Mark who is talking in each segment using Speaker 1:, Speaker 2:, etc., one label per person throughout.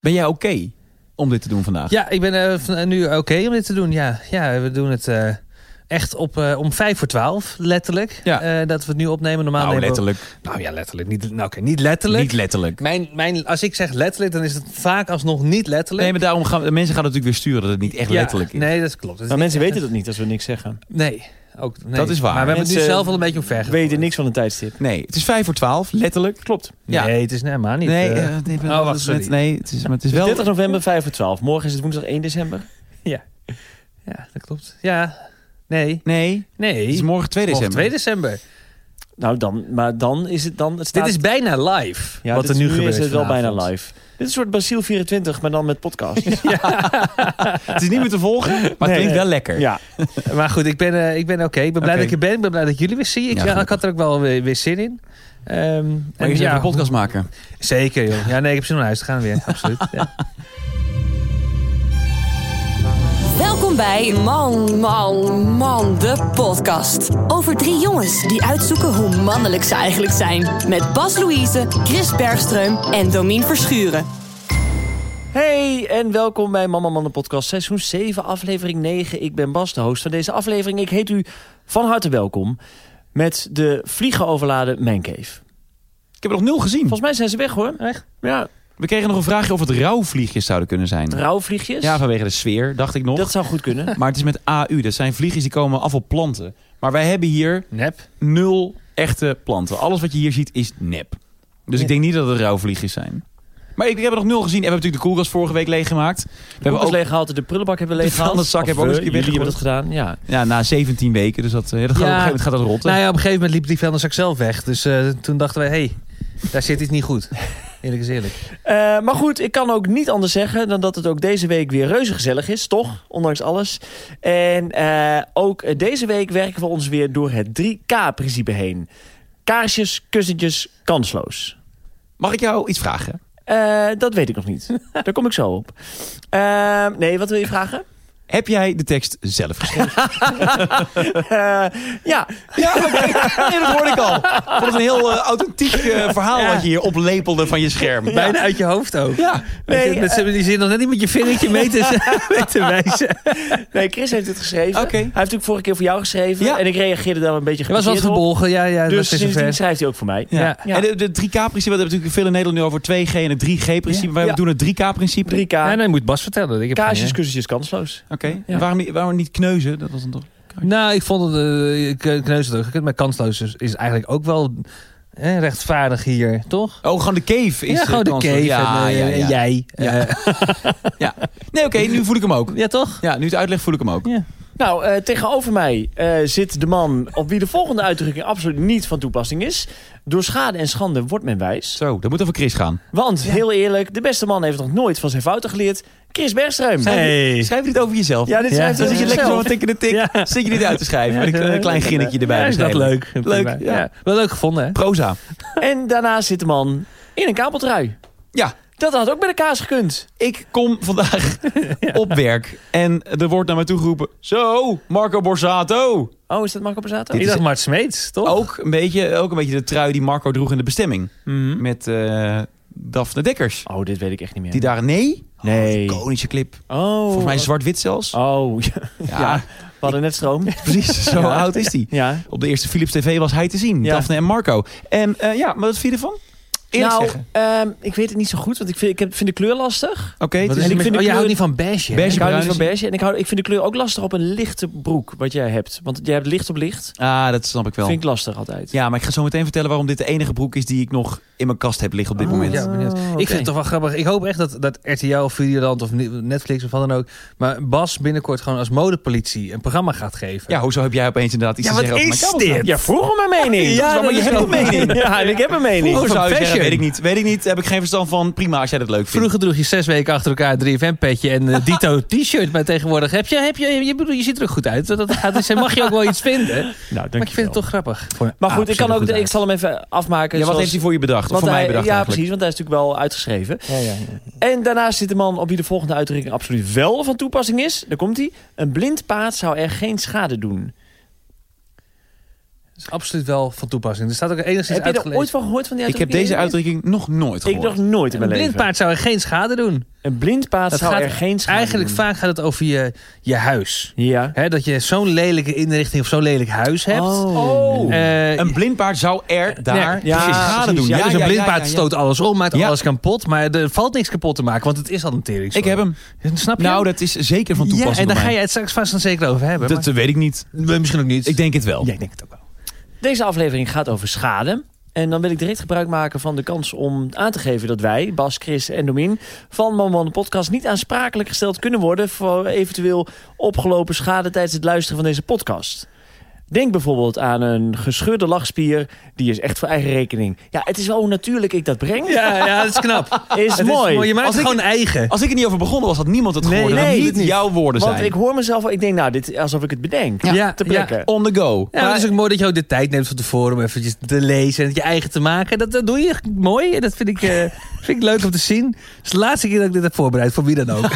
Speaker 1: Ben jij oké om dit te doen vandaag?
Speaker 2: Ja, ik ben eh, van- eh, nu oké om dit te doen. Ja, ja we doen het eh, echt op, eh, om vijf voor twaalf, letterlijk.
Speaker 1: Ja.
Speaker 2: Eh, dat we het nu opnemen. Normaal
Speaker 1: nou,
Speaker 2: nemen we-
Speaker 1: letterlijk.
Speaker 2: Nou ja, letterlijk. Niet, nou, oké, niet letterlijk.
Speaker 1: Niet letterlijk.
Speaker 2: mijn, mijn, als ik zeg letterlijk, dan is het vaak alsnog niet letterlijk.
Speaker 1: Nee, maar daarom gaan de mensen gaan natuurlijk weer sturen dat het niet echt
Speaker 2: Ja,
Speaker 1: letterlijk is.
Speaker 2: Nee, dat klopt. Dat is
Speaker 3: Maar
Speaker 2: niet
Speaker 3: mensen
Speaker 2: echt-
Speaker 3: weten dat niet als we niks zeggen.
Speaker 2: Nee, ook, nee.
Speaker 1: Dat is waar.
Speaker 2: Maar we hebben het nu
Speaker 3: Mensen
Speaker 2: zelf al een beetje omver gegooid.
Speaker 3: Weten niks van een tijdstip.
Speaker 1: Nee, het is vijf voor twaalf, letterlijk.
Speaker 3: Klopt.
Speaker 1: Ja.
Speaker 2: Nee, het is nee, maar niet.
Speaker 1: nee,
Speaker 2: eh,
Speaker 1: eh, nee,
Speaker 2: oh, wacht,
Speaker 1: dat is net-
Speaker 2: sorry.
Speaker 1: nee, het is, maar het is wel...
Speaker 3: 30 Dus november, 5 voor 12. Morgen is het woensdag 1 december.
Speaker 2: Ja, dat klopt. Ja, nee,
Speaker 1: Nee,
Speaker 2: nee.
Speaker 1: het is morgen 2
Speaker 2: Morgen
Speaker 1: december.
Speaker 2: 2 december.
Speaker 3: Nou, dan, maar dan is het dan... Het staat,
Speaker 2: Dit is bijna live,
Speaker 3: ja,
Speaker 2: wat
Speaker 3: dit
Speaker 2: er
Speaker 3: is-
Speaker 2: nu, gebeurt
Speaker 3: is het wel
Speaker 2: vanavond.
Speaker 3: bijna live. Dit is een soort Basiel 24, maar dan met podcast. Ja,
Speaker 1: Het is niet meer te volgen, maar het
Speaker 3: Nee,
Speaker 1: klinkt
Speaker 3: nee.
Speaker 1: wel lekker.
Speaker 2: Maar goed, ik ben, eh, ik ben oké. Ik ben blij
Speaker 1: Oké.
Speaker 2: dat ik er ben. Ik ben blij dat jullie weer zien. Ik,
Speaker 1: Ja,
Speaker 2: ik had er ook wel weer, weer zin in. Ehm,
Speaker 1: Maar
Speaker 2: en
Speaker 1: je
Speaker 2: ja,
Speaker 1: een podcast maken.
Speaker 2: Zeker, joh. Ja, nee, ik heb zin om naar huis te gaan weer. Nou Absoluut. Ja.
Speaker 4: Welkom bij Man, Man, Man, de podcast. Over drie jongens die uitzoeken hoe mannelijk ze eigenlijk zijn. Met Bas Louise, Chris Bergström en Domien Verschuren.
Speaker 3: Hey en welkom bij Mama Mannen Podcast seizoen 7, aflevering 9. Ik ben Bas, de host van deze aflevering. Ik heet u van harte welkom met de vliegen overladen Mancave.
Speaker 1: Ik heb er nog nul gezien.
Speaker 3: Volgens mij zijn ze weg hoor. Hm. Echt? Ja,
Speaker 1: We kregen nog een vraagje of het rauwvliegjes zouden kunnen zijn.
Speaker 3: rouwvliegjes.
Speaker 1: Ja, vanwege de sfeer, dacht ik nog.
Speaker 3: Dat zou goed kunnen.
Speaker 1: Maar het is met AU. Dat zijn vliegjes die komen af op planten. Maar wij hebben hier
Speaker 2: Nep.
Speaker 1: nul echte planten. Alles wat je hier ziet is nep. Dus ik denk niet dat het rauwvliegjes zijn. Maar ik, ik heb er nog nul gezien. En we hebben natuurlijk de koelkast vorige week leeggemaakt. We hebben ook,
Speaker 3: leeg gehaald, de prullenbak hebben we
Speaker 1: De
Speaker 3: leeg gehaald.
Speaker 1: vuilniszak hebben we ook eens een keer
Speaker 3: jullie hebben dat gedaan, ja.
Speaker 1: ja, na 17 weken. Dus dat, eh, dat gaat, op een gegeven moment gaat dat rotten.
Speaker 2: Nou ja, op een gegeven moment liep die vuilniszak zelf weg. Dus eh, toen dachten wij, hé, hey, daar zit iets niet goed. Eerlijk is eerlijk.
Speaker 3: Eh, maar goed, ik kan ook niet anders zeggen dan dat het ook deze week weer reuze gezellig is, toch? Ondanks alles. En eh, ook eh, deze week werken we ons weer door het 3K-principe heen. Kaarsjes, kussentjes, kansloos.
Speaker 1: Mag ik jou iets vragen?
Speaker 3: Eh, dat weet ik nog niet. Daar kom ik zo op. Eh, nee, wat wil je vragen?
Speaker 1: Heb jij de tekst zelf geschreven?
Speaker 3: Eh, ja,
Speaker 1: ja, oké. Nee, dat hoorde ik al. Ik vond het een heel eh, authentiek eh, verhaal
Speaker 3: Ja.
Speaker 1: wat je hier oplepelde van je scherm. Bijna.
Speaker 2: Bijna uit je hoofd ook.
Speaker 1: Ja.
Speaker 2: Nee,
Speaker 3: Nee,
Speaker 2: je, met z'n- die zit nog net niet met je vingertje mee te, mee te wijzen.
Speaker 3: nee, Chris heeft het geschreven.
Speaker 1: Oké.
Speaker 3: Hij heeft natuurlijk vorige keer voor jou geschreven.
Speaker 1: Ja.
Speaker 3: En ik reageerde daar een beetje
Speaker 2: Er was wat
Speaker 3: geblesseerd op.
Speaker 2: verbolgen. Ja, ja,
Speaker 3: Dus
Speaker 2: dat is een
Speaker 3: sindsdien
Speaker 2: vers.
Speaker 3: schrijft hij ook voor mij.
Speaker 1: Ja.
Speaker 2: Ja.
Speaker 1: En de, de 3K-principe, we hebben natuurlijk veel in Nederland nu over 2G en het 3G-principe. Wij
Speaker 3: Ja.
Speaker 1: doen het 3K-principe.
Speaker 3: 3K.
Speaker 2: Ja, nee, moet Bas vertellen. Ik heb geen eh,
Speaker 3: Kaasjes,
Speaker 2: idee.
Speaker 3: kussentjes, kansloos.
Speaker 1: Oké, En waarom, niet- waarom niet kneuzen? Dat was dan toch...
Speaker 2: Nou, ik vond het eh, k- kneuzerig. gekund, Maar kansloos is, is eigenlijk ook wel eh, rechtvaardig hier, toch?
Speaker 1: Oh, gewoon de cave is
Speaker 2: ja, gewoon de cave
Speaker 1: Ja,
Speaker 2: en, eh,
Speaker 1: ja, ja.
Speaker 2: en jij.
Speaker 1: Ja.
Speaker 2: Eh,
Speaker 1: Ja. Nee, oké, nu voel ik hem ook.
Speaker 2: ja, toch?
Speaker 1: Ja, nu het uitleg voel ik hem ook.
Speaker 2: Ja.
Speaker 3: Nou, eh, tegenover mij eh, zit de man op wie de volgende uitdrukking absoluut niet van toepassing is. Door schade en schande wordt men wijs.
Speaker 1: Zo, dat moet over Chris gaan.
Speaker 3: Want, heel eerlijk, de beste man heeft nog nooit van zijn fouten geleerd. Chris Bergström.
Speaker 2: Hey.
Speaker 1: Schrijf dit over jezelf.
Speaker 3: Ja, dit
Speaker 2: Ja, eh,
Speaker 3: schrijft
Speaker 1: dan
Speaker 3: hij
Speaker 1: zit je
Speaker 3: zelf.
Speaker 1: lekker zo tik in de tik. Zit je dit uit te schrijven. Met eh, een, een klein ginnetje erbij.
Speaker 2: Ja, is dat
Speaker 1: waarschijnlijk.
Speaker 2: leuk? Prima.
Speaker 1: Leuk, ja.
Speaker 2: Wel leuk gevonden, hè?
Speaker 1: Proza.
Speaker 3: En daarnaast zit de man in een kabeltrui.
Speaker 1: Ja,
Speaker 3: Dat had ook bij de kaas gekund.
Speaker 1: ik kom vandaag op werk. En er wordt naar mij toe geroepen. Zo, Marco Borsato.
Speaker 3: Oh, is dat Marco Bazzato?
Speaker 2: Ik dacht Mart Smeets, toch?
Speaker 1: Ook een, beetje, ook een beetje de trui die Marco droeg in de bestemming.
Speaker 2: Mhm.
Speaker 1: Met eh Daphne Dekkers.
Speaker 3: Oh, dit weet ik echt niet meer.
Speaker 1: Die daar, nee.
Speaker 3: Nee.
Speaker 1: Oh, Koningsche clip.
Speaker 3: Oh.
Speaker 1: Volgens mij zwart-wit zelfs.
Speaker 3: Oh, ja.
Speaker 1: ja,
Speaker 3: ja. We hadden net stroom.
Speaker 1: precies. Zo oud is die.
Speaker 3: Ja.
Speaker 1: Op de eerste Philips TV was hij te zien.
Speaker 3: Ja.
Speaker 1: Daphne en Marco. En eh, ja, maar wat vind je ervan? Eerlijk
Speaker 3: nou,
Speaker 1: zeggen.
Speaker 3: ehm, ik weet het niet zo goed, want ik vind, ik heb- vind de kleur lastig.
Speaker 1: Oké, het
Speaker 2: Wat
Speaker 1: is
Speaker 2: is
Speaker 3: ik
Speaker 2: er met-
Speaker 3: vind de
Speaker 2: oh, je
Speaker 3: kleur-
Speaker 2: houdt niet van beige, hè?
Speaker 1: Beige.
Speaker 3: Ik hou niet
Speaker 1: bruin
Speaker 3: van
Speaker 1: is-
Speaker 3: beige en ik, hou, ik vind de kleur ook lastig op een lichte broek wat jij hebt. Want jij hebt licht op licht.
Speaker 1: Ah, dat snap ik wel.
Speaker 3: Vind ik lastig altijd.
Speaker 1: Ja, maar ik ga zo meteen vertellen waarom dit de enige broek is die ik nog in mijn kast heb liggen op dit
Speaker 2: Oh,
Speaker 1: moment.
Speaker 2: ja, benieuwd.
Speaker 3: Oh,
Speaker 2: Ik
Speaker 3: oké.
Speaker 2: vind het toch wel grappig. Ik hoop echt dat, dat RTL of Videoland of Netflix of wat dan ook... maar Bas binnenkort gewoon als modepolitie een programma gaat geven.
Speaker 1: Ja, hoezo heb jij opeens inderdaad iets
Speaker 2: Ja,
Speaker 1: te
Speaker 2: wat
Speaker 1: zeggen over
Speaker 2: is
Speaker 1: mijn
Speaker 2: dit?
Speaker 1: kabeltram?
Speaker 3: Ja, vroeg om mijn mening.
Speaker 1: Ja,
Speaker 3: Dat is
Speaker 1: dat
Speaker 3: wel-
Speaker 1: is wel-
Speaker 3: Ja, en ik heb een mening.
Speaker 1: Vroeger
Speaker 2: Over
Speaker 1: zou je zeggen,
Speaker 2: fashion.
Speaker 1: weet ik niet. Weet ik niet, heb ik geen verstand van. Prima, als jij dat leuk vindt.
Speaker 2: Vroeger droeg je zes weken achter elkaar een 3FM-petje en eh, Dito t-shirt. Maar tegenwoordig heb je, heb je, je, bedoel, je ziet er ook goed uit. Dat gaat, dus mag je ook wel iets vinden.
Speaker 3: Nou,
Speaker 2: maar ik vind het toch grappig.
Speaker 3: Maar goed, ik, kan ook, ik
Speaker 2: Ik
Speaker 3: zal hem even
Speaker 1: Ah,
Speaker 3: afmaken.
Speaker 1: Ja, wat
Speaker 3: zoals-
Speaker 1: heeft hij voor je bedacht? Of
Speaker 3: want
Speaker 1: voor mij
Speaker 3: hij-
Speaker 1: bedacht
Speaker 3: Ja,
Speaker 1: eigenlijk?
Speaker 3: precies, want hij is natuurlijk wel uitgeschreven. En daarnaast zit de man op wie de volgende uitdrukking absoluut wel van toepassing is. Daar komt hij. Een blind paard zou er geen schade doen.
Speaker 2: is absoluut wel van toepassing. Er staat ook enigszins
Speaker 3: Heb je er
Speaker 2: uitgelezen.
Speaker 3: ooit van gehoord van die
Speaker 1: Ik heb
Speaker 3: uitdrukking?
Speaker 1: deze uitdrukking nog nooit
Speaker 3: Ik
Speaker 1: gehoord.
Speaker 3: nog nooit in
Speaker 2: Een
Speaker 3: mijn
Speaker 2: blind
Speaker 3: leven.
Speaker 2: paard zou er geen schade doen.
Speaker 3: Een blind paard
Speaker 2: Dat
Speaker 3: zou
Speaker 2: gaat
Speaker 3: er geen schade
Speaker 2: Eigenlijk
Speaker 3: doen.
Speaker 2: vaak gaat het over je, je huis.
Speaker 3: Ja.
Speaker 2: Hè, dat je zo'n lelijke inrichting of zo'n lelijk huis hebt.
Speaker 1: Oh.
Speaker 2: Eh,
Speaker 1: Een blind paard zou er daar
Speaker 2: nee,
Speaker 3: ja,
Speaker 1: precies schade
Speaker 3: precies.
Speaker 1: doen.
Speaker 2: ja, dus een blind paard
Speaker 1: ja, ja.
Speaker 2: stoot alles om, maakt
Speaker 1: Ja.
Speaker 2: alles kapot. Maar er valt niks kapot te maken, want het is al een tering.
Speaker 1: Ik heb hem.
Speaker 2: Snap je?
Speaker 1: Nou, dat is zeker van
Speaker 2: ja,
Speaker 1: toepassing op
Speaker 2: en daar
Speaker 1: mij.
Speaker 2: ga je het straks vast en zeker over hebben.
Speaker 1: Dat eh, weet ik niet. Oh.
Speaker 2: maar, misschien ook niet.
Speaker 1: Ik denk het wel.
Speaker 2: ja, ik denk het ook wel.
Speaker 3: Deze aflevering gaat over schade. En dan wil ik direct gebruik maken van de kans om aan te geven dat wij, Bas, Chris en Domien... van Mamman de Podcast niet aansprakelijk gesteld kunnen worden... voor eventueel opgelopen schade tijdens het luisteren van deze podcast. Denk bijvoorbeeld aan een gescheurde lachspier. Die is echt voor eigen rekening. Ja, het is wel hoe natuurlijk ik dat breng.
Speaker 2: Ja, ja, dat is knap.
Speaker 3: Is,
Speaker 2: Het
Speaker 3: mooi.
Speaker 2: Je maakt
Speaker 1: Als
Speaker 2: het
Speaker 1: ik-
Speaker 2: gewoon eigen.
Speaker 1: Als ik er niet over begonnen was, had niemand het gehoord.
Speaker 3: Nee,
Speaker 1: Dat
Speaker 3: nee,
Speaker 1: het
Speaker 3: dit
Speaker 1: niet
Speaker 3: niet.
Speaker 1: jouw woorden
Speaker 3: Want
Speaker 1: zijn.
Speaker 3: ik hoor mezelf al, ik denk nou, dit is alsof ik het bedenk.
Speaker 2: Ja. Ja,
Speaker 3: te plekken.
Speaker 1: On the go.
Speaker 2: Ja, maar het is ook mooi dat je ook de tijd neemt van tevoren om eventjes te lezen en het je eigen te maken. Dat, dat doe je mooi en dat vind ik, eh, vind ik leuk om te zien. Het is de laatste keer dat ik dit heb voorbereid, voor wie dan ook.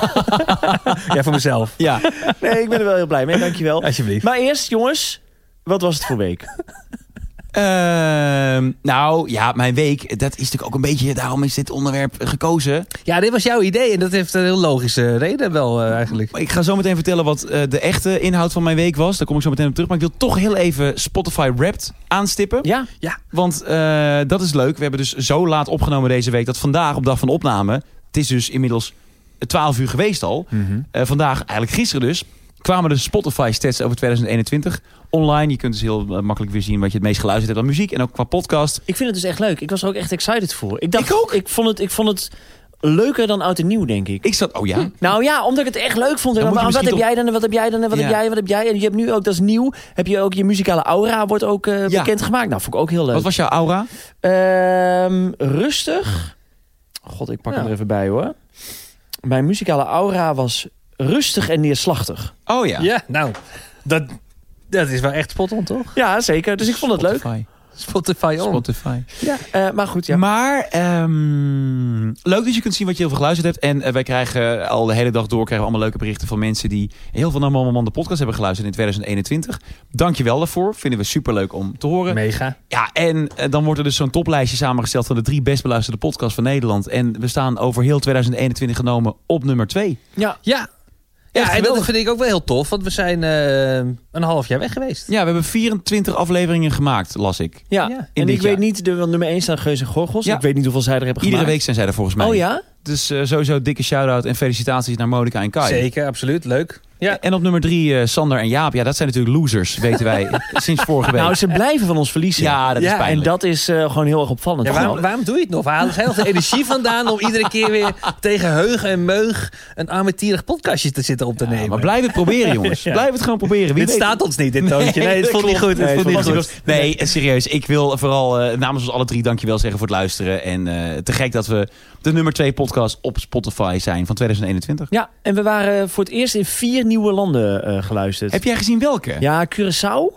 Speaker 2: ja, voor mezelf.
Speaker 1: Ja,
Speaker 3: Nee, ik ben er wel heel blij mee, dankjewel.
Speaker 2: Alsjeblieft.
Speaker 3: Maar eerst, jongens, wat was het voor week?
Speaker 1: Ehm, nou ja, mijn week, dat is natuurlijk ook een beetje, daarom is dit onderwerp gekozen.
Speaker 2: Ja, dit was jouw idee en dat heeft een heel logische reden wel eh, eigenlijk.
Speaker 1: Maar ik ga zo meteen vertellen wat eh, de echte inhoud van mijn week was. Daar kom ik zo meteen op terug. Maar ik wil toch heel even Spotify Wrapped aanstippen.
Speaker 3: Ja,
Speaker 1: Want eh, dat is leuk. We hebben dus zo laat opgenomen deze week dat vandaag op dag van opname, het is dus inmiddels 12 uur geweest al.
Speaker 3: Mhm.
Speaker 1: Eh, vandaag, eigenlijk gisteren dus, kwamen de Spotify stats over 2021 online. Je kunt dus heel eh, makkelijk weer zien wat je het meest geluisterd hebt aan muziek en ook qua podcast.
Speaker 3: ik vind het dus echt leuk. Ik was er ook echt excited voor. Ik, dacht,
Speaker 1: Ik ook.
Speaker 3: Ik vond het, ik vond het leuker dan oud en nieuw, denk ik.
Speaker 1: Ik zat, oh ja,
Speaker 3: Nou ja, omdat ik het echt leuk vond.
Speaker 1: Dan
Speaker 3: En
Speaker 1: moet je
Speaker 3: maar wat heb
Speaker 1: misschien
Speaker 3: jij dan en wat heb jij dan en wat
Speaker 1: Ja.
Speaker 3: heb jij en wat heb jij? En je hebt nu ook, dat is nieuw, heb je ook je muzikale aura wordt ook eh,
Speaker 1: Ja.
Speaker 3: bekendgemaakt. Nou, vond ik ook heel leuk.
Speaker 1: wat was jouw aura?
Speaker 3: Ehm, rustig. God, ik pak
Speaker 2: Ja.
Speaker 3: hem er even bij hoor. Mijn muzikale aura was rustig en neerslachtig.
Speaker 1: Oh ja.
Speaker 2: Ja, nou, dat, dat is wel echt spot on, toch?
Speaker 3: Ja, zeker. Dus ik vond het leuk.
Speaker 1: Spotify.
Speaker 2: Spotify on.
Speaker 1: Spotify.
Speaker 3: Eh, maar goed, ja.
Speaker 1: Maar ehm, leuk dat je kunt zien wat je heel veel geluisterd hebt. En eh, wij krijgen al de hele dag door krijgen we allemaal leuke berichten van mensen die heel veel naar Mama Man de podcast hebben geluisterd in 2021. Dankjewel daarvoor. Vinden we superleuk om te horen.
Speaker 2: Mega.
Speaker 1: Ja, en eh, dan wordt er dus zo'n toplijstje samengesteld van de drie best beluisterde podcasts van Nederland. En we staan over heel 2021 genomen op nummer twee.
Speaker 3: ja.
Speaker 2: Ja.
Speaker 1: Echt
Speaker 2: Ja, en dat
Speaker 1: geweldig.
Speaker 2: vind ik ook wel heel tof, want we zijn eh, een half jaar weg geweest.
Speaker 1: Ja, we hebben 24 afleveringen gemaakt, las ik.
Speaker 3: Ja,
Speaker 2: Ja,
Speaker 1: in
Speaker 3: en
Speaker 1: dit
Speaker 3: ik weet
Speaker 1: jaar.
Speaker 3: niet, de, want nummer 1 staan Geus en Gorgels.
Speaker 1: Ja.
Speaker 3: Ik weet niet hoeveel zij er hebben
Speaker 1: Iedere
Speaker 3: gemaakt.
Speaker 1: week zijn zij er volgens mij.
Speaker 3: Oh ja?
Speaker 1: Dus eh, sowieso dikke shout-out en felicitaties naar Monica en Kai.
Speaker 2: Zeker, absoluut. Leuk. Ja.
Speaker 1: En op nummer drie, eh, Sander en Jaap. Ja, dat zijn natuurlijk losers, weten wij, sinds vorige week.
Speaker 3: Nou, ze blijven van ons verliezen.
Speaker 1: ja, dat
Speaker 2: Ja,
Speaker 1: is
Speaker 2: en
Speaker 1: pijnlijk.
Speaker 3: En dat is eh, gewoon heel erg opvallend.
Speaker 2: Ja, waarom, waarom doe je het nog? Waar haal jij nog de energie vandaan om iedere keer weer tegen heug en meug een armetierig podcastje te zitten op te
Speaker 1: Ja,
Speaker 2: nemen?
Speaker 1: maar blijf het proberen, jongens.
Speaker 2: Ja.
Speaker 1: Blijf het gewoon proberen. Wie
Speaker 2: dit
Speaker 1: weet-
Speaker 2: staat ons niet, dit toontje. Nee, het
Speaker 1: dat
Speaker 2: voelt niet
Speaker 1: klopt.
Speaker 2: goed. Het
Speaker 1: Nee,
Speaker 2: voelt niet
Speaker 1: het
Speaker 2: goed.
Speaker 1: voelt niet goed. Nee, eh, serieus. Ik wil vooral eh, namens ons alle drie dankjewel zeggen voor het luisteren. En eh, te gek dat we de nummer twee podcast op Spotify zijn van 2021.
Speaker 3: Ja, en we waren voor het eerst in vier nieuwe landen eh, geluisterd.
Speaker 1: Heb jij gezien welke?
Speaker 3: Ja, Curaçao.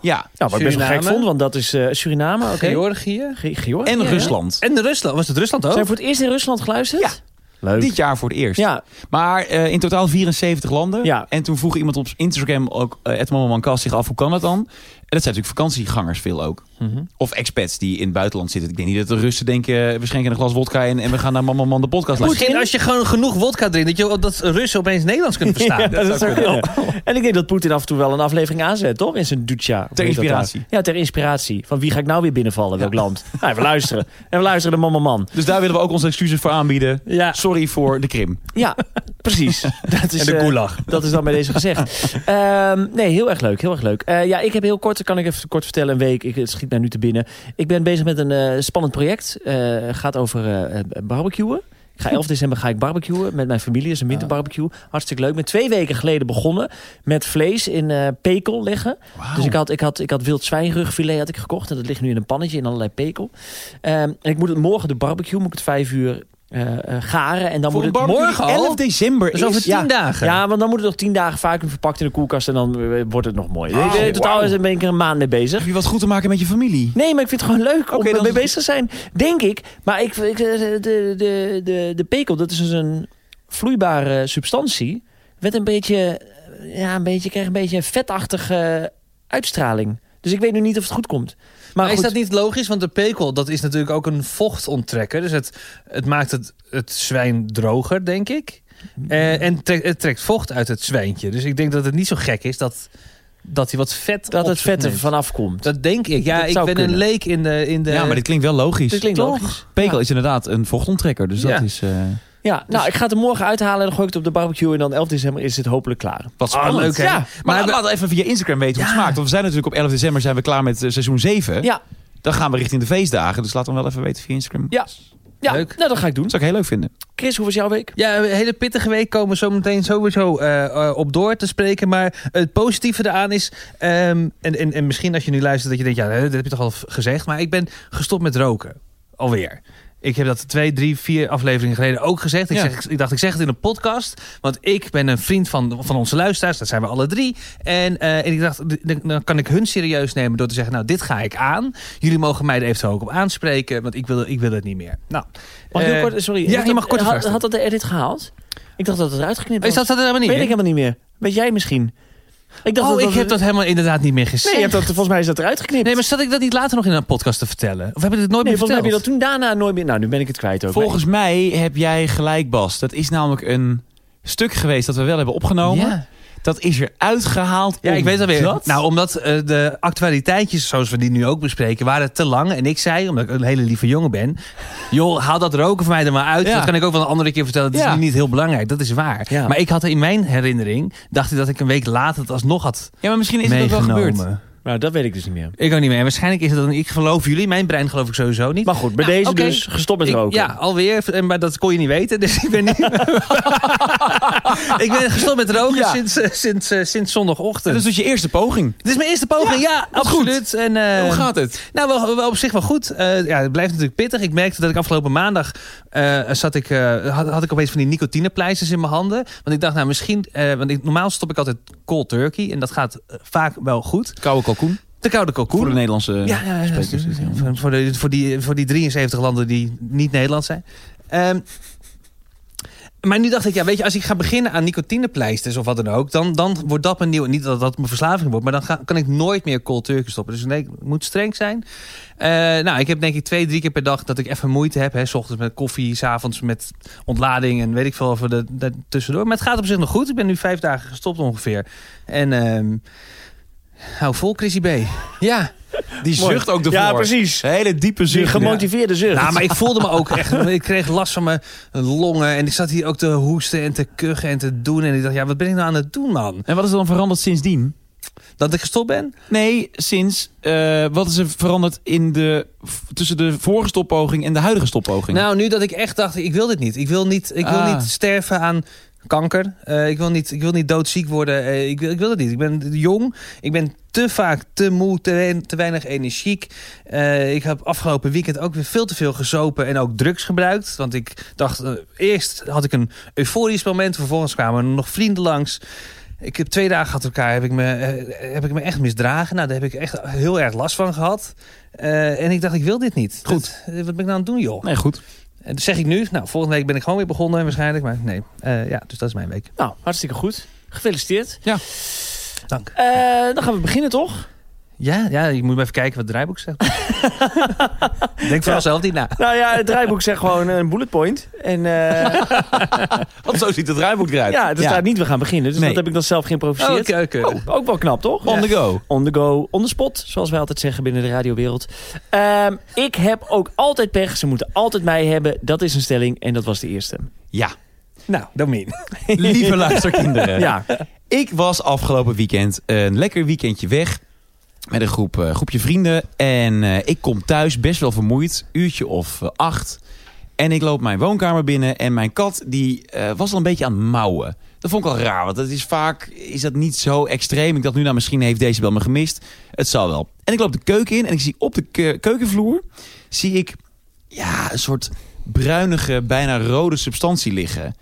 Speaker 1: Ja.
Speaker 3: Nou, wat ik best wel gek
Speaker 2: Suriname.
Speaker 3: vond, want dat is eh, Suriname. Oké.
Speaker 2: Georgië.
Speaker 3: Ge- Georgië,
Speaker 1: En
Speaker 3: ja.
Speaker 1: Rusland.
Speaker 2: En Rusland. Was het Rusland
Speaker 3: Zijn
Speaker 2: ook?
Speaker 3: we voor het eerst in Rusland geluisterd?
Speaker 1: Ja.
Speaker 3: Leuk.
Speaker 1: Dit jaar voor het eerst.
Speaker 3: Ja,
Speaker 1: Maar eh, in totaal 74 landen.
Speaker 3: Ja.
Speaker 1: En toen vroeg iemand op Instagram ook, eh, het Mama Man Kast zich af, hoe kan dat dan? En dat zijn natuurlijk vakantiegangers veel ook. Of expats die in het buitenland zitten. Ik denk niet dat de Russen denken, eh, we schenken een glas wodka in en we gaan naar Mama Man de podcast luisteren.
Speaker 2: Misschien als je gewoon genoeg wodka drinkt, dat, je, dat Russen opeens Nederlands kunnen verstaan.
Speaker 3: Ja, dat zou kunnen. En ik denk dat Poetin af en toe wel een aflevering aanzet, toch? In zijn ducha.
Speaker 1: Ter
Speaker 3: Of hoe heet dat
Speaker 1: inspiratie.
Speaker 3: daar? Ja, ter inspiratie. Van wie ga ik nou weer binnenvallen? Welk land? Nou, we luisteren. En we luisteren de man, man, man.
Speaker 1: Dus daar willen we ook onze excuses voor aanbieden.
Speaker 2: Ja.
Speaker 1: Sorry voor de krim.
Speaker 3: Ja, precies. Dat is,
Speaker 2: En de
Speaker 3: eh,
Speaker 2: gulag.
Speaker 3: dat is dan bij deze gezegd. Ehm, nee, heel erg leuk. Heel erg leuk. Eh, ja, ik heb heel kort, kan ik even kort vertellen, een week. Ik, het schiet mij nu te binnen. Ik ben bezig met een eh, spannend project. Eh, gaat over eh, eh, barbecuen. Ik ga 11 december ga ik barbecuen met mijn familie. Het is een winterbarbecue. Hartstikke leuk. Ik ben twee weken geleden begonnen met vlees in eh, pekel leggen. Dus ik had, ik, had, ik had wild zwijnrugfilet had ik gekocht. En dat ligt nu in een pannetje in allerlei pekel. Ehm, en ik moet het morgen, de barbecue, moet ik het vijf uur eh, eh, garen. En dan
Speaker 1: voor
Speaker 3: moet
Speaker 1: een
Speaker 3: het
Speaker 1: barbecue
Speaker 2: morgen
Speaker 1: die
Speaker 2: al?
Speaker 1: 11 december
Speaker 2: Dat
Speaker 1: is...
Speaker 2: is over tien
Speaker 3: ja.
Speaker 2: dagen.
Speaker 3: Ja, want dan moet het nog tien dagen vacuüm verpakt in de koelkast en dan eh, wordt het nog mooi. Weet je, in totaal is- ben ik er een maand mee bezig.
Speaker 1: Heb je wat goed te maken met je familie?
Speaker 3: Nee, maar ik vind het gewoon leuk om
Speaker 1: Oké, dan is
Speaker 3: ermee
Speaker 1: het
Speaker 3: bezig te zijn. Denk ik. Maar ik, ik, eh, de, de, de, de pekel, dat is dus een vloeibare substantie. Werd een beetje, eh, ja, een beetje, kreeg een beetje een vetachtige eh, uitstraling. Dus ik weet nu niet of het goed komt. Maar,
Speaker 2: Maar is
Speaker 3: goed,
Speaker 2: dat niet logisch? Want de pekel, dat is natuurlijk ook een vochtonttrekker. Dus het, het maakt het, het zwijn droger, denk ik. Eh, en trek- het trekt vocht uit het zwijntje. Dus ik denk dat het niet zo gek is dat, dat hij wat vet
Speaker 3: dat
Speaker 2: op
Speaker 3: het
Speaker 2: zich
Speaker 3: vet er
Speaker 2: neemt.
Speaker 3: vanaf komt.
Speaker 2: Dat denk ik. Ja,
Speaker 3: Dat
Speaker 2: ik ben
Speaker 3: zou
Speaker 2: een
Speaker 3: kunnen.
Speaker 2: leek in de... In de
Speaker 1: Ja, maar dit klinkt wel logisch.
Speaker 3: Dat Dus klinkt
Speaker 1: Toch?
Speaker 3: logisch.
Speaker 1: Pekel is inderdaad een vochtonttrekker. Dus
Speaker 2: Ja.
Speaker 1: dat is... eh,
Speaker 3: Ja,
Speaker 2: Dus-
Speaker 3: nou, ik ga het er morgen uithalen en dan gooi ik het op de barbecue. En dan 11 december is het hopelijk klaar.
Speaker 1: wat spannend.
Speaker 2: leuk, hè?
Speaker 1: Ja,
Speaker 2: Maar
Speaker 1: maar, laat,
Speaker 2: we-
Speaker 1: laat even via Instagram weten hoe het
Speaker 2: Ja.
Speaker 1: smaakt. Want we zijn natuurlijk op 11 december zijn we klaar met eh, seizoen 7.
Speaker 3: Ja,
Speaker 1: Dan gaan we richting de feestdagen. Dus laat dan wel even weten via Instagram.
Speaker 3: Ja. ja
Speaker 2: Leuk.
Speaker 3: nou dat ga ik doen.
Speaker 1: Dat zou ik heel leuk vinden.
Speaker 3: Chris, hoe was jouw week?
Speaker 2: Ja, een hele pittige week komen we zo meteen sowieso eh, eh, op door te spreken. Maar het positieve eraan is, ehm, en, en, en misschien als je nu luistert dat je denkt, ja, dat heb je toch al v- gezegd. Maar ik ben gestopt met roken. Alweer. Ik heb dat twee, drie, vier afleveringen geleden ook gezegd. Ik,
Speaker 1: Ja.
Speaker 2: zeg, ik dacht, ik zeg het in een podcast. Want ik ben een vriend van, van onze luisteraars. Dat zijn we alle drie. En, eh, en ik dacht, d- d- dan kan ik hun serieus nemen door te zeggen... nou, dit ga ik aan. Jullie mogen mij er eventueel ook op aanspreken. Want ik wil, ik wil het niet meer. Nou,
Speaker 3: Mag ik heel
Speaker 2: eh,
Speaker 3: kort, sorry.
Speaker 2: ja,
Speaker 3: heeft
Speaker 2: je
Speaker 3: dat-
Speaker 2: mag kort
Speaker 3: had,
Speaker 2: vragen.
Speaker 3: had dat de edit gehaald? Ik dacht dat het eruit geknipt was.
Speaker 2: Is dat, dat er helemaal niet
Speaker 3: Weet ik
Speaker 2: in?
Speaker 3: helemaal niet meer. Weet jij misschien? Ik dacht
Speaker 2: oh,
Speaker 3: dat,
Speaker 2: ik heb dat helemaal inderdaad niet meer gezien.
Speaker 3: Nee, je hebt dat, volgens mij is dat eruit geknipt.
Speaker 2: Nee, maar zat ik dat niet later nog in een podcast te vertellen? Of heb ik dit nooit
Speaker 3: Nee,
Speaker 2: meer
Speaker 3: volgens mij
Speaker 2: verteld?
Speaker 3: heb je dat toen daarna nooit meer... Nou, nu ben ik het kwijt ook.
Speaker 1: Volgens mij heb jij gelijk, Bas. Dat is namelijk een stuk geweest dat we wel hebben opgenomen.
Speaker 2: Ja,
Speaker 1: Dat is er uitgehaald.
Speaker 2: ja ik weet dat weer.
Speaker 1: omdat-
Speaker 2: Nou, omdat eh, de actualiteitjes, zoals we die nu ook bespreken, waren te lang. En ik zei, omdat ik een hele lieve jongen ben... joh, haal dat roken van mij er maar uit.
Speaker 1: Ja.
Speaker 2: Dat kan ik ook wel een andere keer vertellen. Dat
Speaker 1: Ja.
Speaker 2: is nu niet heel belangrijk, dat is waar.
Speaker 3: Ja.
Speaker 2: Maar ik had in mijn herinnering, dacht ik dat ik een week later het alsnog had
Speaker 1: ja, maar misschien is het ook wel
Speaker 2: meegenomen.
Speaker 1: gebeurd.
Speaker 3: Nou, dat weet ik dus niet meer.
Speaker 2: Ik ook niet meer. En waarschijnlijk is het dan, ik geloof jullie, mijn brein geloof ik sowieso niet.
Speaker 3: Maar goed, bij
Speaker 2: Nou,
Speaker 3: deze
Speaker 2: oké.
Speaker 3: dus gestopt met
Speaker 2: Ik-
Speaker 3: roken.
Speaker 2: ja, alweer. En- Maar dat kon je niet weten. Dus ik ben niet... ik ben gestopt met roken
Speaker 1: Ja.
Speaker 2: sinds, eh, sinds, eh, sinds zondagochtend.
Speaker 1: Dat is dus je eerste poging.
Speaker 2: Dit is mijn eerste poging. Ja, absoluut. En, eh,
Speaker 1: Hoe gaat het?
Speaker 2: Nou, wel, wel op zich wel goed. Eh, ja, het blijft natuurlijk pittig. Ik merkte dat ik afgelopen maandag eh, zat ik, eh, had, had ik opeens van die nicotinepleisters in mijn handen. Want ik dacht, nou misschien... eh, want ik, normaal stop ik altijd cold turkey. En dat gaat eh, vaak wel goed.
Speaker 1: Koude kalkoen.
Speaker 2: De koude kalkoen.
Speaker 1: Voor de Nederlandse
Speaker 2: Ja, ja, ja,
Speaker 1: eh, sprekers.
Speaker 2: ja, ja. Voor, voor de, voor, die, voor die 73 landen die niet Nederland zijn. Ehm, maar nu dacht ik, ja, weet je, als ik ga beginnen aan nicotinepleisters of wat dan ook, dan, dan wordt dat mijn nieuwe, niet dat dat mijn verslaving wordt, maar dan ga- kan ik nooit meer cold turkey stoppen. Dus nee, ik moet streng zijn. Eh, nou, ik heb denk ik twee, drie keer per dag dat ik even moeite heb. Hè, 's ochtends met koffie, s'avonds met ontlading en weet ik veel over de, de- tussendoor. Maar het gaat op zich nog goed. Ik ben nu vijf dagen gestopt ongeveer. En ehm, hou vol, Chrissy B. Ja.
Speaker 1: Die
Speaker 3: Mooi.
Speaker 1: zucht ook ervoor.
Speaker 3: Ja, precies.
Speaker 1: Een hele diepe
Speaker 3: Die
Speaker 1: zucht.
Speaker 3: gemotiveerde zucht.
Speaker 2: Ja, Nou, maar ik voelde me ook echt. Ik kreeg last van mijn longen. En ik zat hier ook te hoesten en te kuchen en te doen. En ik dacht, ja, wat ben ik nou aan het doen, man?
Speaker 1: En wat is er dan veranderd sindsdien?
Speaker 2: Dat ik gestopt ben?
Speaker 1: Nee, sinds eh, wat is er veranderd in de, f- tussen de vorige stoppoging en de huidige stoppoging?
Speaker 2: Nou, nu dat ik echt dacht, ik wil dit niet. Ik wil niet, ik wil
Speaker 1: Ah.
Speaker 2: niet sterven aan kanker. Eh, ik, wil niet, ik wil niet doodziek worden. Eh, ik, wil, ik wil het niet. Ik ben jong. Ik ben te vaak te moe, te, wein- te weinig energiek. Eh, ik heb afgelopen weekend ook weer veel te veel gezopen en ook drugs gebruikt. Want ik dacht, eh, eerst had ik een euforisch moment. Vervolgens kwamen er nog vrienden langs. Ik heb twee dagen achter elkaar heb ik, me, eh, heb ik me echt misdragen. Nou, daar heb ik echt heel erg last van gehad. Eh, en ik dacht, ik wil dit niet.
Speaker 1: Goed.
Speaker 2: Dat- eh, wat ben ik nou aan het doen, joh?
Speaker 1: nee, goed.
Speaker 2: En dat zeg ik nu. Nou, volgende week ben ik gewoon weer begonnen waarschijnlijk. Maar nee, Eh, ja, dus dat is mijn week.
Speaker 3: Nou, hartstikke goed. Gefeliciteerd.
Speaker 2: Dank.
Speaker 3: Eh, dan gaan we beginnen, toch?
Speaker 2: Ja, ja, je moet maar even kijken wat het draaiboek zegt. Denk vooral
Speaker 3: Ja.
Speaker 2: zelf niet na.
Speaker 3: Nou ja, het draaiboek zegt gewoon een bullet point. En eh,
Speaker 1: Want Nou. zo ziet het draaiboek eruit.
Speaker 3: ja, er staat niet we gaan beginnen. Dus
Speaker 1: Nee.
Speaker 3: dat heb ik dan zelf geïmproviseerd.
Speaker 2: Oké, oké.
Speaker 3: Oh, ook wel knap, toch?
Speaker 1: On the go.
Speaker 3: On the go, on the spot, zoals wij altijd zeggen binnen de radiowereld. Ehm, ik heb ook altijd pech. Ze moeten altijd mij hebben. Dat is een stelling en dat was de eerste.
Speaker 1: Ja,
Speaker 2: Nou, Domien.
Speaker 1: lieve luisterkinderen.
Speaker 3: Ja,
Speaker 1: Ik was afgelopen weekend een lekker weekendje weg met een groep, eh, groepje vrienden. En eh, ik kom thuis best wel vermoeid, uurtje of eh, acht. En ik loop mijn woonkamer binnen en mijn kat die eh, was al een beetje aan het mouwen. Dat vond ik al raar, want dat is vaak is dat niet zo extreem. Ik dacht nu, nou misschien heeft deze wel me gemist. Het zal wel. En ik loop de keuken in en ik zie op de ke- keukenvloer, zie ik ja, een soort bruinige, bijna rode substantie liggen.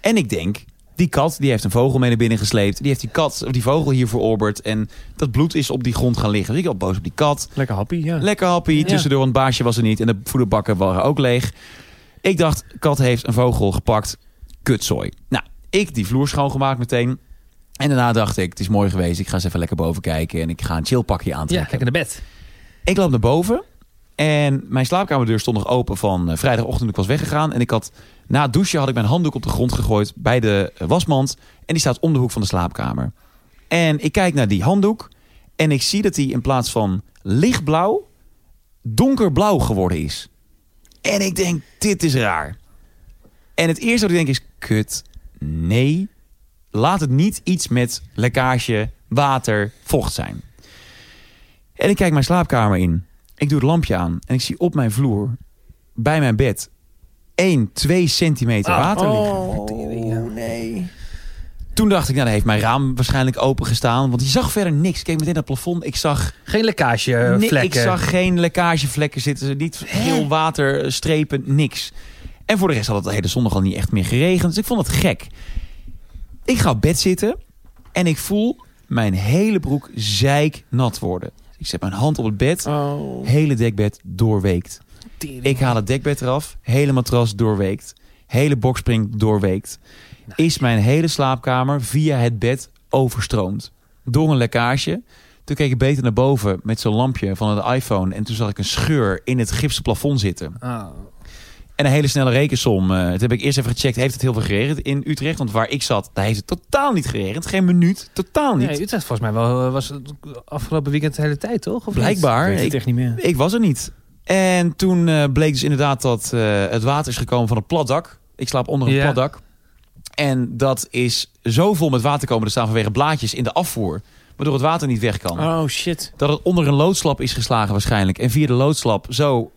Speaker 1: En ik denk, die kat die heeft een vogel mee naar binnen gesleept. Die heeft die kat of die vogel hier verorberd. En dat bloed is op die grond gaan liggen. Dus ik al boos op die kat.
Speaker 3: lekker happy. Ja.
Speaker 1: Lekker happy. Tussendoor een baasje was er niet. En de voederbakken waren ook leeg. Ik dacht, kat heeft een vogel gepakt. Kutzooi. Nou, ik die vloer schoongemaakt meteen. En daarna dacht ik, het is mooi geweest. Ik ga eens even lekker boven kijken en ik ga een chillpakje
Speaker 2: Ja,
Speaker 1: aantrekken.
Speaker 2: lekker naar bed.
Speaker 1: Ik loop naar boven en mijn slaapkamerdeur stond nog open van eh, vrijdagochtend. Ik was weggegaan en ik had na het douchen had ik mijn handdoek op de grond gegooid bij de eh, wasmand. En die staat om de hoek van de slaapkamer. En ik kijk naar die handdoek en ik zie dat die in plaats van lichtblauw donkerblauw geworden is. En ik denk, dit is raar. En het eerste wat ik denk is, kut, nee. Laat het niet iets met lekkage, water, vocht zijn. En ik kijk mijn slaapkamer in. Ik doe het lampje aan en ik zie op mijn vloer, bij mijn bed, 1, 2 centimeter water liggen.
Speaker 3: Ah. Oh, nee.
Speaker 1: Toen dacht ik, nou, dan heeft mijn raam waarschijnlijk open gestaan. Want je zag verder niks. Ik keek meteen naar het plafond. Ik zag,
Speaker 2: Geen lekkage eh,
Speaker 1: ni-
Speaker 2: vlekken.
Speaker 1: ik zag geen lekkagevlekken zitten. Niet veel waterstrepen, niks. En voor de rest had het de hele zondag al niet echt meer geregend. Dus ik vond het gek. Ik ga op bed zitten en ik voel mijn hele broek zeiknat worden. Ik zet mijn hand op het bed.
Speaker 3: Oh.
Speaker 1: Hele dekbed doorweekt.
Speaker 3: Tering.
Speaker 1: Ik haal het dekbed eraf. Hele matras doorweekt. Hele bokspring doorweekt. Is mijn hele slaapkamer via het bed overstroomd. Door een lekkage. Toen keek ik beter naar boven met zo'n lampje van het iPhone. En toen zag ik een scheur in het gipsen plafond zitten.
Speaker 2: Oh.
Speaker 1: En een hele snelle rekensom. eh dat heb ik eerst even gecheckt. Heeft het heel veel geregend in Utrecht? Want waar ik zat, daar heeft het totaal niet geregend. Geen minuut. Totaal niet.
Speaker 2: Nee, Utrecht volgens mij wel, eh, was het afgelopen weekend de hele tijd, toch? Of niet?
Speaker 1: Blijkbaar.
Speaker 3: Ik weet
Speaker 1: Ik-
Speaker 3: het echt niet meer.
Speaker 1: Ik was er niet. En toen eh, bleek dus inderdaad dat eh, het water is gekomen van het platdak. Ik slaap onder een
Speaker 2: Ja.
Speaker 1: platdak. En dat is zo vol met water komen te staan vanwege blaadjes in de afvoer. Waardoor het water niet weg kan.
Speaker 3: Oh, shit.
Speaker 1: Dat het onder een loodslap is geslagen waarschijnlijk. En via de loodslap zo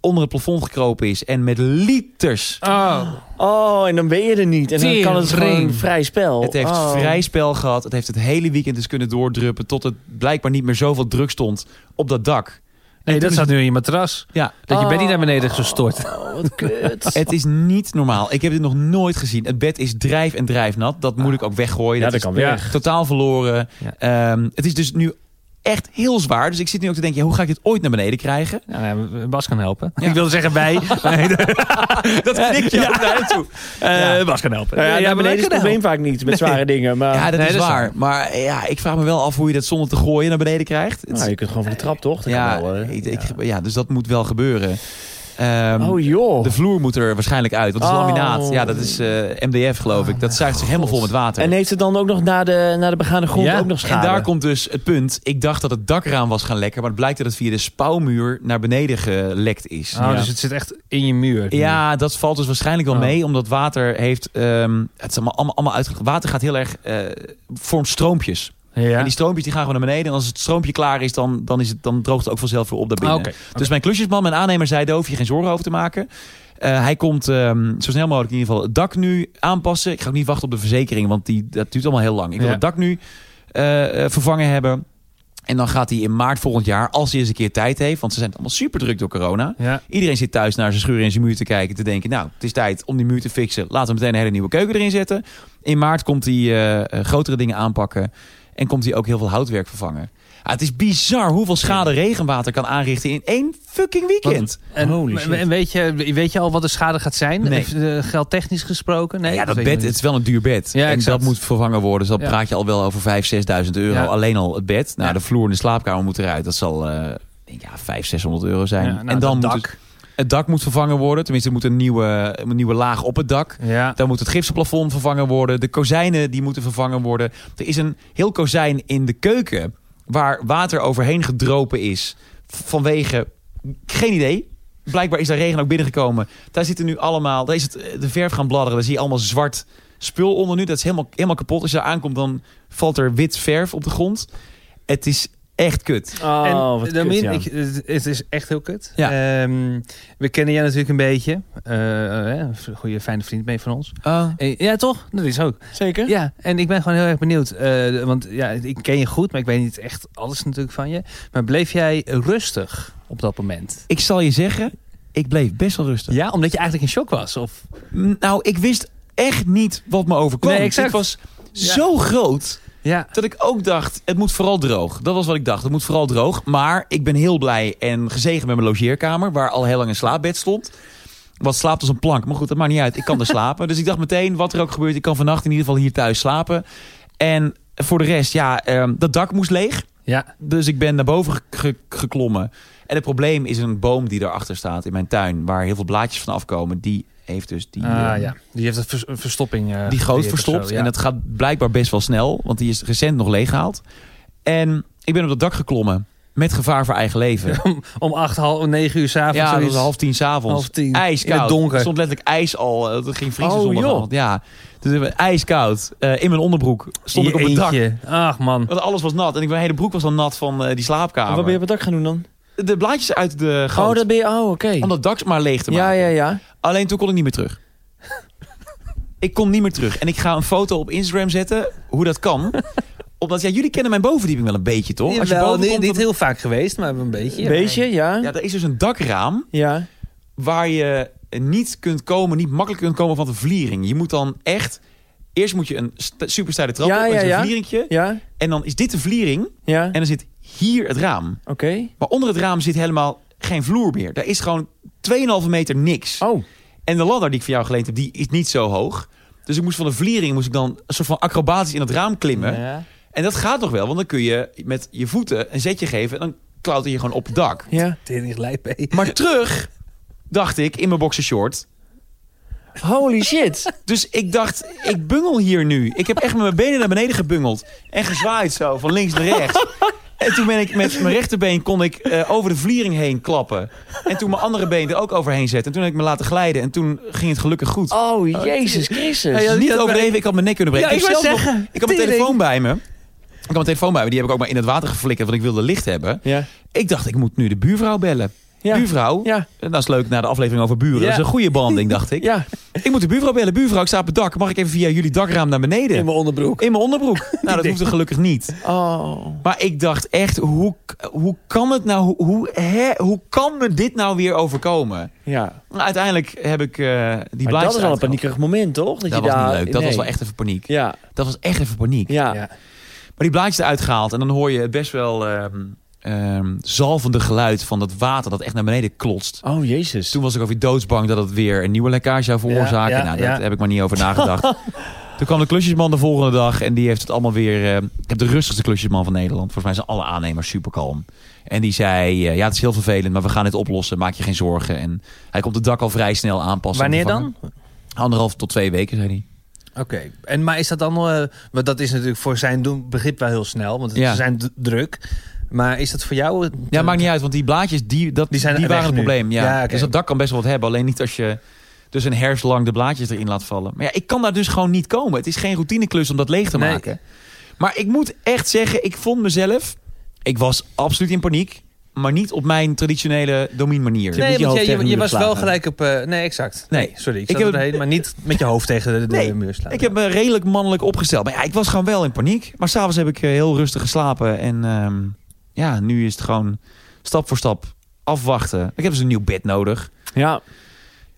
Speaker 1: onder het plafond gekropen is. En met liters.
Speaker 2: Oh.
Speaker 3: Oh, en dan ben je er niet. En dan kan het
Speaker 2: Tering.
Speaker 3: gewoon vrij spel.
Speaker 1: Het heeft
Speaker 3: Oh.
Speaker 1: vrij spel gehad. Het heeft het hele weekend dus kunnen doordruppen. Tot het blijkbaar niet meer zoveel druk stond op dat dak.
Speaker 2: Nee, dat
Speaker 1: is-
Speaker 2: zat nu in je matras.
Speaker 1: Ja,
Speaker 2: Dat je bed niet
Speaker 3: Oh.
Speaker 2: naar beneden is gestort.
Speaker 3: Oh, wat kut.
Speaker 1: Het is niet normaal. Ik heb dit nog nooit gezien. Het bed is drijf en drijfnat. Dat moet ik ook weggooien. dat
Speaker 3: Ah. Ja, dat
Speaker 1: is
Speaker 3: kan Nou
Speaker 2: ja.
Speaker 3: weg.
Speaker 1: totaal verloren. Ehm, het is dus nu echt heel zwaar. Dus ik zit nu ook te denken, ja, hoe ga ik dit ooit naar beneden krijgen?
Speaker 2: Nou, ja, Bas kan helpen.
Speaker 1: Ja.
Speaker 2: Ik wilde zeggen wij. Nee,
Speaker 1: Dat knikt je ook naar hem toe.
Speaker 2: eh, Bas kan helpen.
Speaker 3: Nou ja,
Speaker 2: maar
Speaker 3: naar
Speaker 2: wij
Speaker 3: beneden is het
Speaker 2: kunnen
Speaker 3: probleem vaak niet met zware dingen. Maar
Speaker 1: Ja, dat
Speaker 2: Nee,
Speaker 1: is
Speaker 2: dat is
Speaker 1: waar.
Speaker 2: waar.
Speaker 1: Maar eh, ja, ik vraag me wel af hoe je dat zonder te gooien naar beneden krijgt. Het-
Speaker 3: nou, je kunt gewoon van de trap, toch? Dat
Speaker 1: ja,
Speaker 3: kan wel, hè?
Speaker 1: ik,
Speaker 3: Ja.
Speaker 1: ik, ja, dus dat moet wel gebeuren. Ehm,
Speaker 3: Oh joh.
Speaker 1: de vloer moet er waarschijnlijk uit. Want het is
Speaker 3: Oh.
Speaker 1: laminaat. Ja, dat is eh, MDF geloof ik. Dat zuigt zich helemaal vol met water.
Speaker 3: En heeft het dan ook nog naar de, naar de begane grond
Speaker 2: Ja,
Speaker 3: ook nog schade?
Speaker 1: En daar komt dus het punt. Ik dacht dat het dakraam was gaan lekken, maar het blijkt dat het via de spouwmuur naar beneden gelekt is.
Speaker 2: Oh,
Speaker 3: Ja.
Speaker 2: Dus het zit echt in je muur.
Speaker 1: Ja, dat valt dus waarschijnlijk wel
Speaker 2: Oh.
Speaker 1: mee, omdat water heeft. ehm, het is allemaal, allemaal, allemaal uitgelegd. Water gaat heel erg. eh, vormt stroompjes.
Speaker 2: ja.
Speaker 1: En die stroompjes die gaan gewoon naar beneden. En als het stroompje klaar is, dan, dan, is het, dan droogt het ook vanzelf weer op daarbinnen.
Speaker 2: Ah, oké.
Speaker 1: Dus mijn klusjesman, mijn aannemer, zei: daar hoef je geen zorgen over te maken. Eh, hij komt ehm, zo snel mogelijk in ieder geval het dak nu aanpassen. Ik ga ook niet wachten op de verzekering, want die, dat duurt allemaal heel lang. Ik wil
Speaker 2: Ja.
Speaker 1: het dak nu eh, eh, vervangen hebben. En dan gaat hij in maart volgend jaar, als hij eens een keer tijd heeft, want ze zijn allemaal super druk door corona.
Speaker 2: Ja.
Speaker 1: Iedereen zit thuis naar zijn scheur in zijn muur te kijken. Te denken, nou, het is tijd om die muur te fixen. Laten we meteen een hele nieuwe keuken erin zetten. In maart komt hij eh, eh, grotere dingen aanpakken. En komt hij ook heel veel houtwerk vervangen. Ah, het is bizar hoeveel schade regenwater kan aanrichten in één fucking weekend.
Speaker 2: En,
Speaker 3: Holy
Speaker 2: en-
Speaker 3: shit.
Speaker 2: en weet, je, weet je al wat de schade gaat zijn?
Speaker 1: Nee.
Speaker 2: Even, eh, geldtechnisch gesproken? Nee,
Speaker 1: ja, dat
Speaker 2: weet ik
Speaker 1: bed,
Speaker 2: nog
Speaker 1: het is wel een duur bed.
Speaker 2: Ja,
Speaker 1: en
Speaker 2: exact.
Speaker 1: dat moet vervangen worden. Dus dan
Speaker 2: Ja.
Speaker 1: praat je al wel over 5.000, 6.000 euro.
Speaker 2: Ja.
Speaker 1: Alleen al het bed. Nou,
Speaker 2: Ja.
Speaker 1: de vloer en de slaapkamer moet eruit. Dat zal... eh, ik denk, ja, 500, 600 euro
Speaker 2: niet.
Speaker 1: zijn.
Speaker 2: Ja, nou,
Speaker 1: en dan moet
Speaker 2: dat
Speaker 1: het,
Speaker 2: dak.
Speaker 1: het dak moet vervangen worden. Tenminste, er moet een nieuwe, een nieuwe laag op het dak.
Speaker 2: Ja.
Speaker 1: Ah. Dan moet het gipsen plafond vervangen worden. De kozijnen die moeten vervangen worden. Er is een heel kozijn in de keuken waar water overheen gedropen is. Vanwege, geen idee. Blijkbaar is daar regen ook binnengekomen. Daar zitten nu allemaal, daar is het, eh, de verf gaan bladderen. Daar zie je allemaal zwart spul onder nu. Dat is helemaal, helemaal kapot. Als je daar aankomt dan valt er wit verf op de grond. Het is echt kut.
Speaker 3: Oh,
Speaker 2: en,
Speaker 3: wat
Speaker 2: Damien,
Speaker 3: kut, ja.
Speaker 2: ik, het, het is echt heel kut.
Speaker 1: Ja.
Speaker 2: Ehm, we kennen jij natuurlijk een beetje. Eh, eh, een goede, fijne vriend mee van ons. Eh, ja, toch? Dat is ook.
Speaker 3: Zeker?
Speaker 2: Ja, en ik ben gewoon heel erg benieuwd. eh, want ja, ik ken je goed, maar ik weet niet echt alles natuurlijk van je. Maar bleef jij rustig op dat moment?
Speaker 1: ik zal je zeggen, ik bleef best wel rustig.
Speaker 2: Ja, omdat je eigenlijk in shock was? Of...
Speaker 1: Mm, Nou, ik wist echt niet wat me overkwam.
Speaker 2: Nee, exact.
Speaker 1: Ik was
Speaker 2: Ja.
Speaker 1: zo groot
Speaker 2: Ja.
Speaker 1: dat ik ook dacht, het moet vooral droog. Dat was wat ik dacht, het moet vooral droog. Maar ik ben heel blij en gezegend met mijn logeerkamer... waar al heel lang een slaapbed stond. Wat slaapt als een plank, maar goed, dat maakt niet uit. Ik kan er slapen. Dus ik dacht meteen, wat er ook gebeurt... ik kan vannacht in ieder geval hier thuis slapen. En voor de rest, ja, ehm, dat dak moest leeg.
Speaker 2: Ja.
Speaker 1: Dus ik ben naar boven ge- ge- geklommen. En het probleem is een boom die daarachter staat in mijn tuin. Waar heel veel blaadjes van afkomen. Die heeft dus die,
Speaker 2: Ah,
Speaker 1: eh,
Speaker 2: ja. Die heeft een vers- een verstopping. eh,
Speaker 1: die
Speaker 2: gecreëerd
Speaker 1: goot
Speaker 2: of
Speaker 1: verstopt.
Speaker 2: zo, ja.
Speaker 1: En dat gaat blijkbaar best wel snel. Want die is recent nog leeggehaald. En ik ben op dat dak geklommen. Met gevaar voor eigen leven.
Speaker 2: Om acht, half, negen uur s'avonds.
Speaker 1: Ja, dus dat was half tien s'avonds.
Speaker 2: dus Half tien.
Speaker 1: Ijskoud.
Speaker 2: In het donker.
Speaker 1: Er stond letterlijk ijs al. eh, Het ging vriezen
Speaker 3: Oh,
Speaker 1: zondagavond. Ja. Dus ik ben ijskoud. eh, in mijn onderbroek stond ik op het dak.
Speaker 2: dak. Ach man.
Speaker 1: Want alles was nat. En ik, mijn hele broek was dan nat van eh, die slaapkamer.
Speaker 3: Wat ben je op het dak gaan doen dan?
Speaker 1: De blaadjes uit de goot.
Speaker 3: Oh, dat ben je... Oh, oké.
Speaker 1: Om dat dak maar leeg te maken.
Speaker 3: Ja, ja, ja.
Speaker 1: Alleen toen kon ik niet meer terug. ik kon niet meer terug. En ik ga een foto op Instagram zetten. Hoe dat kan. Omdat, ja, jullie kennen mijn bovendieping wel een beetje, toch? Als je
Speaker 2: Jawel,
Speaker 1: boven
Speaker 2: niet,
Speaker 1: komt,
Speaker 2: niet
Speaker 1: dan-
Speaker 2: heel vaak geweest, maar een beetje. ja.
Speaker 3: Weet je, ja.
Speaker 1: Ja,
Speaker 3: Ja.
Speaker 1: er is dus een dakraam. waar je niet kunt komen, niet makkelijk kunt komen van de vliering. Je moet dan echt. Eerst moet je een st- super steile trap
Speaker 3: Ja,
Speaker 1: op, met
Speaker 3: ja,
Speaker 1: een
Speaker 3: ja.
Speaker 1: vlieringtje.
Speaker 3: Ja,
Speaker 1: En dan is dit de vliering.
Speaker 3: ja.
Speaker 1: En dan zit hier het raam.
Speaker 3: Oké.
Speaker 1: Maar onder het raam zit helemaal geen vloer meer. Daar is gewoon 2,5 meter niks.
Speaker 3: Oh.
Speaker 1: En de ladder die ik van jou geleend heb, die is niet zo hoog. Dus ik moest van de vliering moest ik dan een soort van acrobatisch in het raam klimmen.
Speaker 2: Ja.
Speaker 1: En dat gaat nog wel, want dan kun je met je voeten een zetje geven. En dan klauter je gewoon op het dak.
Speaker 3: Ja.
Speaker 2: Tering lijp, hé.
Speaker 1: Maar terug, dacht ik, in mijn boxershort.
Speaker 3: Holy shit.
Speaker 1: Dus ik dacht, ik bungel hier nu. Ik heb echt met mijn benen naar beneden gebungeld. En gezwaaid zo, van links naar rechts. En toen ben ik met mijn rechterbeen kon ik, eh, over de vliering heen klappen. En toen mijn andere been er ook overheen zetten. En toen heb ik me laten glijden. En toen ging het gelukkig goed.
Speaker 3: Oh, Jezus Christus.
Speaker 1: Dus niet
Speaker 2: dat
Speaker 1: overdreven, ik had mijn nek kunnen breken.
Speaker 2: Ja, ik
Speaker 1: heb
Speaker 2: wou
Speaker 1: zelf nog-
Speaker 2: zeggen,
Speaker 1: ik had mijn
Speaker 2: tering.
Speaker 1: telefoon bij me. Ik had mijn telefoon bij me. Die heb ik ook maar in het water geflikkerd, want ik wilde licht hebben.
Speaker 3: Ja.
Speaker 1: Ik dacht, ik moet nu de buurvrouw bellen.
Speaker 3: Ja.
Speaker 1: Buurvrouw?
Speaker 3: Ja.
Speaker 1: En Dat is leuk, na de aflevering over buren.
Speaker 2: Ja.
Speaker 1: Dat is een goede banding, dacht ik.
Speaker 3: Ja.
Speaker 1: Ik moet de buurvrouw bellen. Buurvrouw, ik sta op het dak. Mag ik even via jullie dakraam naar beneden?
Speaker 2: In mijn onderbroek.
Speaker 1: In mijn onderbroek. Nou, dat hoefde gelukkig niet.
Speaker 3: Oh.
Speaker 1: Maar ik dacht echt, hoe, hoe kan het nou, hoe, hoe, hè, hoe kan me dit nou weer overkomen?
Speaker 3: Ja.
Speaker 1: Nou, uiteindelijk heb ik eh, die
Speaker 3: Maar
Speaker 1: blaadjes
Speaker 3: dat is wel een
Speaker 1: uitgehaald.
Speaker 3: paniekerig moment, toch?
Speaker 1: Dat,
Speaker 3: je
Speaker 1: was
Speaker 3: daar...
Speaker 1: niet leuk. Dat was
Speaker 3: Nee.
Speaker 1: wel echt even paniek.
Speaker 3: Ja.
Speaker 1: Dat was echt even paniek.
Speaker 3: Ja.
Speaker 2: Ja.
Speaker 1: Maar die blaadjes eruit gehaald en dan hoor je het best wel ehm, ehm, zalvende geluid van dat water dat echt naar beneden klotst.
Speaker 3: Oh, Jezus.
Speaker 1: Toen was ik ook weer doodsbang dat het weer een nieuwe lekkage zou veroorzaken.
Speaker 2: Ja, ja,
Speaker 1: nou, daar
Speaker 2: ja.
Speaker 1: heb ik maar niet over nagedacht. Toen kwam de klusjesman de volgende dag en die heeft het allemaal weer... eh, ik heb de rustigste klusjesman van Nederland. Volgens mij zijn alle aannemers super kalm. En die zei, eh, ja het is heel vervelend, maar we gaan dit oplossen. Maak je geen zorgen. En hij komt het dak al vrij snel aanpassen. en
Speaker 2: Wanneer
Speaker 1: vervangen.
Speaker 2: dan?
Speaker 1: Anderhalf tot twee weken, zei hij.
Speaker 2: Oké, en maar is dat dan, eh, want dat is natuurlijk voor zijn doen- begrip wel heel snel, want het-
Speaker 1: Ja.
Speaker 2: ze zijn d- druk. Maar is dat voor jou? een-
Speaker 1: Ja, maakt niet uit, want die blaadjes, die, dat,
Speaker 2: Die
Speaker 1: die,
Speaker 2: zijn weg
Speaker 1: waren het
Speaker 2: nu.
Speaker 1: probleem. Ja.
Speaker 2: Ja, oké.
Speaker 1: Dus dat dak kan best wel wat hebben. Alleen niet als je dus een herfst lang de blaadjes erin laat vallen. Maar ja, ik kan daar dus gewoon niet komen. Het is geen routineklus om dat leeg te
Speaker 2: Nee.
Speaker 1: maken. Maar ik moet echt zeggen, ik vond mezelf... Ik was absoluut in paniek. Maar niet op mijn traditionele domin manier.
Speaker 3: moet
Speaker 2: Nee,
Speaker 3: je
Speaker 2: want
Speaker 3: hoofd
Speaker 2: jij-
Speaker 3: tegen
Speaker 2: je,
Speaker 3: de
Speaker 2: je
Speaker 3: muur
Speaker 2: was wel
Speaker 3: slagen.
Speaker 2: gelijk op. eh, nee, exact.
Speaker 1: Nee.
Speaker 2: sorry, ik,
Speaker 1: Ik
Speaker 2: zat
Speaker 1: heb-
Speaker 2: erheen, maar niet met je hoofd tegen de, de
Speaker 1: Nee,
Speaker 2: muur slaan.
Speaker 1: Ik heb me redelijk mannelijk opgesteld. Maar ja, ik was gewoon wel in paniek. Maar s'avonds heb ik eh, heel rustig geslapen. En ehm, ja, nu is het gewoon stap voor stap afwachten. Ik heb dus een nieuw bed nodig.
Speaker 3: Ja.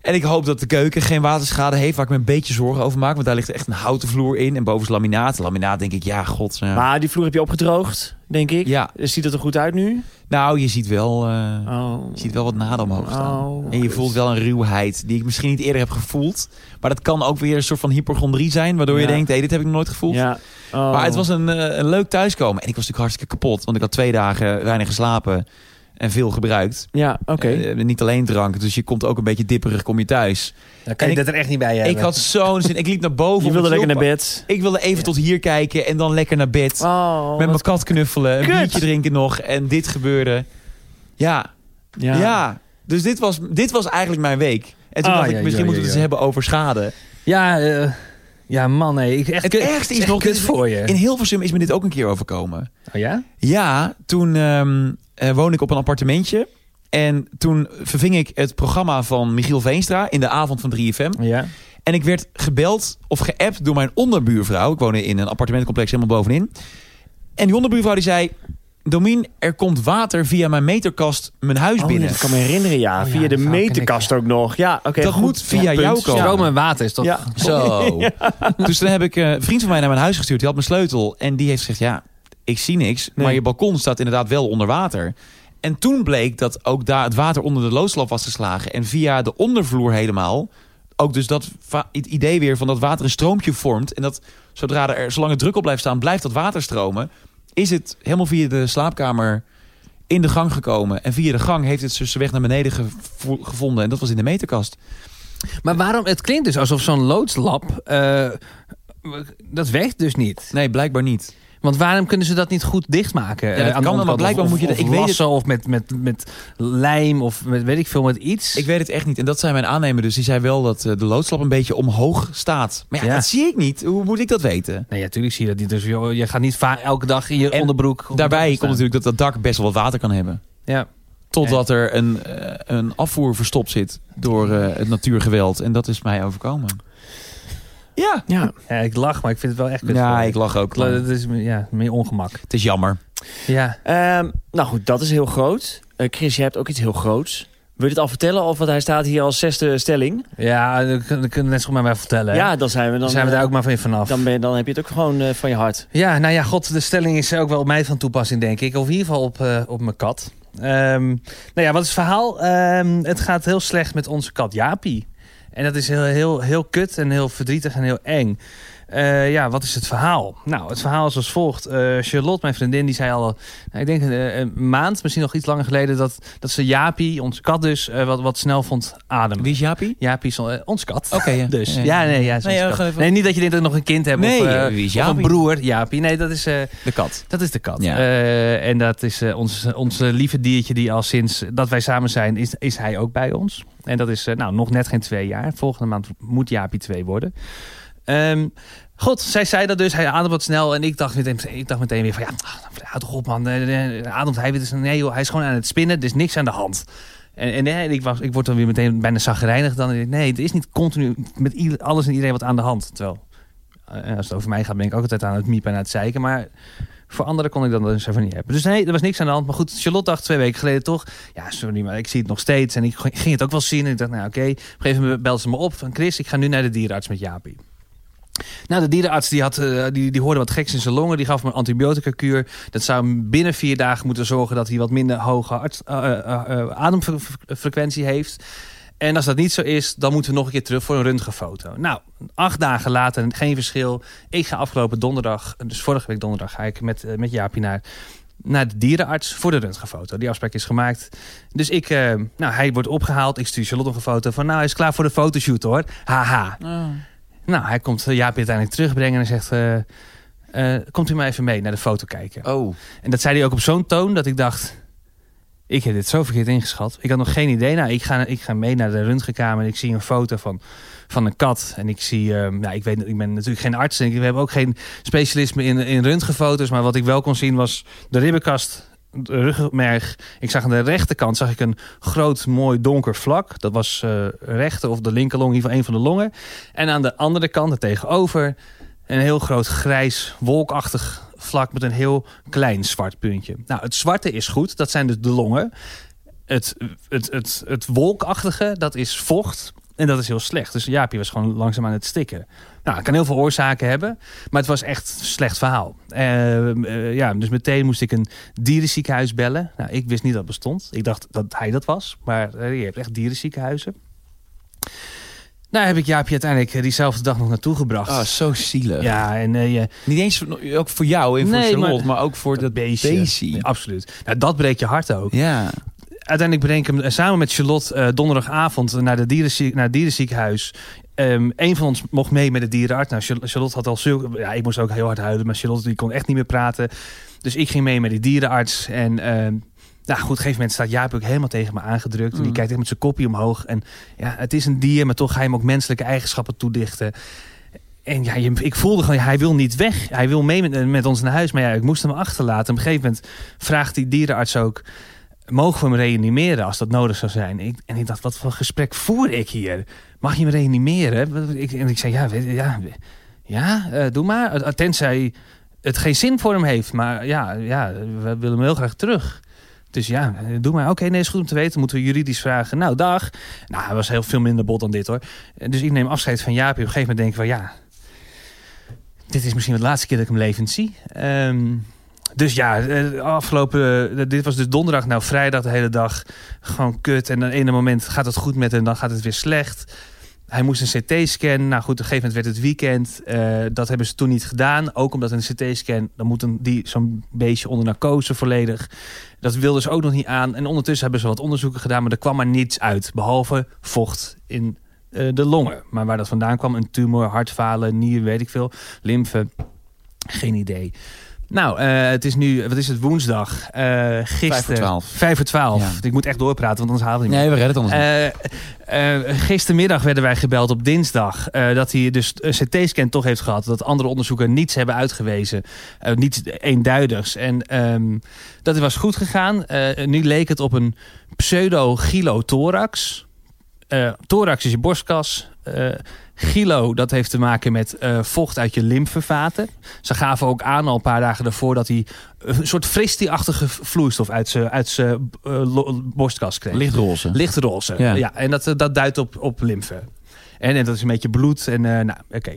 Speaker 1: En ik hoop dat de keuken geen waterschade heeft... waar ik me een beetje zorgen over maak. Want daar ligt echt een houten vloer in. En boven is laminaat. Laminaat denk ik, ja, god. ja.
Speaker 3: Maar die vloer heb je opgedroogd, denk ik.
Speaker 1: Ja.
Speaker 3: Dus Ziet het er goed uit nu?
Speaker 1: Nou, je ziet wel... eh,
Speaker 3: Oh.
Speaker 1: Je ziet wel wat naden omhoog staan.
Speaker 3: Oh,
Speaker 1: en je voelt wel een ruwheid die ik misschien niet eerder heb gevoeld. Maar dat kan ook weer een soort van hypochondrie zijn. Waardoor je
Speaker 3: Ja.
Speaker 1: denkt, hé, dit heb ik nog nooit gevoeld.
Speaker 3: Ja. Oh.
Speaker 1: Maar het was een, eh, een leuk thuiskomen. En ik was natuurlijk hartstikke kapot. Want ik had twee dagen weinig geslapen. En veel gebruikt.
Speaker 3: Ja, oké.
Speaker 1: Eh, niet alleen drank. Dus je komt ook een beetje dipperig, kom je thuis.
Speaker 2: Dan kan je
Speaker 1: en ik-
Speaker 2: dat er echt niet bij hebben.
Speaker 1: Ik had zo'n zin. Ik liep naar boven.
Speaker 3: je
Speaker 1: op
Speaker 3: wilde
Speaker 1: het
Speaker 3: lekker naar
Speaker 1: zilpa-
Speaker 3: bed.
Speaker 1: Ik wilde even tot hier kijken. En dan lekker naar bed.
Speaker 3: Oh.
Speaker 1: met mijn kat knuffelen. Een
Speaker 3: kut.
Speaker 1: biertje drinken nog. En dit gebeurde. Ja, Ja. Dus dit was, dit was eigenlijk mijn week. En toen
Speaker 2: Ah,
Speaker 1: dacht ik,
Speaker 2: ja,
Speaker 1: misschien
Speaker 2: ja,
Speaker 1: moeten we
Speaker 2: ja,
Speaker 1: het
Speaker 2: ja.
Speaker 1: eens hebben over schade.
Speaker 2: Ja, eh, ja, man, nee, ik echt.
Speaker 1: Het
Speaker 2: kut-
Speaker 1: ergste is
Speaker 2: echt
Speaker 1: nog,
Speaker 2: kut
Speaker 1: dit is-
Speaker 2: voor je.
Speaker 1: In Hilversum is me dit ook een keer overkomen.
Speaker 2: Oh ja.
Speaker 1: Ja, toen ehm, eh, woonde ik op een appartementje. En toen verving ik het programma van Michiel Veenstra in de avond van 3FM.
Speaker 2: Ja.
Speaker 1: En ik werd gebeld of geappt door mijn onderbuurvrouw. Ik woonde in een appartementencomplex helemaal bovenin. En die onderbuurvrouw die zei... Domien, er komt water via mijn meterkast mijn huis
Speaker 3: Oh,
Speaker 1: binnen.
Speaker 3: ja, dat kan me herinneren, ja.
Speaker 2: Oh, ja,
Speaker 3: via de
Speaker 2: dat verhaal ken
Speaker 3: meterkast ook nog. Ja, oké.
Speaker 1: Dat
Speaker 3: goed.
Speaker 1: moet via
Speaker 3: Ja,
Speaker 1: jou
Speaker 3: punt.
Speaker 1: komen.
Speaker 2: Stroom en water is toch.
Speaker 3: Ja.
Speaker 1: Zo. Dus dan heb ik eh, een vriend van mij naar mijn huis gestuurd. Die had mijn sleutel. En die heeft gezegd, ja, ik zie niks.
Speaker 3: Nee.
Speaker 1: Maar je balkon staat inderdaad wel onder water. En toen bleek dat ook daar het water onder de loodslap was geslagen. En via de ondervloer helemaal ook dus dat va- het idee weer van dat water een stroompje vormt. En dat zodra er, zolang er druk op blijft staan, blijft dat water stromen. Is het helemaal via de slaapkamer in de gang gekomen. En via de gang heeft het dus zijn weg naar beneden gevo- gevonden. En dat was in de meterkast.
Speaker 2: Maar waarom? Het klinkt dus alsof zo'n loodslab. eh, dat werkt dus niet.
Speaker 1: Nee, blijkbaar niet.
Speaker 2: Want waarom kunnen ze dat niet goed dichtmaken? eh,
Speaker 1: dat
Speaker 2: aan de
Speaker 1: kan wel, maar
Speaker 2: onderkant?
Speaker 1: blijkbaar
Speaker 2: Of-
Speaker 1: moet je
Speaker 2: of
Speaker 1: dat- ik weet het-
Speaker 2: lassen of met, met, met lijm of met weet ik veel, met iets.
Speaker 1: Ik weet het echt niet. En dat zijn mijn aannemer dus. Die zei wel dat eh, de loodslap een beetje omhoog staat. Maar ja,
Speaker 2: Ja.
Speaker 1: dat zie ik niet. Hoe moet ik dat weten?
Speaker 2: Nee, natuurlijk zie je dat niet. Dus joh, je gaat niet va- elke dag in je
Speaker 1: En
Speaker 2: onderbroek. op-
Speaker 1: Daarbij
Speaker 2: staan.
Speaker 1: komt natuurlijk dat dat dak best wel wat water kan hebben.
Speaker 2: Ja.
Speaker 1: Totdat er een, eh, een afvoer verstopt zit door eh, het natuurgeweld. En dat is mij overkomen. Ja.
Speaker 3: Ja.
Speaker 2: ja, ik lach, maar ik vind het wel echt. kut
Speaker 1: Ja,
Speaker 2: voor je.
Speaker 1: ik lach ook.
Speaker 2: La-
Speaker 1: Het
Speaker 2: Dat is me- ja, meer ongemak.
Speaker 1: is jammer.
Speaker 2: Ja.
Speaker 3: Ehm, nou goed, dat is heel groot. Eh, Chris, jij hebt ook iets heel groots. Wil je het al vertellen? Of want hij staat hier als zesde stelling.
Speaker 2: Ja, dat kun- dat kunnen we net zo goed maar mij vertellen. hè?
Speaker 3: Ja, dan zijn we, dan, eh,
Speaker 2: dan zijn we daar ook maar van je vanaf.
Speaker 3: dan, ben, je- dan heb je het ook gewoon eh, van je hart.
Speaker 2: Ja, nou ja, god, de stelling is ook wel op mij van toepassing, denk ik. Of in ieder geval op, eh, op mijn kat. Ehm, nou ja, wat is het verhaal? Ehm, het gaat heel slecht met onze kat Jaapie. En dat is heel, heel, heel kut en heel verdrietig en heel eng. Eh, ja, wat is het verhaal? Nou, het verhaal is als volgt. Eh, Charlotte, mijn vriendin, die zei al, nou, ik denk eh, een maand, misschien nog iets langer geleden, dat, dat ze Jaapie, onze kat dus, eh, wat, wat snel vond ademen.
Speaker 1: Wie is Jaapie?
Speaker 2: Jaapie is onze ons kat.
Speaker 1: Oké, ja.
Speaker 2: Dus
Speaker 1: Ja,
Speaker 2: ja,
Speaker 1: ja.
Speaker 2: nee, ja, is
Speaker 1: Nee,
Speaker 2: onze
Speaker 1: ja,
Speaker 2: kat.
Speaker 1: gewoon even-
Speaker 2: nee, niet dat je denkt dat ik nog een kind heb
Speaker 1: Nee,
Speaker 2: of, eh,
Speaker 1: wie is
Speaker 2: of een
Speaker 1: Jaapie?
Speaker 2: broer, Jaapie. Nee, dat is, eh,
Speaker 1: De kat.
Speaker 2: dat is de kat.
Speaker 1: Ja.
Speaker 2: Eh, en dat is eh, ons, ons eh, lieve diertje die al sinds dat wij samen zijn, is, is hij ook bij ons. En dat is eh, nou, nog net geen twee jaar. Volgende maand moet Jaapie twee worden. Ehm, God, zij zei dat dus. Hij ademt wat snel. En ik dacht meteen, ik dacht meteen weer van... Ja, ah, houd toch op man. Eh, eh, Ademt hij weer? Dus, nee joh, hij is gewoon aan het spinnen. Er is niks aan de hand. En, en eh, ik, was, ik word dan weer meteen bijna zagrijnig. Dan denk ik, nee, er is niet continu met ieder- alles en iedereen wat aan de hand. Terwijl, eh, als het over mij gaat, ben ik ook altijd aan het miepen en aan het zeiken. Maar voor anderen kon ik dat dus even niet hebben. Dus nee, er was niks aan de hand. Maar goed, Charlotte dacht twee weken geleden toch... Ja, sorry, maar ik zie het nog steeds. En ik ging het ook wel zien. En ik dacht, nou oké. Op een gegeven moment belde ze me op van... Chris, ik ga nu naar de dierenarts met Jaapie. Nou, de dierenarts die, had, eh, die, die hoorde wat geks in zijn longen. Die gaf me een antibiotica-kuur. Dat zou hem binnen vier dagen moeten zorgen dat hij wat minder hoge arts- eh, eh, eh, ademfrequentie heeft. En als dat niet zo is, dan moeten we nog een keer terug voor een röntgenfoto. Nou, acht dagen later, geen verschil. Ik ga afgelopen donderdag, dus vorige week donderdag, ga ik met, eh, met Jaapie naar, naar de dierenarts voor de röntgenfoto. Die afspraak is gemaakt. Dus ik, eh, nou, hij wordt opgehaald. Ik stuur Charlotte nog een foto van, nou, hij is klaar voor de fotoshoot hoor. Haha.
Speaker 1: Ah.
Speaker 2: Nou, hij komt eh, Jaapie uiteindelijk terugbrengen en zegt... eh, eh, komt u maar even mee naar de foto kijken.
Speaker 1: Oh.
Speaker 2: En dat zei hij ook op zo'n toon dat ik dacht... Ik heb dit zo verkeerd ingeschat. Ik had nog geen idee. Nou, ik ga, ik ga mee naar de röntgenkamer en ik zie een foto van, van een kat. En ik zie... eh, nou, ik, weet, ik ben natuurlijk geen arts en ik, we hebben ook geen specialisme in, in röntgenfoto's. Maar wat ik wel kon zien was de ribbenkast, de rugmerg. Ik zag aan de rechterkant zag ik een groot, mooi, donker vlak. Dat was eh rechter of de linkerlong, in ieder geval een van de longen. En aan de andere kant, er tegenover, een heel groot grijs, wolkachtig vlak met een heel klein zwart puntje. Nou, het zwarte is goed, dat zijn dus de longen. Het, het, het, het wolkachtige, dat is vocht. En dat is heel slecht. Dus Jaapie was gewoon langzaam aan het stikken. Nou, het kan heel veel oorzaken hebben. Maar het was echt een slecht verhaal. Eh, eh, ja, dus meteen moest ik een dierenziekenhuis bellen. Nou, ik wist niet dat het bestond. Ik dacht dat hij dat was. Maar eh, je hebt echt dierenziekenhuizen. Nou, heb ik Jaapie uiteindelijk eh, diezelfde dag nog naartoe gebracht.
Speaker 1: Ah, zo zielig.
Speaker 2: Ja, en eh, je,
Speaker 1: Niet eens voor- ook voor jou en voor
Speaker 2: Nee,
Speaker 1: Charlotte, maar,
Speaker 2: maar-
Speaker 1: ook voor dat, beestje.
Speaker 2: Nee, absoluut. Nou, dat breekt je hart ook.
Speaker 1: Ja.
Speaker 2: Uiteindelijk breng ik hem eh, samen met Charlotte eh, donderdagavond naar, de dierenzie- naar het dierenziekenhuis. Ehm een van ons mocht mee met de dierenarts. Nou, Char- Charlotte had al zulke... Ja, ik moest ook heel hard huilen, maar Charlotte die kon echt niet meer praten. Dus ik ging mee met die dierenarts. En ehm, nou goed, op een gegeven moment staat Jaap ook helemaal tegen me aangedrukt. En die
Speaker 1: Mm.
Speaker 2: kijkt echt met zijn kopje omhoog. En ja, het is een dier, maar toch ga je hem ook menselijke eigenschappen toedichten. En ja, je- ik voelde gewoon, hij wil niet weg. Hij wil mee met, met ons naar huis. Maar ja, ik moest hem achterlaten. Op een gegeven moment vraagt die dierenarts ook... Mogen we hem reanimeren als dat nodig zou zijn? Ik, en ik dacht, wat voor gesprek voer ik hier? Mag je hem reanimeren? Wat- Ik, en ik zei, ja, weet- ja, we- ja eh, doe maar. Eh, Tenzij het geen zin voor hem heeft. Maar ja, ja we willen hem heel graag terug. Dus ja, eh, doe maar. Oké, nee, is goed om te weten. Moeten we juridisch vragen. Nou, dag. Nou, hij was heel veel minder bot dan dit hoor. Eh, Dus ik neem afscheid van Jaapie. Op een gegeven moment denk ik van, ja... Dit is misschien wel de laatste keer dat ik hem levend zie. Ehm, dus ja, eh, afgelopen... eh, dit was dus donderdag. Nou, vrijdag de hele dag. Gewoon kut. En dan ene moment gaat het goed met hem. Dan gaat het weer slecht. Hij moest een CT-scan. Nou goed, op een gegeven moment werd het weekend. Eh, dat hebben ze toen niet gedaan. Ook omdat een CT-scan, dan moet een, die zo'n beestje onder narcose volledig. Dat wilden ze ook nog niet aan. En ondertussen hebben ze wat onderzoeken gedaan, maar er kwam maar niets uit. Behalve vocht in eh, de longen. Maar waar dat vandaan kwam, een tumor, hartfalen, nier, weet ik veel. Lymfe, geen idee. Nou, eh, het is nu, wat is het, woensdag. Eh gisteren.
Speaker 1: Vijf voor twaalf.
Speaker 2: Vijf voor twaalf.
Speaker 1: Ja.
Speaker 2: Ik moet echt doorpraten, want anders haal ik het niet.
Speaker 1: we redden het anders
Speaker 2: Eh, eh, gistermiddag werden wij gebeld op dinsdag eh, dat hij dus een CT-scan toch heeft gehad. Dat andere onderzoeken niets hebben uitgewezen. eh, niets eenduiders. En ehm, dat was goed gegaan. Eh, nu leek het op een pseudo-gylothorax. Eh thorax is je borstkas. Eh gylo, dat heeft te maken met eh, vocht uit je lymfevaten. Ze gaven ook aan al een paar dagen daarvoor dat hij een soort fristie-achtige vloeistof uit zijn uit zijn, eh, lo- borstkas kreeg.
Speaker 1: Lichtroze.
Speaker 2: Lichtroze.
Speaker 1: Ja.
Speaker 2: Ja. en dat, eh, dat duidt op, op lymfe. En, en dat is een beetje bloed. En, eh, nou, oké.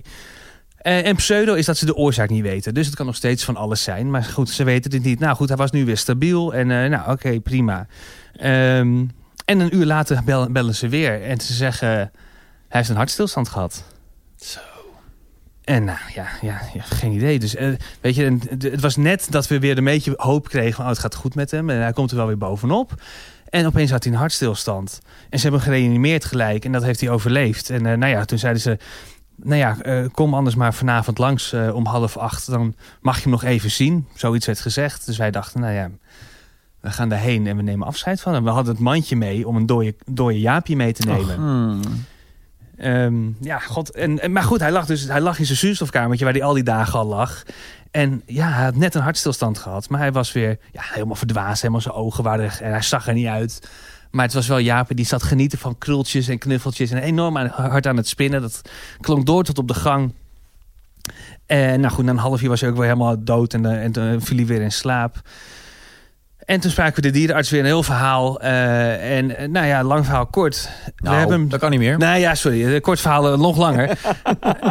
Speaker 2: Eh, en pseudo is dat ze de oorzaak niet weten. Dus het kan nog steeds van alles zijn. Maar goed, ze weten dit niet. Nou goed, hij was nu weer stabiel. En eh, nou, oké, prima. Ehm, en een uur later bel- bellen ze weer. En ze zeggen, hij heeft een hartstilstand gehad.
Speaker 3: Zo.
Speaker 2: En nou ja, ja, ja geen idee. Dus eh, weet je, en d- het was net dat we weer een beetje hoop kregen van oh, het gaat goed met hem. En hij komt er wel weer bovenop. En opeens had hij een hartstilstand. En ze hebben hem gereanimeerd gelijk. En dat heeft hij overleefd. En eh, nou ja, toen zeiden ze... Nou ja, eh, kom anders maar vanavond langs eh, om half acht. Dan mag je hem nog even zien. Zoiets werd gezegd. Dus wij dachten, nou ja... We gaan daarheen en we nemen afscheid van hem. We hadden het mandje mee om een dode, dode jaapje mee te nemen.
Speaker 1: Nou,
Speaker 2: Ehm, ja, god. En, en- maar goed, hij lag, dus, hij lag in zijn zuurstofkamertje waar hij al die dagen al lag. En ja, hij had net een hartstilstand gehad. Maar hij was weer ja, helemaal verdwaasd. Helemaal zijn ogen waren er- en hij zag er niet uit. Maar het was wel Jaap en die zat genieten van krultjes en knuffeltjes. En enorm aan, hard aan het spinnen. Dat klonk door tot op de gang. En nou goed, na een half uur was hij ook weer helemaal dood. En, eh, en toen viel hij weer in slaap. En toen spraken we de dierenarts weer een heel verhaal. eh, en eh, nou ja, lang verhaal kort.
Speaker 1: Nou,
Speaker 2: we hebben hem
Speaker 1: dat kan niet meer.
Speaker 2: nou ja, sorry. eh, Kort verhaal, eh, nog langer.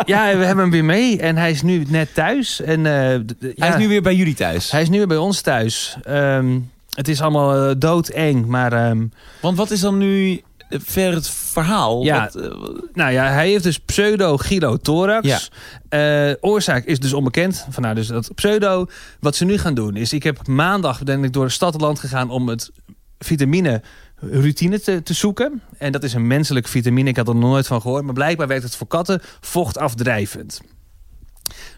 Speaker 2: ja, we hebben hem weer mee. En hij is nu net thuis. En, eh, d- d- ja,
Speaker 1: Hij is nu weer bij jullie thuis.
Speaker 2: hij is nu weer bij ons thuis. Ehm, het is allemaal eh, doodeng. Maar ehm,
Speaker 1: Want wat is dan nu eh, verder het verhaal?
Speaker 2: Ja.
Speaker 1: Wat, eh, wat-
Speaker 2: nou ja, hij heeft dus pseudo-gylothorax. Eh, oorzaak is dus onbekend. Vandaar dus dat pseudo. Wat ze nu gaan doen is... Ik heb maandag ben ik door de stad en land gegaan om het vitamine routine te, te zoeken. En dat is een menselijk vitamine. Ik had er nog nooit van gehoord. Maar blijkbaar werkt het voor katten vochtafdrijvend.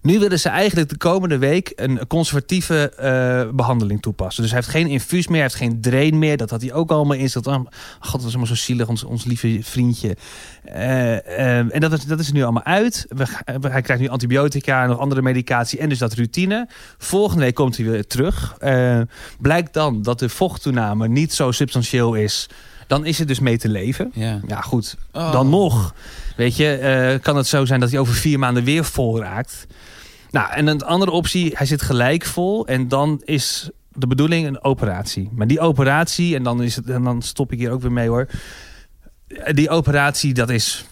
Speaker 2: Nu willen ze eigenlijk de komende week een conservatieve eh, behandeling toepassen. Dus hij heeft geen infuus meer, hij heeft geen drain meer. Dat had hij ook allemaal in. Oh, god, dat was allemaal zo zielig, ons, ons lieve vriendje. Eh, ehm, en dat is, dat is nu allemaal uit. We, ga- we- hij krijgt nu antibiotica en nog andere medicatie en dus dat routine. Volgende week komt hij weer terug. Eh, blijkt dan dat de vochttoename niet zo substantieel is. Dan is het dus mee te leven.
Speaker 1: ja.
Speaker 2: Ja goed,
Speaker 1: Oh.
Speaker 2: dan nog. Weet je, eh, kan het zo zijn dat hij over vier maanden weer vol raakt. Nou, en een andere optie, hij zit gelijk vol. En dan is de bedoeling een operatie. Maar die operatie, en dan, is het, en dan stop ik hier ook weer mee hoor. Eh, Die operatie, dat is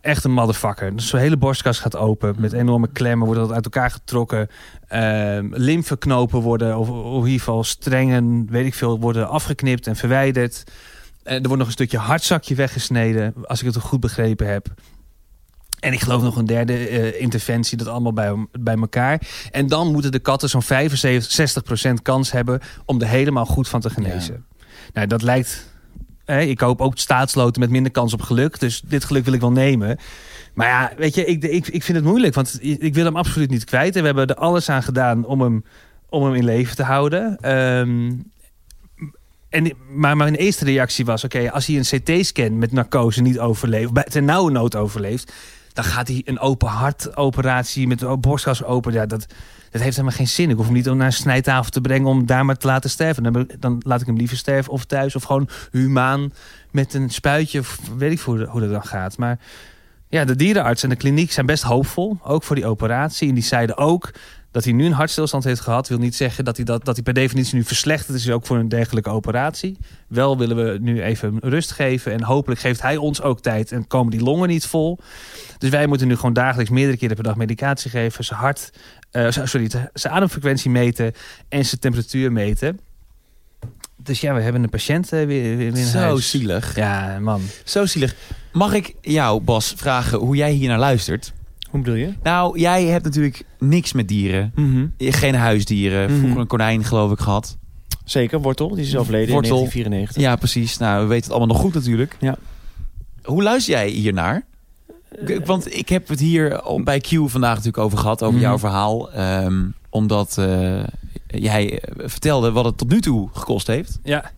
Speaker 2: echt een motherfucker. Dus zo'n hele borstkas gaat open. Met enorme klemmen wordt dat uit elkaar getrokken. Ehm lymfeknopen worden, of, of in ieder geval strengen, weet ik veel, worden afgeknipt en verwijderd. Eh, er wordt nog een stukje hartzakje weggesneden, als ik het goed begrepen heb. En ik geloof nog een derde eh, interventie, dat allemaal bij, bij elkaar. En dan moeten de katten zo'n 65% kans hebben om er helemaal goed van te genezen. Nou, dat lijkt. Hè, ik koop ook staatsloten met minder kans op geluk. Dus dit geluk wil ik wel nemen. Maar ja, weet je, ik, ik, ik vind het moeilijk. Want ik wil hem absoluut niet kwijt. En we hebben er alles aan gedaan om hem, om hem in leven te houden. Ehm, en, maar mijn eerste reactie was: oké, als hij een CT-scan met narcose niet overleeft, bij- ten nauwe nood overleeft, dan gaat hij een open hartoperatie met een borstkas open. Ja, dat, dat heeft helemaal geen zin. Ik hoef hem niet naar een snijtafel te brengen om daar maar te laten sterven. Dan, heb ik- dan laat ik hem liever sterven of thuis of gewoon humaan met een spuitje. Of weet ik hoe, hoe dat dan gaat. Maar ja, de dierenarts en de kliniek zijn best hoopvol. Ook voor die operatie. En die zeiden ook dat hij nu een hartstilstand heeft gehad. Wil niet zeggen dat hij, dat, dat hij per definitie nu verslechterd is. Ook voor een dergelijke operatie. Wel willen we nu even rust geven. En hopelijk geeft hij ons ook tijd. En komen die longen niet vol. Dus wij moeten nu gewoon dagelijks meerdere keren per dag medicatie geven. Zijn hart, eh, z- sorry, z- zijn ademfrequentie meten. En zijn temperatuur meten. Dus ja, we hebben een patiënt eh, weer, weer in
Speaker 1: Zo
Speaker 2: huis.
Speaker 1: zielig.
Speaker 2: Ja, man.
Speaker 1: Zo zielig. Mag ik jou, Bas, vragen hoe jij hier naar luistert?
Speaker 3: Hoe bedoel je?
Speaker 1: Nou, jij hebt natuurlijk niks met dieren. Geen huisdieren.
Speaker 2: Hmm.
Speaker 3: Mhm.
Speaker 1: Vroeger een konijn, geloof ik, gehad.
Speaker 3: Zeker, Wortel. Die is overleden
Speaker 1: Wortel.
Speaker 3: in 1994.
Speaker 1: Ja, precies. Nou, we weten het allemaal nog goed natuurlijk.
Speaker 3: Ja.
Speaker 1: Hoe luister jij hiernaar? Ik- Want ik heb het hier op- bij Q vandaag natuurlijk over gehad, over
Speaker 3: Mhm.
Speaker 1: jouw verhaal. Ehm, omdat eh, jij eh, vertelde wat het tot nu toe gekost heeft.
Speaker 2: Ja.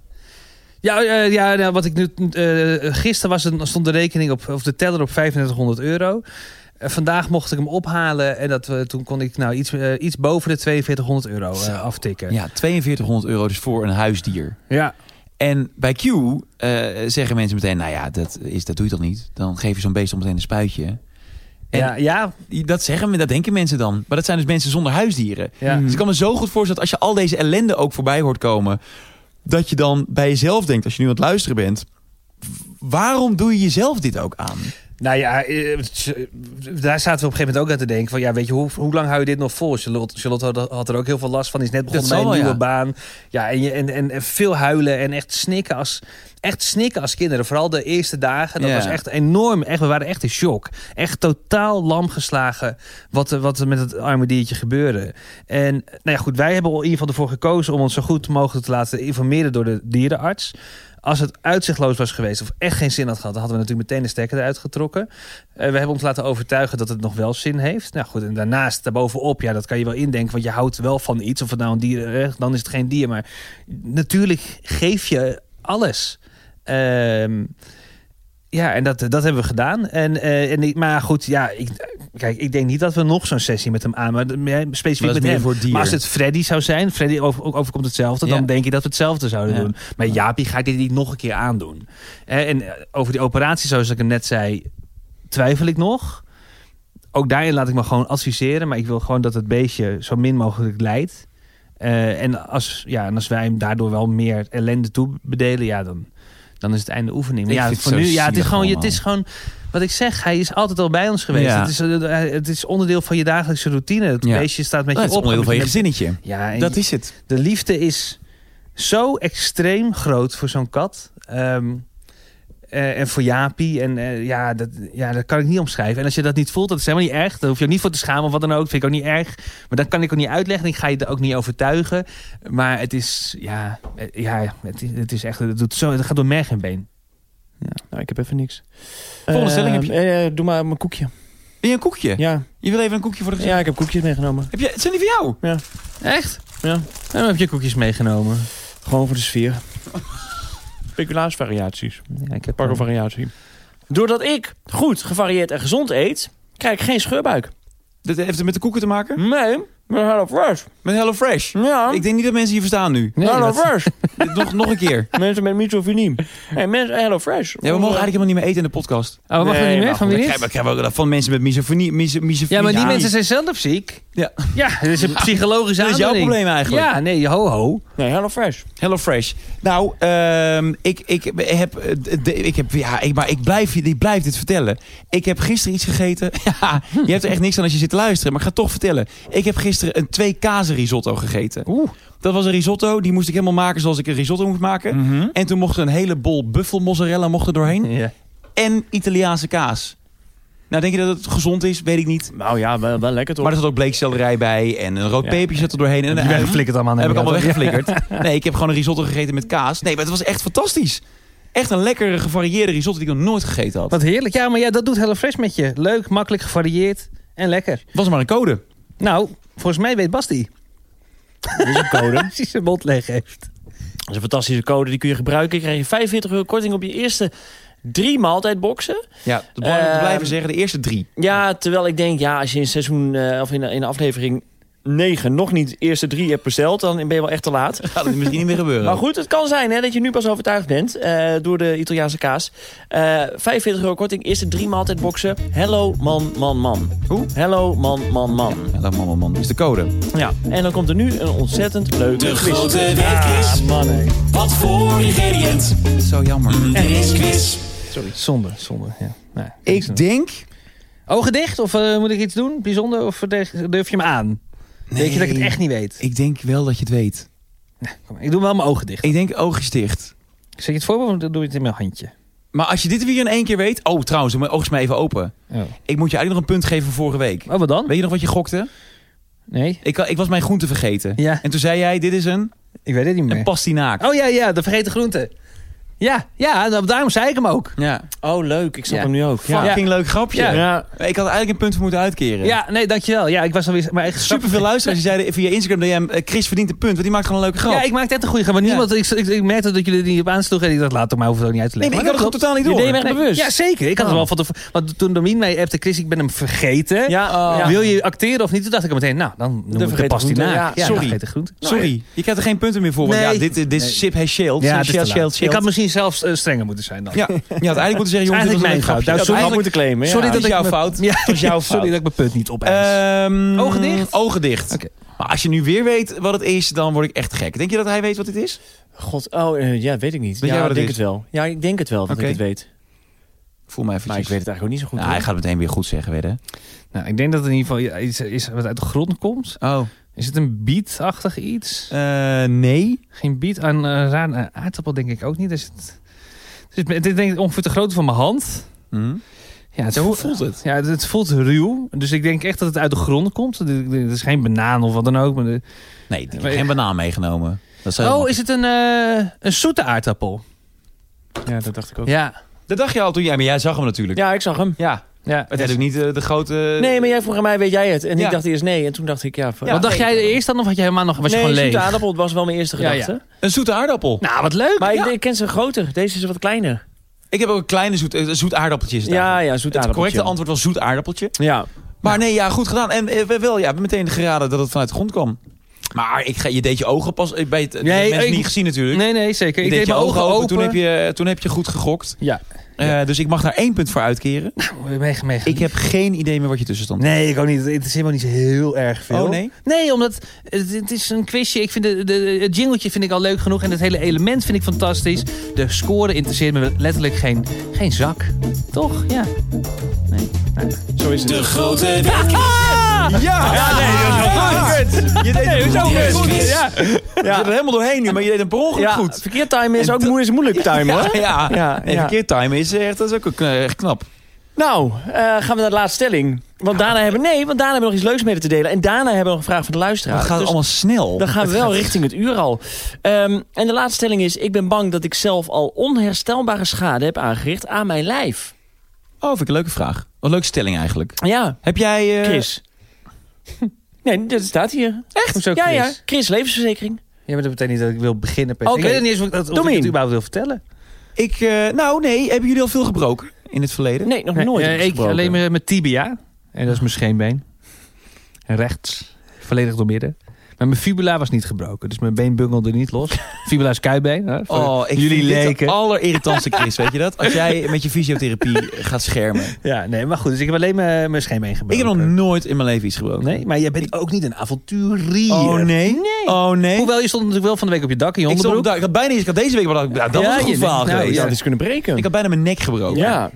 Speaker 2: Ja, eh, ja nou, wat ik nu. eh, gisteren was het, stond de rekening op, of de teller op 3500 euro. Eh, vandaag mocht ik hem ophalen en dat, we toen kon ik nou iets, eh, iets boven de 4200 euro eh,
Speaker 1: Zo.
Speaker 2: aftikken.
Speaker 1: Ja, 4200 euro dus voor een huisdier.
Speaker 2: ja.
Speaker 1: En bij Q eh, zeggen mensen meteen, nou ja, dat, is, dat doe je toch niet? Dan geef je zo'n beest al meteen een spuitje. En-
Speaker 2: ja, ja,
Speaker 1: Dat zeggen we, dat denken mensen dan. Maar dat zijn dus mensen zonder huisdieren.
Speaker 2: ja.
Speaker 1: Dus ik kan me zo goed voorstellen dat als je al deze ellende ook voorbij hoort komen, dat je dan bij jezelf denkt, als je nu aan het luisteren bent, w- waarom doe je jezelf dit ook aan?
Speaker 2: Nou ja, eh, tj- daar zaten we op een gegeven moment ook aan te denken. Van ja, weet je, hoe, hoe lang hou je dit nog vol? Charlotte, Charlotte had- had er ook heel veel last van. Die is net begonnen
Speaker 1: zal
Speaker 2: bij een
Speaker 1: wel,
Speaker 2: nieuwe
Speaker 1: ja.
Speaker 2: baan. Ja, en, je, en, en, en veel huilen en echt snikken als, echt snikken als kinderen. Vooral de eerste dagen. Dat
Speaker 1: Ja.
Speaker 2: was echt enorm. Echt, we waren echt in shock. Echt totaal lam geslagen wat, er- wat er met het arme diertje gebeurde. En nou ja, goed, wij hebben in ieder geval ervoor gekozen om ons zo goed mogelijk te laten informeren door de dierenarts. Als het uitzichtloos was geweest of echt geen zin had gehad, dan hadden we natuurlijk meteen de stekker eruit getrokken. Eh, we hebben ons laten overtuigen dat het nog wel zin heeft. Nou goed, en daarnaast, daarbovenop, ja, dat kan je wel indenken, want je houdt wel van iets. Of het nou een dier, eh, dan is het geen dier. Maar natuurlijk geef je alles. Ehm, ja, en dat, dat hebben we gedaan. En, eh, en ik, maar goed, ja, ik, kijk, ik denk niet dat we nog zo'n sessie met hem aan, maar eh, specifiek met hem.
Speaker 1: voor dieren.
Speaker 2: Maar als het Freddy zou zijn, Freddy over, ook overkomt hetzelfde,
Speaker 1: Ja.
Speaker 2: dan denk je dat we hetzelfde zouden
Speaker 1: Ja.
Speaker 2: doen. Maar Jaapie ga ik dit niet nog een keer aandoen. Eh, En eh, over die operatie, zoals ik hem net zei, twijfel ik nog. Ook daarin laat ik me gewoon adviseren, maar ik wil gewoon dat het beestje zo min mogelijk lijdt. Eh, en, als, ja, en als wij hem daardoor wel meer ellende toebedelen, ja, dan, dan is het einde oefening. Maar
Speaker 1: Ik
Speaker 2: ja,
Speaker 1: vind het zo
Speaker 2: voor nu, ja, het is
Speaker 1: zielig
Speaker 2: gewoon, het
Speaker 1: allemaal.
Speaker 2: is gewoon wat ik zeg, hij is altijd al bij ons geweest.
Speaker 1: Ja.
Speaker 2: Het, is, eh, het is onderdeel van je dagelijkse routine. Het
Speaker 1: Ja.
Speaker 2: beestje staat met
Speaker 1: Nou, het
Speaker 2: je
Speaker 1: is
Speaker 2: op.
Speaker 1: onderdeel van je gezinnetje.
Speaker 2: Ja, en
Speaker 1: Dat is het.
Speaker 2: de liefde is zo extreem groot voor zo'n kat. Ehm, eh, en voor Jaapie. En eh, ja, dat, ja, dat kan ik niet omschrijven. En als je dat niet voelt, dat is helemaal niet erg. Daar hoef je ook niet voor te schamen of wat dan ook. Vind ik ook niet erg. Maar dat kan ik ook niet uitleggen. Ik ga je er ook niet overtuigen. Maar het is, ja, eh, ja het, is, het is echt, het, doet zo, het gaat door merg en been.
Speaker 3: Nou, ik heb even niks.
Speaker 1: Volgende stelling heb je-
Speaker 3: eh, eh, doe maar mijn koekje.
Speaker 1: Wil je een koekje?
Speaker 3: Ja.
Speaker 1: Je wil even een koekje voor de gezicht.
Speaker 3: ja, ik heb koekjes meegenomen.
Speaker 1: Heb je, zijn die voor jou?
Speaker 2: Echt?
Speaker 3: Ja.
Speaker 2: Waarom heb je koekjes meegenomen?
Speaker 3: Gewoon voor de sfeer. Speculaasvariaties.
Speaker 2: Ja, ik heb
Speaker 3: Pak een variatie. Doordat ik goed, gevarieerd en gezond eet, krijg ik geen scheurbuik.
Speaker 1: Dat heeft het met de koeken te maken?
Speaker 3: Nee, met Hello Fresh.
Speaker 1: Met Hello Fresh.
Speaker 3: Ja,
Speaker 1: Ik denk niet dat mensen je verstaan nu.
Speaker 2: Nee,
Speaker 3: Hello
Speaker 2: dat-
Speaker 3: Fresh.
Speaker 1: nog, nog een keer.
Speaker 3: mensen met misofonie. En mensen Hello Fresh.
Speaker 1: Ja, we mogen eigenlijk helemaal niet meer eten in de podcast.
Speaker 2: Oh, mag dat
Speaker 3: Nee,
Speaker 2: niet
Speaker 3: maar
Speaker 2: meer? Van
Speaker 3: goed,
Speaker 2: wie
Speaker 1: Ik
Speaker 2: niet?
Speaker 1: krijg- ik krijg ook dat van mensen met misofonie. miso- misofonie.
Speaker 2: Ja, maar die mensen zijn zelf ziek.
Speaker 1: Ja.
Speaker 2: Ja, dat is een psychologische
Speaker 1: Dat is jouw
Speaker 2: aandoening.
Speaker 1: probleem eigenlijk.
Speaker 2: Ja, nee, ho ho.
Speaker 3: Eh, Nee, Hello Fresh.
Speaker 1: Hello Fresh. Nou, ehm, ik, ik heb, eh, de- ik heb, ja, ik, maar ik blijf, je- ik blijf dit vertellen. Ik heb gisteren iets gegeten. Ja, je hebt er echt niks aan als je zit te luisteren, maar ik ga het toch vertellen. Ik heb gisteren een twee kazen risotto gegeten.
Speaker 2: Oeh.
Speaker 1: Dat was een risotto, die moest ik helemaal maken zoals ik een risotto moet maken. En toen mocht er een hele bol buffelmozzarella mocht er doorheen.
Speaker 2: Mhm. Ja.
Speaker 1: En Italiaanse kaas. Nou, denk je dat het gezond is? Weet ik niet.
Speaker 3: Nou ja, wel, wel lekker toch?
Speaker 1: Maar er zat ook bleekselderij bij en een rood
Speaker 3: Ja.
Speaker 1: pepertje zat er doorheen. En
Speaker 2: Die weggeflikkerd allemaal.
Speaker 1: heb ik allemaal
Speaker 2: inderdaad.
Speaker 1: weggeflikkerd. Nee, ik heb gewoon een risotto gegeten met kaas. Nee, maar het was echt fantastisch. Echt een lekkere gevarieerde risotto die ik nog nooit gegeten had.
Speaker 2: Wat heerlijk. Ja, maar ja, dat doet HelloFresh met je. Leuk, makkelijk, gevarieerd en lekker.
Speaker 1: Was maar een code.
Speaker 2: Nou, volgens mij weet Basti
Speaker 3: Dit is een
Speaker 1: Oh,
Speaker 3: code. Dat
Speaker 2: precies zijn mond leeg heeft.
Speaker 3: is een fantastische code, die kun je gebruiken. Dan krijg je 45 euro korting op je eerste drie maaltijdboxen.
Speaker 1: Ja, dat belangrijk om te
Speaker 3: Ehm,
Speaker 1: blijven zeggen. De eerste drie.
Speaker 3: Ja, terwijl ik denk, ja, als je in seizoen eh, of in, in aflevering 9 nog niet de eerste drie hebt besteld, dan ben je wel echt te laat.
Speaker 1: Gaat het misschien niet meer gebeuren.
Speaker 3: Maar goed, het kan zijn hè, dat je nu pas overtuigd bent eh, door de Italiaanse kaas. Eh 45 euro korting, eerste drie maaltijdboxen. Hello man, man, man.
Speaker 1: Hoe?
Speaker 3: Hello man, man, man.
Speaker 1: Ja, dat man, man, man. is de code.
Speaker 3: Ja. En dan komt er nu een ontzettend leuke
Speaker 5: De
Speaker 3: quiz.
Speaker 5: grote weetquiz.
Speaker 3: Ja, man, hé.
Speaker 5: Wat voor ingrediënt
Speaker 1: Zo jammer.
Speaker 5: er is quiz?
Speaker 2: Zonde, zonde. Ja. Nou, niks aan.
Speaker 1: Ik denk...
Speaker 2: Ogen dicht? Of eh, moet ik iets doen? Bijzonder? Of durf durf je me aan? Weet je dat ik het echt niet weet?
Speaker 1: Ik denk wel dat je het weet.
Speaker 2: Kom maar, ik doe wel mijn ogen dicht.
Speaker 1: Ik denk oogjes dicht.
Speaker 2: Zet je het voor me of doe je het in mijn handje?
Speaker 1: Maar als je dit weer in één keer weet... Oh, trouwens, mijn oogst maar even open.
Speaker 2: Oh.
Speaker 1: Ik moet je eigenlijk nog een punt geven voor vorige week.
Speaker 2: Oh, wat dan?
Speaker 1: Weet je nog wat je gokte?
Speaker 2: Nee,
Speaker 1: Ik, ik was mijn groente vergeten.
Speaker 2: Ja.
Speaker 1: En toen zei jij, dit is een,
Speaker 2: ik weet het niet meer.
Speaker 1: een pastinaak.
Speaker 2: Oh ja, ja, de vergeten groente. Ja, ja, nou, daarom zei ik hem ook.
Speaker 1: Ja.
Speaker 3: Oh, leuk. Ik snap
Speaker 2: Ja.
Speaker 3: hem nu ook. Ja.
Speaker 1: Fucking leuk grapje.
Speaker 2: Ja.
Speaker 1: Eh, Ik had eigenlijk een punt voor moeten uitkeren.
Speaker 2: Ja, nee, dankjewel. Ja, ik was alweer mijn eigen grap.
Speaker 1: Super veel luisteraars die zeiden via Instagram DM, eh, Chris verdient een punt, want die maakt gewoon een leuke grap.
Speaker 2: Ja, ik maakte echt een goede grap. Maar
Speaker 1: Ja.
Speaker 2: niemand, ik, ik, ik merkte dat jullie er niet op aansloegen. En ik dacht, laat het maar, hoef het ook niet uit te
Speaker 1: nee,
Speaker 2: leggen.
Speaker 1: maar ik had het
Speaker 2: dat
Speaker 1: gewoon totaal niet Oh.
Speaker 3: Je
Speaker 1: door.
Speaker 3: deed hem echt
Speaker 2: klopt. Nee, Ja,
Speaker 3: bewust.
Speaker 2: zeker. Ik had het wel van tevoren. Want toen Domien mij appte, Chris, ik ben hem vergeten.
Speaker 3: Ja,
Speaker 2: Oh.
Speaker 3: ja.
Speaker 2: Wil je acteren of niet? Toen dacht ik meteen, nou, dan noem ik de
Speaker 3: vergeten
Speaker 2: pastinaak.
Speaker 3: groente, ja.
Speaker 1: Sorry.
Speaker 2: de vergeten groente.
Speaker 1: Sorry, je krijgt er geen punten meer voor. Want
Speaker 2: Nee.
Speaker 1: ja, dit, dit is Sip has shield.
Speaker 2: Ja,
Speaker 1: Shell,
Speaker 2: het is te
Speaker 1: shell,
Speaker 2: laat.
Speaker 1: shell, shell.
Speaker 2: Ik had misschien zelfs eh, strenger moeten zijn dan.
Speaker 1: Ja, je had eigenlijk moeten zeggen,
Speaker 2: is
Speaker 1: jongens, dit was een
Speaker 2: eigenlijk mijn
Speaker 1: leuk
Speaker 2: fout.
Speaker 1: grapje.
Speaker 2: Nou,
Speaker 3: Dat had
Speaker 2: sorry-
Speaker 3: ik moeten claimen.
Speaker 2: Sorry
Speaker 3: ja.
Speaker 1: dat
Speaker 2: dat
Speaker 1: is
Speaker 2: ik
Speaker 1: jouw
Speaker 2: me-
Speaker 1: fout.
Speaker 2: Ja.
Speaker 1: Dat is jouw fout.
Speaker 2: Sorry dat ik mijn punt niet opeis.
Speaker 1: Ehm,
Speaker 2: Ogen dicht?
Speaker 1: Ogen dicht.
Speaker 2: Oké.
Speaker 1: Maar als je nu weer weet wat het is, dan word ik echt gek. Denk je dat hij weet wat dit is?
Speaker 3: God, oh, eh, ja, weet ik niet.
Speaker 1: Weet
Speaker 3: ja,
Speaker 1: jij wat
Speaker 3: ik
Speaker 1: het
Speaker 3: denk
Speaker 1: is?
Speaker 3: het wel. Ja, ik denk het wel, dat
Speaker 1: Oké.
Speaker 3: ik het weet.
Speaker 1: Voel me even.
Speaker 3: Maar ik weet het eigenlijk ook niet zo goed.
Speaker 1: nou, hij
Speaker 3: hoor.
Speaker 1: gaat het meteen weer goed zeggen, wedden.
Speaker 2: Nou, ik denk dat het in ieder geval ja, iets is wat uit de grond komt.
Speaker 1: Oh.
Speaker 2: Is het een beatachtig iets?
Speaker 1: Eh, nee.
Speaker 2: Geen biet aan eh raar eh, aardappel denk ik ook niet. Dus het, dus het- het is denk ik ongeveer de grootte van mijn hand.
Speaker 1: Hm?
Speaker 2: Ja, het
Speaker 1: Ja, hoe voelt het?
Speaker 2: Ja, het, het voelt ruw. Dus ik denk echt dat het uit de grond komt. Het is- Het is geen banaan of wat dan ook. Maar de-
Speaker 1: Nee, ik heb
Speaker 2: Maar-
Speaker 1: geen banaan meegenomen. Dat, zou
Speaker 2: Oh, is het een, eh, een zoete aardappel?
Speaker 3: Ja, dat dacht ik ook. Ja,
Speaker 2: Ja.
Speaker 1: dat dacht je al toen jij, maar jij zag hem natuurlijk.
Speaker 3: ik zag hem.
Speaker 1: ja.
Speaker 2: ja.
Speaker 1: Het is ook niet eh, de grote...
Speaker 3: Nee, maar jij vroeg aan mij, weet jij het? En
Speaker 1: Ja.
Speaker 3: ik dacht eerst nee. En toen dacht ik, ja... van-
Speaker 2: Wat dacht
Speaker 3: nee,
Speaker 2: jij eerst dan? Of had je helemaal nog, was je
Speaker 3: nee,
Speaker 2: gewoon leeg?
Speaker 3: zoete aardappel was wel mijn eerste
Speaker 2: Ja,
Speaker 3: gedachte.
Speaker 1: Een zoete aardappel.
Speaker 2: Nou, wat leuk.
Speaker 3: Maar
Speaker 2: ja.
Speaker 3: ik, ik ken ze groter. Deze is wat kleiner.
Speaker 1: Ik heb ook een kleine zoet, eh, zoet aardappeltje. Is het
Speaker 3: Ja,
Speaker 1: eigenlijk.
Speaker 3: ja, zoete
Speaker 1: Het
Speaker 3: aardappeltje.
Speaker 1: correcte antwoord was zoet aardappeltje.
Speaker 3: Ja.
Speaker 1: Maar nee, ja, goed gedaan. En eh, we wel, ja, we hebben meteen geraden dat het vanuit de grond kwam. Maar ik ga, je deed je ogen pas... eh, Bij het, de
Speaker 2: Nee,
Speaker 1: mensen
Speaker 2: ik-
Speaker 1: niet gezien natuurlijk.
Speaker 2: Nee, nee, zeker.
Speaker 1: Ik,
Speaker 2: Ik, deed
Speaker 1: je
Speaker 2: mijn ogen open.
Speaker 1: Toen heb, je, eh, toen heb je goed gegokt.
Speaker 2: Ja.
Speaker 1: Eh, dus ik mag daar één punt voor uitkeren.
Speaker 2: Mega, mega.
Speaker 1: Ik heb geen idee meer wat je tussenstand
Speaker 2: Nee, ik ook niet. Het interesseert me ook niet zo heel erg veel.
Speaker 1: Oh, nee?
Speaker 2: Nee, omdat het, het is een quizje. Ik vind de, de, het jingletje vind ik al leuk genoeg. En het hele element vind ik fantastisch. De score interesseert me letterlijk geen, geen zak. Toch? Ja.
Speaker 5: De grote week.
Speaker 1: Ja! nee, dat is wel Je deed het zo
Speaker 5: goed.
Speaker 1: Ja. Je zit er helemaal doorheen nu, maar je deed een per ongeluk
Speaker 3: ja
Speaker 1: goed.
Speaker 3: verkeerd timen is ook moe- is moeilijk timen, hoor.
Speaker 1: Ja, ja.
Speaker 3: Ja,
Speaker 1: Nee,
Speaker 3: ja.
Speaker 1: verkeerd timen is echt, dat is ook eh, echt knap.
Speaker 3: Nou, eh, gaan we naar de laatste stelling. Want daarna hebben nee, want daarna hebben we nog iets leuks mee te delen. En daarna hebben we nog een vraag van de luisteraar.
Speaker 1: Dan gaat het
Speaker 3: Dus
Speaker 1: allemaal snel.
Speaker 3: dan gaan we wel richting het uur al. Ehm, en de laatste stelling is: ik ben bang dat ik zelf al onherstelbare schade heb aangericht aan mijn lijf.
Speaker 1: Oh, vind ik een leuke vraag. Wat een leuke stelling eigenlijk.
Speaker 3: Ja,
Speaker 1: Heb jij... eh,
Speaker 3: Chris. Nee, dat staat hier.
Speaker 2: Echt? Hoezo,
Speaker 3: Ja,
Speaker 2: Chris?
Speaker 3: ja. Chris, levensverzekering.
Speaker 2: Ja, maar dat betekent niet dat ik wil beginnen. per se.
Speaker 3: Oké.
Speaker 2: Ik weet niet eens of ik, dat, of
Speaker 3: Domien.
Speaker 2: ik het überhaupt wil vertellen.
Speaker 1: Ik, eh, nou nee, hebben jullie al veel gebroken in het verleden?
Speaker 3: Nee, nog nooit.
Speaker 2: Eh,
Speaker 3: heb ik
Speaker 2: ik
Speaker 3: gesproken.
Speaker 2: alleen met, met tibia. En dat is mijn scheenbeen. En Rechts. Volledig doormidden. Maar mijn fibula was niet gebroken. Dus mijn been bungelde niet los. Fibula is kuitbeen. Hè, voor
Speaker 1: Oh, ik
Speaker 2: jullie
Speaker 1: vind dit de
Speaker 2: leken.
Speaker 1: allerirritantste Chris, weet je dat? Als jij met je fysiotherapie gaat schermen.
Speaker 2: Ja, nee, maar goed. Dus ik heb alleen mijn, mijn scheenbeen
Speaker 1: Ik heb
Speaker 2: gebroken.
Speaker 1: nog nooit in mijn leven iets gebroken.
Speaker 2: Nee, maar jij bent ook niet een avonturier.
Speaker 1: Oh nee. Oh nee.
Speaker 2: Hoewel, je stond natuurlijk wel van de week op je dak in je
Speaker 1: ik, stond,
Speaker 2: onderbroek.
Speaker 1: daar- ik had bijna ik had deze week wel dat dat
Speaker 2: Ja,
Speaker 1: was een goed
Speaker 2: je
Speaker 1: verhaal
Speaker 2: denkt, nou,
Speaker 1: geweest.
Speaker 3: Ja,
Speaker 2: ja.
Speaker 3: dat is kunnen breken.
Speaker 1: Ik had bijna mijn nek gebroken.
Speaker 3: ja,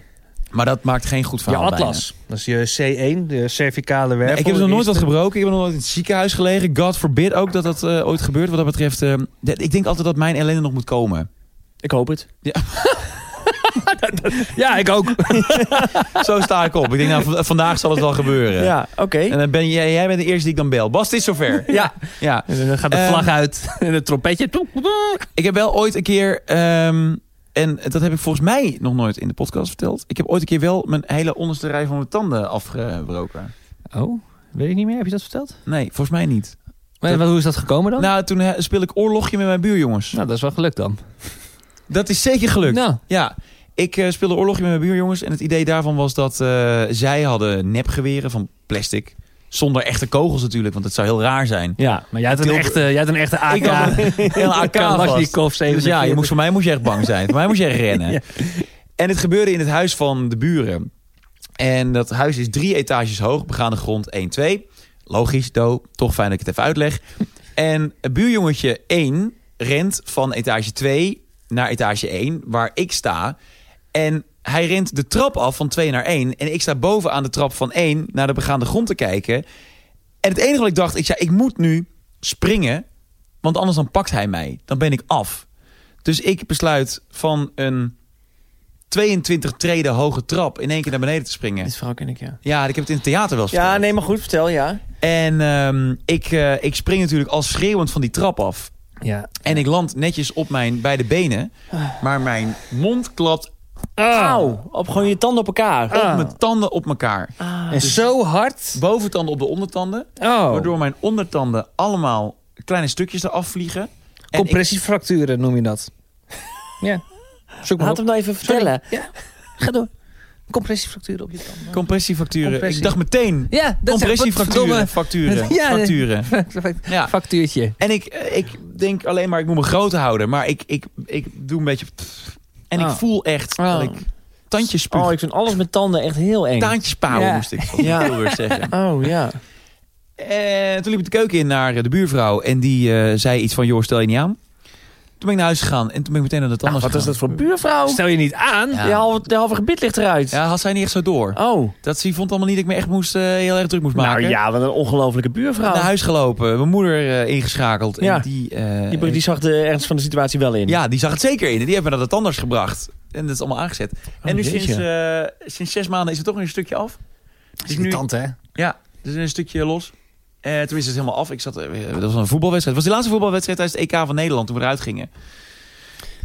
Speaker 1: Maar dat maakt geen goed
Speaker 2: Je
Speaker 1: verhaal.
Speaker 2: atlas. Dat is je C1, de cervicale wervel.
Speaker 1: bijna. Nee, ik heb nog nooit
Speaker 2: Eerste-
Speaker 1: wat gebroken. Ik heb nog nooit in het ziekenhuis gelegen. God forbid ook dat dat eh, ooit gebeurt. Wat dat betreft, eh, dat- ik denk altijd dat mijn ellende nog moet komen.
Speaker 3: ik hoop het.
Speaker 2: Ja, ik ook.
Speaker 1: Zo sta ik op. Ik denk, nou, v- vandaag zal het wel gebeuren.
Speaker 3: Ja, oké.
Speaker 2: eh,
Speaker 1: En dan ben jij, jij bent de eerste die ik dan bel. Bas, het is zover.
Speaker 3: Ja. Eh,
Speaker 1: ja.
Speaker 2: En dan gaat de
Speaker 1: Ehm,
Speaker 2: vlag uit en het trompetje.
Speaker 1: Ik heb wel ooit een keer, ehm, en dat heb ik volgens mij nog nooit in de podcast verteld. Ik heb ooit een keer wel mijn hele onderste rij van mijn tanden afgebroken.
Speaker 2: Oh, weet ik niet meer. Heb je dat verteld?
Speaker 1: Nee, volgens mij niet.
Speaker 2: Maar, wat- hoe is dat gekomen dan?
Speaker 1: Nou, toen eh, speel ik oorlogje met mijn buurjongens.
Speaker 2: Nou, dat is wel gelukt dan.
Speaker 1: Dat is zeker gelukt.
Speaker 2: Nou,
Speaker 1: Ja, ik eh, speelde oorlogje met mijn buurjongens. En het idee daarvan was dat eh, zij hadden nepgeweren van plastic. Zonder echte kogels natuurlijk, want het zou heel raar zijn.
Speaker 2: ja, maar jij had een
Speaker 1: Tilburg.
Speaker 2: echte, jij had een echte AK.
Speaker 1: Ik had een hele AK vast.
Speaker 2: Kalashnikov 47.
Speaker 1: Dus ja, je moest, voor mij moest je echt bang zijn. voor mij moest je echt rennen. En het gebeurde in het huis van de buren. En dat huis is drie etages hoog, begaande grond 1, 2. Logisch, do, toch fijn dat ik het even uitleg. En buurjongetje 1 rent van etage 2 naar etage 1, waar ik sta. En hij rent de trap af van 2 naar 1. En ik sta boven aan de trap van 1 naar de begaande grond te kijken. En het enige wat ik dacht, ik zei, ik moet nu springen. Want anders dan pakt hij mij. Dan ben ik af. Dus ik besluit van een 22 treden hoge trap in één keer naar beneden te springen.
Speaker 3: Dit verhaal ken ik, ja.
Speaker 1: Ja, ik heb het in het theater wel eens
Speaker 3: Dus- Ja,
Speaker 1: verteld.
Speaker 3: nee, maar goed, vertel, ja.
Speaker 1: En ehm, ik, eh, ik spring natuurlijk al schreeuwend van die trap af.
Speaker 2: Ja.
Speaker 1: En ik land netjes op mijn beide benen. Maar mijn mond klapt
Speaker 3: Auw, op gewoon je tanden op elkaar.
Speaker 1: op mijn tanden op elkaar.
Speaker 2: Ah. En zo hard.
Speaker 1: Boventanden op de ondertanden.
Speaker 2: Oh.
Speaker 1: Waardoor mijn ondertanden allemaal kleine stukjes eraf vliegen. En ik-
Speaker 2: Compressiefracturen noem je dat. ja. Zoek maar
Speaker 3: Laat
Speaker 2: op.
Speaker 3: hem nou even vertellen.
Speaker 2: Ja. Ga door. Compressiefracturen op je tanden.
Speaker 1: compressiefracturen.
Speaker 2: Compressie.
Speaker 1: Ik dacht meteen
Speaker 2: ja, dat zijn
Speaker 1: compressiefracturen. Facturen.
Speaker 2: Ja, nee.
Speaker 1: facturen. Ja.
Speaker 2: Factuurtje.
Speaker 1: En ik, eh, ik denk alleen maar, ik moet me groot houden. Maar ik, ik, ik doe een beetje... En ik
Speaker 2: Ah.
Speaker 1: voel echt
Speaker 3: Ah.
Speaker 1: dat ik tandjes spuug.
Speaker 3: Oh, ik vind alles met tanden echt heel eng.
Speaker 1: Taantjespauwen
Speaker 2: Ja.
Speaker 1: moest ik van
Speaker 3: Ja.
Speaker 1: Tilburg zeggen.
Speaker 3: Oh, ja.
Speaker 1: En toen liep ik de keuken in naar eh, de buurvrouw. En die eh, zei iets van, joh, stel je niet aan. Toen ben ik naar huis gegaan. En toen ben ik meteen naar het anders
Speaker 3: Nou, wat is dat voor buurvrouw?
Speaker 2: Stel je niet aan.
Speaker 1: Ja.
Speaker 3: De, halve, de halve gebied ligt eruit.
Speaker 1: Ja, had zij niet echt zo door.
Speaker 3: Oh.
Speaker 1: Dat ze vond allemaal niet dat ik me echt moest, eh, heel erg druk moest
Speaker 3: Nou
Speaker 1: maken.
Speaker 3: ja, wat een ongelofelijke buurvrouw.
Speaker 1: Naar huis gelopen. Mijn moeder eh, ingeschakeld.
Speaker 3: Ja.
Speaker 1: En die, eh,
Speaker 3: die, die zag de ernst van de situatie wel in.
Speaker 1: Ja, die zag het zeker in. En die hebben naar het anders gebracht. En dat is allemaal aangezet. en nu
Speaker 3: jeetje.
Speaker 1: sinds, eh, sinds zes maanden is het toch weer een stukje af. Dus nu,
Speaker 2: Irritant, hè?
Speaker 1: ja, dus een stukje los. Eh tenminste, het is helemaal af. Ik zat, eh, dat was een voetbalwedstrijd. Het was de laatste voetbalwedstrijd tijdens het EK van Nederland toen we eruit gingen.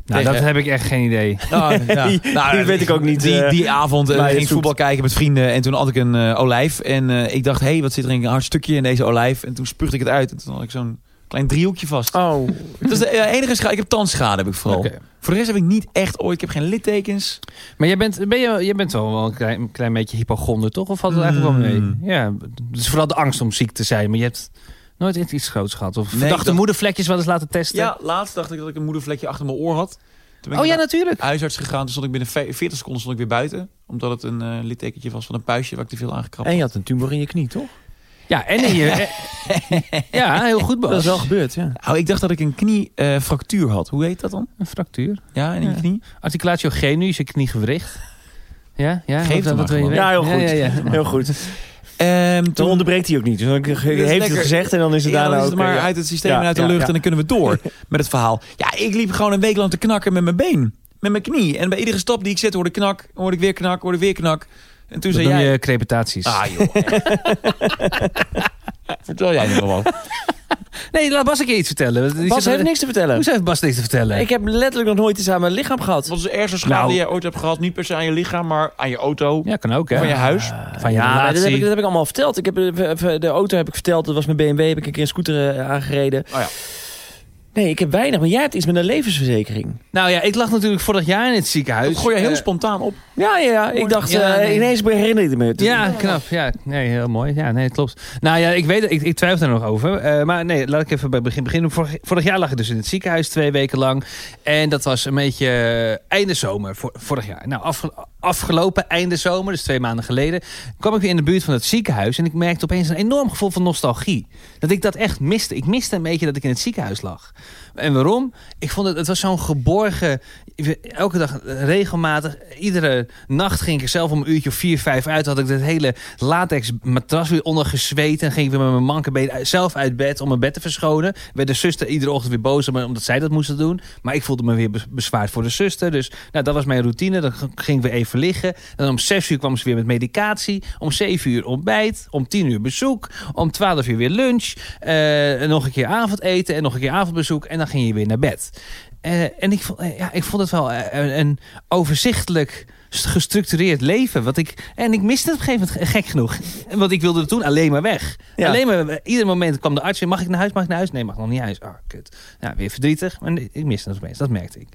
Speaker 2: Nou,
Speaker 1: Tegen-
Speaker 2: dat heb ik echt geen idee.
Speaker 1: Nou, ja.
Speaker 3: Die- die weet ik ook niet,
Speaker 1: Die,
Speaker 3: eh,
Speaker 1: die avond eh,
Speaker 3: waar je
Speaker 1: ging ik
Speaker 3: zoekt.
Speaker 1: voetbal kijken met vrienden. En toen had ik een eh, olijf. En eh, ik dacht, hé, hey, wat zit er in een hard stukje in deze olijf? En toen spuugde ik het uit. En toen had ik zo'n klein driehoekje vast.
Speaker 3: Oh.
Speaker 1: Dat is de eh, enige schade. Ik heb tandschade, heb ik vooral.
Speaker 2: Oké.
Speaker 1: Voor de rest heb ik niet echt ooit... Ik heb geen littekens.
Speaker 2: Maar jij bent, ben je, jij bent wel, wel een klein, klein beetje hypochonder, toch? Of valt het eigenlijk wel mee?
Speaker 1: Mm.
Speaker 2: Ja, dus vooral de angst om ziek te zijn. Maar je hebt nooit echt iets groots gehad. Of verdachte
Speaker 1: dat-
Speaker 2: moedervlekjes wel eens laten testen.
Speaker 1: Ja, laatst dacht ik dat ik een moedervlekje achter mijn oor had. Toen ben ik
Speaker 2: oh ja,
Speaker 1: naar
Speaker 2: natuurlijk.
Speaker 1: de huisarts gegaan. Toen stond ik binnen ve- 40 seconden stond ik weer buiten. Omdat het een eh, littekentje was van een puistje waar ik te veel aangekrapt
Speaker 3: En
Speaker 1: had.
Speaker 3: je had een tumor in je knie, toch?
Speaker 2: Ja, en in je... ja, heel goed, Bas.
Speaker 3: Dat is wel gebeurd, ja.
Speaker 1: Oh, ik dacht dat ik een kniefractuur had. Hoe heet dat dan?
Speaker 2: Een fractuur.
Speaker 1: Ja, in je
Speaker 2: Ja.
Speaker 1: knie.
Speaker 2: Articulatio genu is je kniegewricht. Ja, ja.
Speaker 1: Geef het
Speaker 2: dat
Speaker 1: maar
Speaker 2: wil je
Speaker 1: gewoon.
Speaker 2: weten.
Speaker 3: Ja, heel goed.
Speaker 2: Ja, ja,
Speaker 3: Heel goed.
Speaker 1: Ehm,
Speaker 3: Dan
Speaker 1: toen
Speaker 3: onderbreekt hij ook niet. Dus dan heeft hij
Speaker 1: lekker.
Speaker 3: het gezegd en dan is het
Speaker 1: Ja, dan
Speaker 3: daarna
Speaker 1: is het
Speaker 3: ook...
Speaker 1: maar
Speaker 3: eh, ja.
Speaker 1: uit het systeem
Speaker 3: Ja,
Speaker 1: en uit de
Speaker 3: ja,
Speaker 1: lucht.
Speaker 3: ja.
Speaker 1: En dan kunnen we door met het verhaal. Ja, ik liep gewoon een week lang te knakken met mijn been. Met mijn knie. En bij iedere stap die ik zette hoorde ik knak. Hoorde ik weer knak. Hoorde ik weer knak. En toen
Speaker 2: Dat
Speaker 1: zei
Speaker 2: noem
Speaker 1: jij...
Speaker 2: je crepitaties.
Speaker 1: Ah joh.
Speaker 3: oh
Speaker 1: Vertel jij nu gewoon.
Speaker 2: Nee, laat Bas een keer iets vertellen. Die
Speaker 3: Bas
Speaker 2: zit-
Speaker 3: heeft niks te vertellen.
Speaker 2: Hoezo heeft Bas niks te vertellen?
Speaker 3: Ik heb letterlijk nog nooit iets aan mijn lichaam gehad.
Speaker 1: Wat is de ergste schade
Speaker 2: Nou.
Speaker 1: die jij ooit hebt gehad? Niet per se aan je lichaam, maar aan je auto.
Speaker 2: Ja, kan ook, hè?
Speaker 1: Van je huis.
Speaker 2: Van je
Speaker 3: ja, maar dat
Speaker 2: relatie.
Speaker 3: heb, ik, dat heb ik allemaal verteld. Ik heb, eh, eh, de auto heb ik verteld. Dat was mijn BMW. Heb ik een keer een scooter eh, aangereden.
Speaker 1: ja.
Speaker 3: Nee, ik heb weinig. Maar jij hebt iets met een levensverzekering.
Speaker 2: Nou ja, ik lag natuurlijk vorig jaar in het ziekenhuis.
Speaker 1: Dat gooi je heel
Speaker 2: Eh,
Speaker 1: spontaan op.
Speaker 3: Ja, ja, ja. Ik dacht,
Speaker 2: Ja,
Speaker 3: eh,
Speaker 2: nee.
Speaker 3: ineens herinner ik me.
Speaker 2: Ja, knap. Ja, nee, heel mooi. Ja, nee, klopt. Nou ja, ik weet, ik, ik twijfel daar nog over. Eh, maar nee, laat ik even bij het begin beginnen. Vorig, vorig jaar lag ik dus in het ziekenhuis twee weken lang. En dat was een beetje eh, einde zomer, vor- vorig jaar. Nou, afge- afgelopen einde zomer, dus twee maanden geleden, kwam ik weer in de buurt van het ziekenhuis. En ik merkte opeens een enorm gevoel van nostalgie. Dat ik dat echt miste. Ik miste een beetje dat ik in het ziekenhuis lag. En waarom? Ik vond het, het was zo'n geborgen, elke dag eh, regelmatig, iedere nacht ging ik er zelf om een uurtje of vier, vijf uit. Had ik dat hele latex matras weer ondergezweet en ging ik weer met mijn manke been uit- zelf uit bed om mijn bed te verschonen. Werd de zuster iedere ochtend weer boos om me, omdat zij dat moesten doen. Maar ik voelde me weer bez- bezwaard voor de zuster. Dus nou, dat was mijn routine. Dan g- ging ik weer even liggen. Dan om zes uur kwam ze weer met medicatie. Om zeven uur ontbijt. Om tien uur bezoek. Om twaalf uur weer lunch. eh, en nog een keer avondeten en nog een keer avondbezoek. En dan ging je weer naar bed. Eh, en ik vond, eh, ja, ik vond het wel eh, een, een overzichtelijk st- gestructureerd leven. Wat ik, en ik miste het op een gegeven moment gek genoeg. Want ik wilde er toen alleen maar weg.
Speaker 3: Ja.
Speaker 2: Alleen maar, eh, ieder moment kwam de arts weer. Mag ik naar huis? Mag ik naar huis? Nee, mag nog niet naar huis. Ah, kut. Nou, weer verdrietig. Maar nee, ik miste het opeens. Dat merkte ik.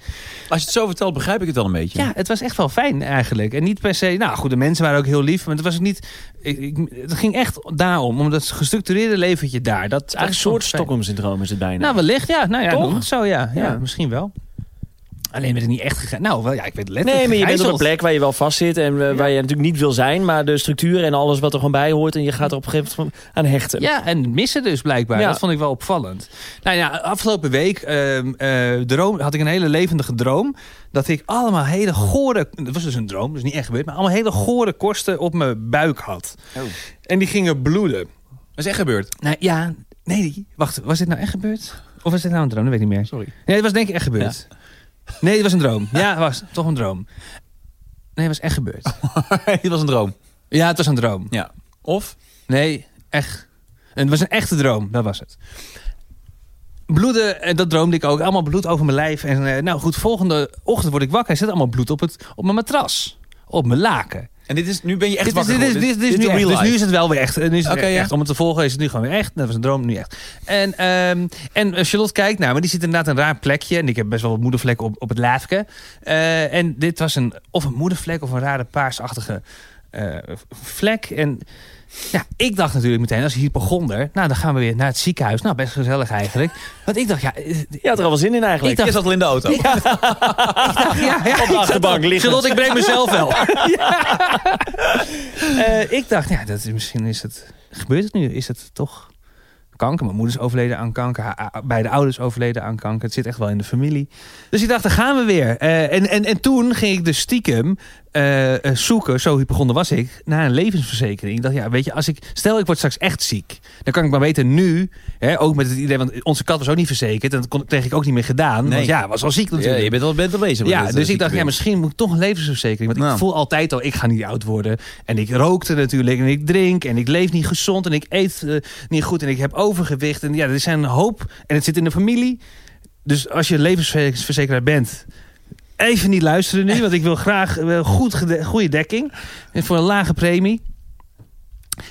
Speaker 1: Als je het zo vertelt, begrijp ik het wel een beetje.
Speaker 2: Ja, het was echt wel fijn eigenlijk. En niet per se, nou goed, de mensen waren ook heel lief. Maar het was ook niet, ik, ik- het ging echt daarom. Om dat gestructureerde leventje daar. Dat,
Speaker 3: Eigenlijk een soort Stockholm-syndroom is het bijna.
Speaker 2: Nou, wellicht ja. Nou ja,
Speaker 3: Toch?
Speaker 2: noem het zo ja. ja.
Speaker 3: Ja.
Speaker 2: misschien wel. Alleen werd het niet echt gegaan. Nou, wel, ja, ik weet letterlijk
Speaker 3: nee, maar je bent op een
Speaker 2: gegijzeld.
Speaker 3: plek waar je wel vast zit en eh, waar je natuurlijk niet wil zijn. Maar de structuur en alles wat er gewoon bij hoort. En je gaat er op een gegeven moment van- aan hechten.
Speaker 2: Ja, en missen dus blijkbaar.
Speaker 3: Ja.
Speaker 2: Dat vond ik wel opvallend. Nou ja, afgelopen week ehm, eh, droom, had ik een hele levendige droom. Dat ik allemaal hele gore... Het was dus een droom, dus niet echt gebeurd. Maar allemaal hele gore korsten op mijn buik had.
Speaker 3: Oh.
Speaker 2: En die gingen bloeden.
Speaker 1: Dat is echt gebeurd.
Speaker 2: Nou ja, nee, wacht. Was dit nou echt gebeurd? Of was dit nou een droom? Dat weet ik niet meer.
Speaker 1: Sorry.
Speaker 2: Nee, het was denk ik echt gebeurd. Nee, het was een droom. Ja, het was toch een droom. Nee, het was echt gebeurd.
Speaker 1: Het was een droom.
Speaker 2: Ja, het was een droom.
Speaker 1: Ja. Of?
Speaker 2: Nee, echt. Het was een echte droom, dat was het. Bloeden, en dat droomde ik ook. Allemaal bloed over mijn lijf. En eh, nou goed, volgende ochtend word ik wakker. Er zit allemaal bloed op, het, op mijn matras. Op mijn laken.
Speaker 1: En dit is, nu ben je echt
Speaker 2: Dit is,
Speaker 1: wakker
Speaker 2: dit is, dit is,
Speaker 1: geworden.
Speaker 2: dit is nu
Speaker 1: real
Speaker 2: echt. Dus nu
Speaker 1: life.
Speaker 2: is het wel weer echt. Eh, Nu is het
Speaker 1: Oké,
Speaker 2: weer
Speaker 1: ja.
Speaker 2: echt. Om het te volgen is het nu gewoon weer echt. Dat was een droom, nu echt. En, ehm, en eh, Charlotte kijkt naar me. Die zit inderdaad een raar plekje. En ik heb best wel wat moedervlekken op, op het laafje. Eh, en dit was een, of een moedervlek of een rare paarsachtige eh, vlek. En ja, ik dacht natuurlijk meteen als hypochonder. Nou, dan gaan we weer naar het ziekenhuis. Nou, best gezellig eigenlijk. Want ik dacht, ja... eh,
Speaker 3: Je had er al wel zin in eigenlijk.
Speaker 2: Ik dacht-
Speaker 1: Je zat al in de auto.
Speaker 2: ja, ja,
Speaker 3: Op de achterbank liggen.
Speaker 2: Charlotte, ik breng mezelf wel. Eh, ik dacht, ja, dat is, misschien is het... Gebeurt het nu? Is het toch kanker? Mijn moeder is overleden aan kanker. Haar- haar- beide ouders overleden aan kanker. Het zit echt wel in de familie. Dus ik dacht, daar gaan we weer. Eh, en, en, en toen ging ik dus stiekem eh, eh, zoeken, zo begonnen was ik, naar een levensverzekering. Ik dacht, ja, weet je, als ik, stel ik word straks echt ziek, dan kan ik maar weten nu, hè, ook met het idee, want onze kat was ook niet verzekerd en dat kon, kreeg ik ook niet meer gedaan.
Speaker 1: Nee.
Speaker 2: Want ja, was al ziek natuurlijk.
Speaker 1: Ja, je bent al, bent al bezig. met
Speaker 2: Ja,
Speaker 1: dit, eh,
Speaker 2: dus ik dacht, ja,
Speaker 1: ziektebeeld.
Speaker 2: misschien moet ik toch een levensverzekering. Want
Speaker 1: Nou.
Speaker 2: ik voel altijd al, ik ga niet oud worden. En ik rookte natuurlijk, en ik drink, en ik leef niet gezond, en ik eet eh, niet goed, en ik heb overgewicht. En ja, er zijn een hoop, en het zit in de familie. Dus als je levensverzekeraar bent, even niet luisteren nu. Want ik wil graag eh, goed gede- goede dekking, en voor een lage premie.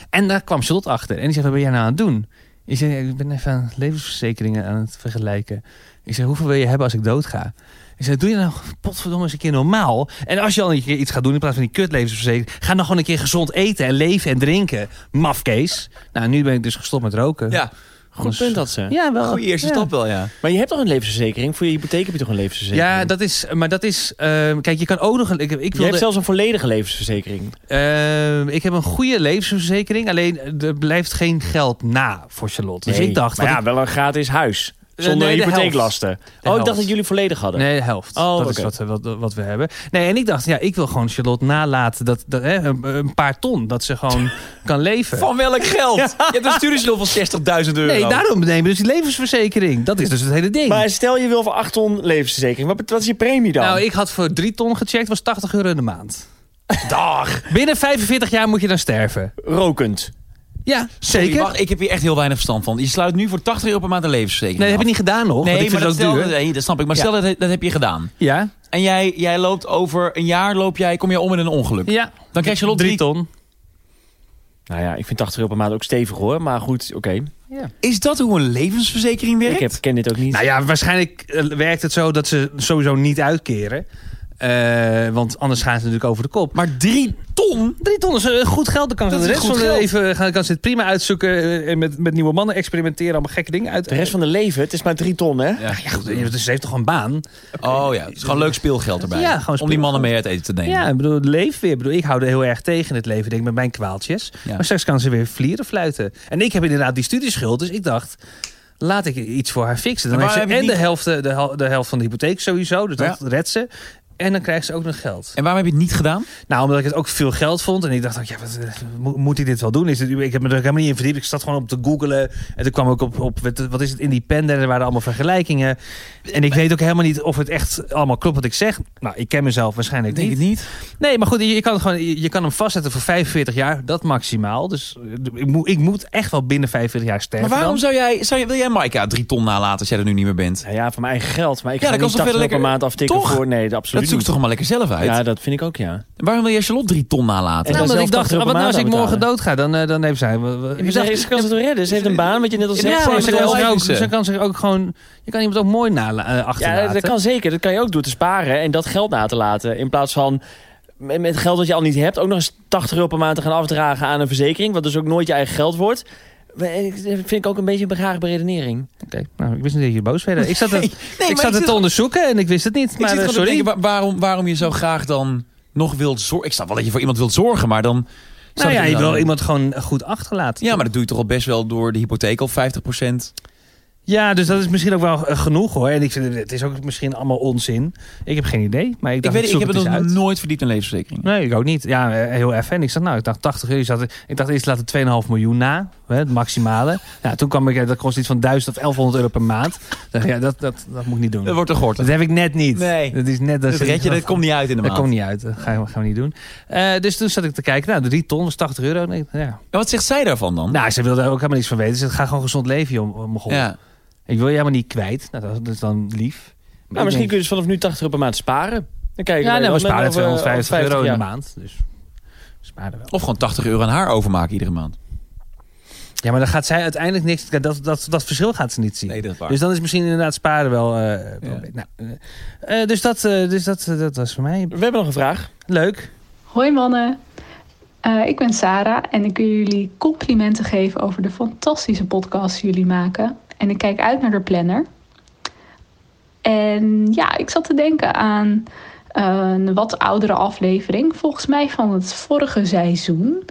Speaker 2: En daar kwam Charlotte achter. En die zegt, wat ben jij nou aan het doen? Ik zeg, ja, ik ben even levensverzekeringen aan het vergelijken. Ik zeg, hoeveel wil je hebben als ik doodga? Ik zei, doe je nou potverdomme eens een keer normaal. En als je al een keer iets gaat doen in plaats van die kutlevensverzekering... ga dan gewoon een keer gezond eten en leven en drinken. Mafkees. Nou, nu ben ik dus gestopt met roken.
Speaker 1: Ja,
Speaker 3: Goed punt dat ze.
Speaker 2: Ja, wel.
Speaker 1: goede eerste
Speaker 2: Ah. Ja.
Speaker 1: stap wel, ja.
Speaker 3: Maar je hebt toch een levensverzekering? Voor je hypotheek heb je toch een levensverzekering?
Speaker 2: Ja, dat is, maar dat is... ehm, kijk, je kan ook nog... een- Ik, ik,
Speaker 3: Je
Speaker 2: wilde,
Speaker 3: hebt zelfs een volledige levensverzekering.
Speaker 2: ehm, ik heb een goede levensverzekering. Alleen er blijft geen geld na voor Charlotte. Dus ik dacht...
Speaker 3: maar
Speaker 2: wat
Speaker 3: ja,
Speaker 2: ik-
Speaker 3: wel een gratis huis.
Speaker 2: Eh,
Speaker 3: Zonder
Speaker 2: nee, de
Speaker 3: hypotheeklasten. Oh, ik
Speaker 2: helft.
Speaker 3: dacht dat jullie volledig hadden.
Speaker 2: Nee, de helft.
Speaker 3: Oh,
Speaker 2: dat
Speaker 3: oké.
Speaker 2: is wat, eh, wat, wat we hebben. Nee, en ik dacht, ja, ik wil gewoon Charlotte nalaten dat, dat hè, een, een paar ton, dat ze gewoon kan leven.
Speaker 1: Van welk geld? Je hebt een studieschuld van 60.000 euro.
Speaker 2: Nee, daarom nemen we dus die levensverzekering. Dat is dus het hele ding.
Speaker 3: Maar stel je wil voor 8 ton levensverzekering. Wat, wat is je premie dan?
Speaker 2: nou, ik had voor drie ton gecheckt, was 80 euro in de maand.
Speaker 3: Dag.
Speaker 2: Binnen 45 jaar moet je dan sterven.
Speaker 3: Rokend.
Speaker 2: Ja,
Speaker 1: Sorry,
Speaker 2: zeker.
Speaker 1: wacht, ik heb hier echt heel weinig verstand van. Je sluit nu voor 80 euro per maand een levensverzekering
Speaker 2: nee, dat heb ik
Speaker 1: af.
Speaker 2: niet gedaan nog. want ik
Speaker 1: Nee,
Speaker 2: vind
Speaker 1: maar dat,
Speaker 2: het ook
Speaker 1: stel,
Speaker 2: duur.
Speaker 1: nee, dat snap ik. Maar
Speaker 2: Ja.
Speaker 1: stel dat, dat heb je gedaan.
Speaker 2: Ja,
Speaker 1: En jij, jij loopt over een jaar, loop jij, kom je om in een ongeluk.
Speaker 2: ja.
Speaker 1: Dan krijg je lot
Speaker 2: drie
Speaker 1: drie-
Speaker 2: ton.
Speaker 3: Nou ja, ik vind 80 euro per maand ook stevig hoor. Maar goed, oké.
Speaker 1: Is dat hoe een levensverzekering werkt?
Speaker 3: Ik heb, ken dit ook niet.
Speaker 2: Nou ja, waarschijnlijk eh, werkt het zo dat ze sowieso niet uitkeren. Eh, want anders gaan ze natuurlijk over de kop.
Speaker 1: Maar drie ton?
Speaker 2: Drie ton is eh, goed geld. Dan kan ze
Speaker 1: Dat
Speaker 2: de
Speaker 1: is
Speaker 2: rest
Speaker 1: goed
Speaker 2: van haar
Speaker 1: geld.
Speaker 2: leven gaan, kan ze het prima uitzoeken. eh, en met, met nieuwe mannen experimenteren. Allemaal gekke dingen uit.
Speaker 3: De rest van de leven, het is maar 3 ton hè?
Speaker 1: Ja.
Speaker 2: Ja, goed, dus ze heeft toch gewoon een baan?
Speaker 1: Oh ja, het is gewoon leuk speelgeld erbij.
Speaker 2: Ja, gewoon
Speaker 1: Om die mannen
Speaker 2: speelgeld.
Speaker 1: mee uit eten te nemen.
Speaker 2: Ja, ik bedoel, leef weer. Ik bedoel, ik hou er heel erg tegen het leven, denk ik, met mijn kwaaltjes.
Speaker 1: Ja.
Speaker 2: Maar straks kan ze weer vlieren fluiten. En ik heb inderdaad die studieschuld, dus ik dacht, laat ik iets voor haar fixen. Dan
Speaker 1: Maar
Speaker 2: heeft ze en
Speaker 1: waarom heb je niet-
Speaker 2: de, helft, eh, de, hel- de helft van de hypotheek sowieso, dus dat redt ze. En dan krijgt ze ook nog geld.
Speaker 1: En waarom heb je het niet gedaan?
Speaker 2: Nou, omdat ik het ook veel geld vond. En ik dacht, ook, ja, wat, eh, mo- moet ik dit wel doen? Is dit, ik heb me er ook helemaal niet in verdiept. Ik zat gewoon op te googlen. En toen kwam ik op, op wat- wat is het, independent. Er waren allemaal vergelijkingen. En ik weet ook helemaal niet of het echt allemaal klopt wat ik zeg. Nou, ik ken mezelf waarschijnlijk niet.
Speaker 1: niet.
Speaker 2: Nee, maar goed, je, je kan, het gewoon, je, je kan hem vastzetten voor 45 jaar. Dat maximaal. Dus eh, ik, moet ik moet echt wel binnen 45 jaar sterven
Speaker 1: Maar waarom
Speaker 2: dan.
Speaker 1: zou jij, zou jij, wil jij Maika drie ton nalaten als jij er nu niet meer bent?
Speaker 3: Nou ja, van mijn eigen geld. Maar ik
Speaker 1: Ja,
Speaker 3: ga
Speaker 1: dan kan
Speaker 3: niet
Speaker 1: ze
Speaker 3: 80
Speaker 1: verder
Speaker 3: euro per
Speaker 1: lekker-
Speaker 3: maand aftikken
Speaker 1: Toch?
Speaker 3: voor. Nee, absoluut
Speaker 1: Dat zoek
Speaker 3: niet.
Speaker 1: ze toch maar lekker zelf uit?
Speaker 3: Ja, dat vind ik ook ja.
Speaker 1: Waarom wil jij Charlotte drie ton nalaten?
Speaker 3: En
Speaker 2: Nou, omdat
Speaker 3: zelf
Speaker 2: ik dacht,
Speaker 3: 80 euro
Speaker 2: wat
Speaker 3: per
Speaker 2: nou als ik
Speaker 3: maand aan
Speaker 2: morgen doodga? Dan, eh, dan heeft zij... wat- wat-
Speaker 3: Ik ze kan ze het redden. Ze heeft een baan, wat je net al
Speaker 2: Ja,
Speaker 3: zegt.
Speaker 2: maar
Speaker 1: heeft
Speaker 2: ze
Speaker 1: wel
Speaker 2: kan, zich ook,
Speaker 1: eisen.
Speaker 2: ze kan zich ook gewoon... Je kan iemand ook mooi nala- eh, achterlaten.
Speaker 3: Ja, dat kan zeker. Dat kan je ook door te sparen en dat geld na te laten. In plaats van met met geld dat je al niet hebt... ook nog eens 80 euro per maand te gaan afdragen aan een verzekering... wat dus ook nooit je eigen geld wordt. Maar, eh, Dat vind ik ook een beetje een begraagde beredenering.
Speaker 2: Oké, nou, ik wist niet dat je boos werd. Ik zat het,
Speaker 1: maar
Speaker 2: ik
Speaker 1: ik
Speaker 2: zat het
Speaker 1: zit-
Speaker 2: te onderzoeken en ik wist het niet.
Speaker 1: Ik
Speaker 2: Maar
Speaker 1: zit
Speaker 2: eh,
Speaker 1: gewoon te
Speaker 2: sorry.
Speaker 1: denken, wa- waarom, waarom je zo graag dan nog wilt zorgen. Ik snap wel dat je voor iemand wilt zorgen, maar dan...
Speaker 2: nou
Speaker 1: snap
Speaker 2: ja,
Speaker 1: ik
Speaker 2: je
Speaker 1: dan-
Speaker 2: wil iemand gewoon eh, goed achterlaten.
Speaker 1: Ja, maar dat doe je toch al best wel door de hypotheek al 50%.
Speaker 2: Ja, dus dat is misschien ook wel eh, genoeg hoor. En ik vind het, het is ook misschien allemaal onzin. Ik heb geen idee, maar ik
Speaker 1: Ik,
Speaker 2: dacht,
Speaker 1: weet, ik
Speaker 2: zoek
Speaker 1: heb het
Speaker 2: het
Speaker 1: nog
Speaker 2: eens uit.
Speaker 1: nooit verdiept in levensverzekering.
Speaker 2: Nee, ik ook niet. Ja, eh, heel even. En ik zat, nou, ik dacht 80 euro. Ik, zat, ik dacht eerst laten 2,5 miljoen na. hè, het maximale. Nou, toen kwam ik, ja, dat kost iets van 1000 of 1100 euro per maand. Dacht, ik, ja, dat, dat, dat moet ik niet doen.
Speaker 1: Dat wordt er gehoord.
Speaker 2: Dat heb ik net niet.
Speaker 1: Nee.
Speaker 2: Dat is net
Speaker 1: Dat red je, dat komt niet uit in de
Speaker 2: Dat
Speaker 1: maand.
Speaker 2: komt niet uit. Dat gaan we, gaan we niet doen. Eh, dus toen zat ik te kijken. Nou, drie ton is 80 euro. Nee, ja.
Speaker 1: En wat zegt zij daarvan dan?
Speaker 2: Nou, ze wilde er ook helemaal niks van weten. Ze zei, ga gewoon gezond leven, joh, eh, mogol.
Speaker 1: ja.
Speaker 2: Ik wil je helemaal niet kwijt. Nou, dat, dat is dan lief.
Speaker 3: Nou,
Speaker 2: kun
Speaker 3: misschien kun je dus vanaf nu 80 euro per maand sparen. Dan kijk je
Speaker 2: Ja, nou,
Speaker 3: er
Speaker 2: nee,
Speaker 3: dan
Speaker 2: we
Speaker 3: met
Speaker 2: sparen
Speaker 3: over, eh,
Speaker 2: 250
Speaker 3: 50
Speaker 2: euro in de
Speaker 3: jaar.
Speaker 2: maand. Dus we sparen wel.
Speaker 1: Of gewoon 80 euro aan haar overmaken iedere maand.
Speaker 2: Ja, maar dan gaat zij uiteindelijk niks... Dat, dat, dat verschil gaat ze niet zien.
Speaker 1: dat is waar.
Speaker 2: Dus dan is misschien inderdaad sparen wel... eh, probleem. nou, eh, eh, dus dat, eh, dus dat, eh, dat was voor mij
Speaker 3: We hebben nog een vraag.
Speaker 2: leuk.
Speaker 6: Hoi mannen, Eh, ik ben Sarah en ik wil jullie complimenten geven over de fantastische podcast die jullie maken. En ik kijk uit naar de planner. En ja, ik zat te denken aan een wat oudere aflevering, volgens mij van het vorige seizoen,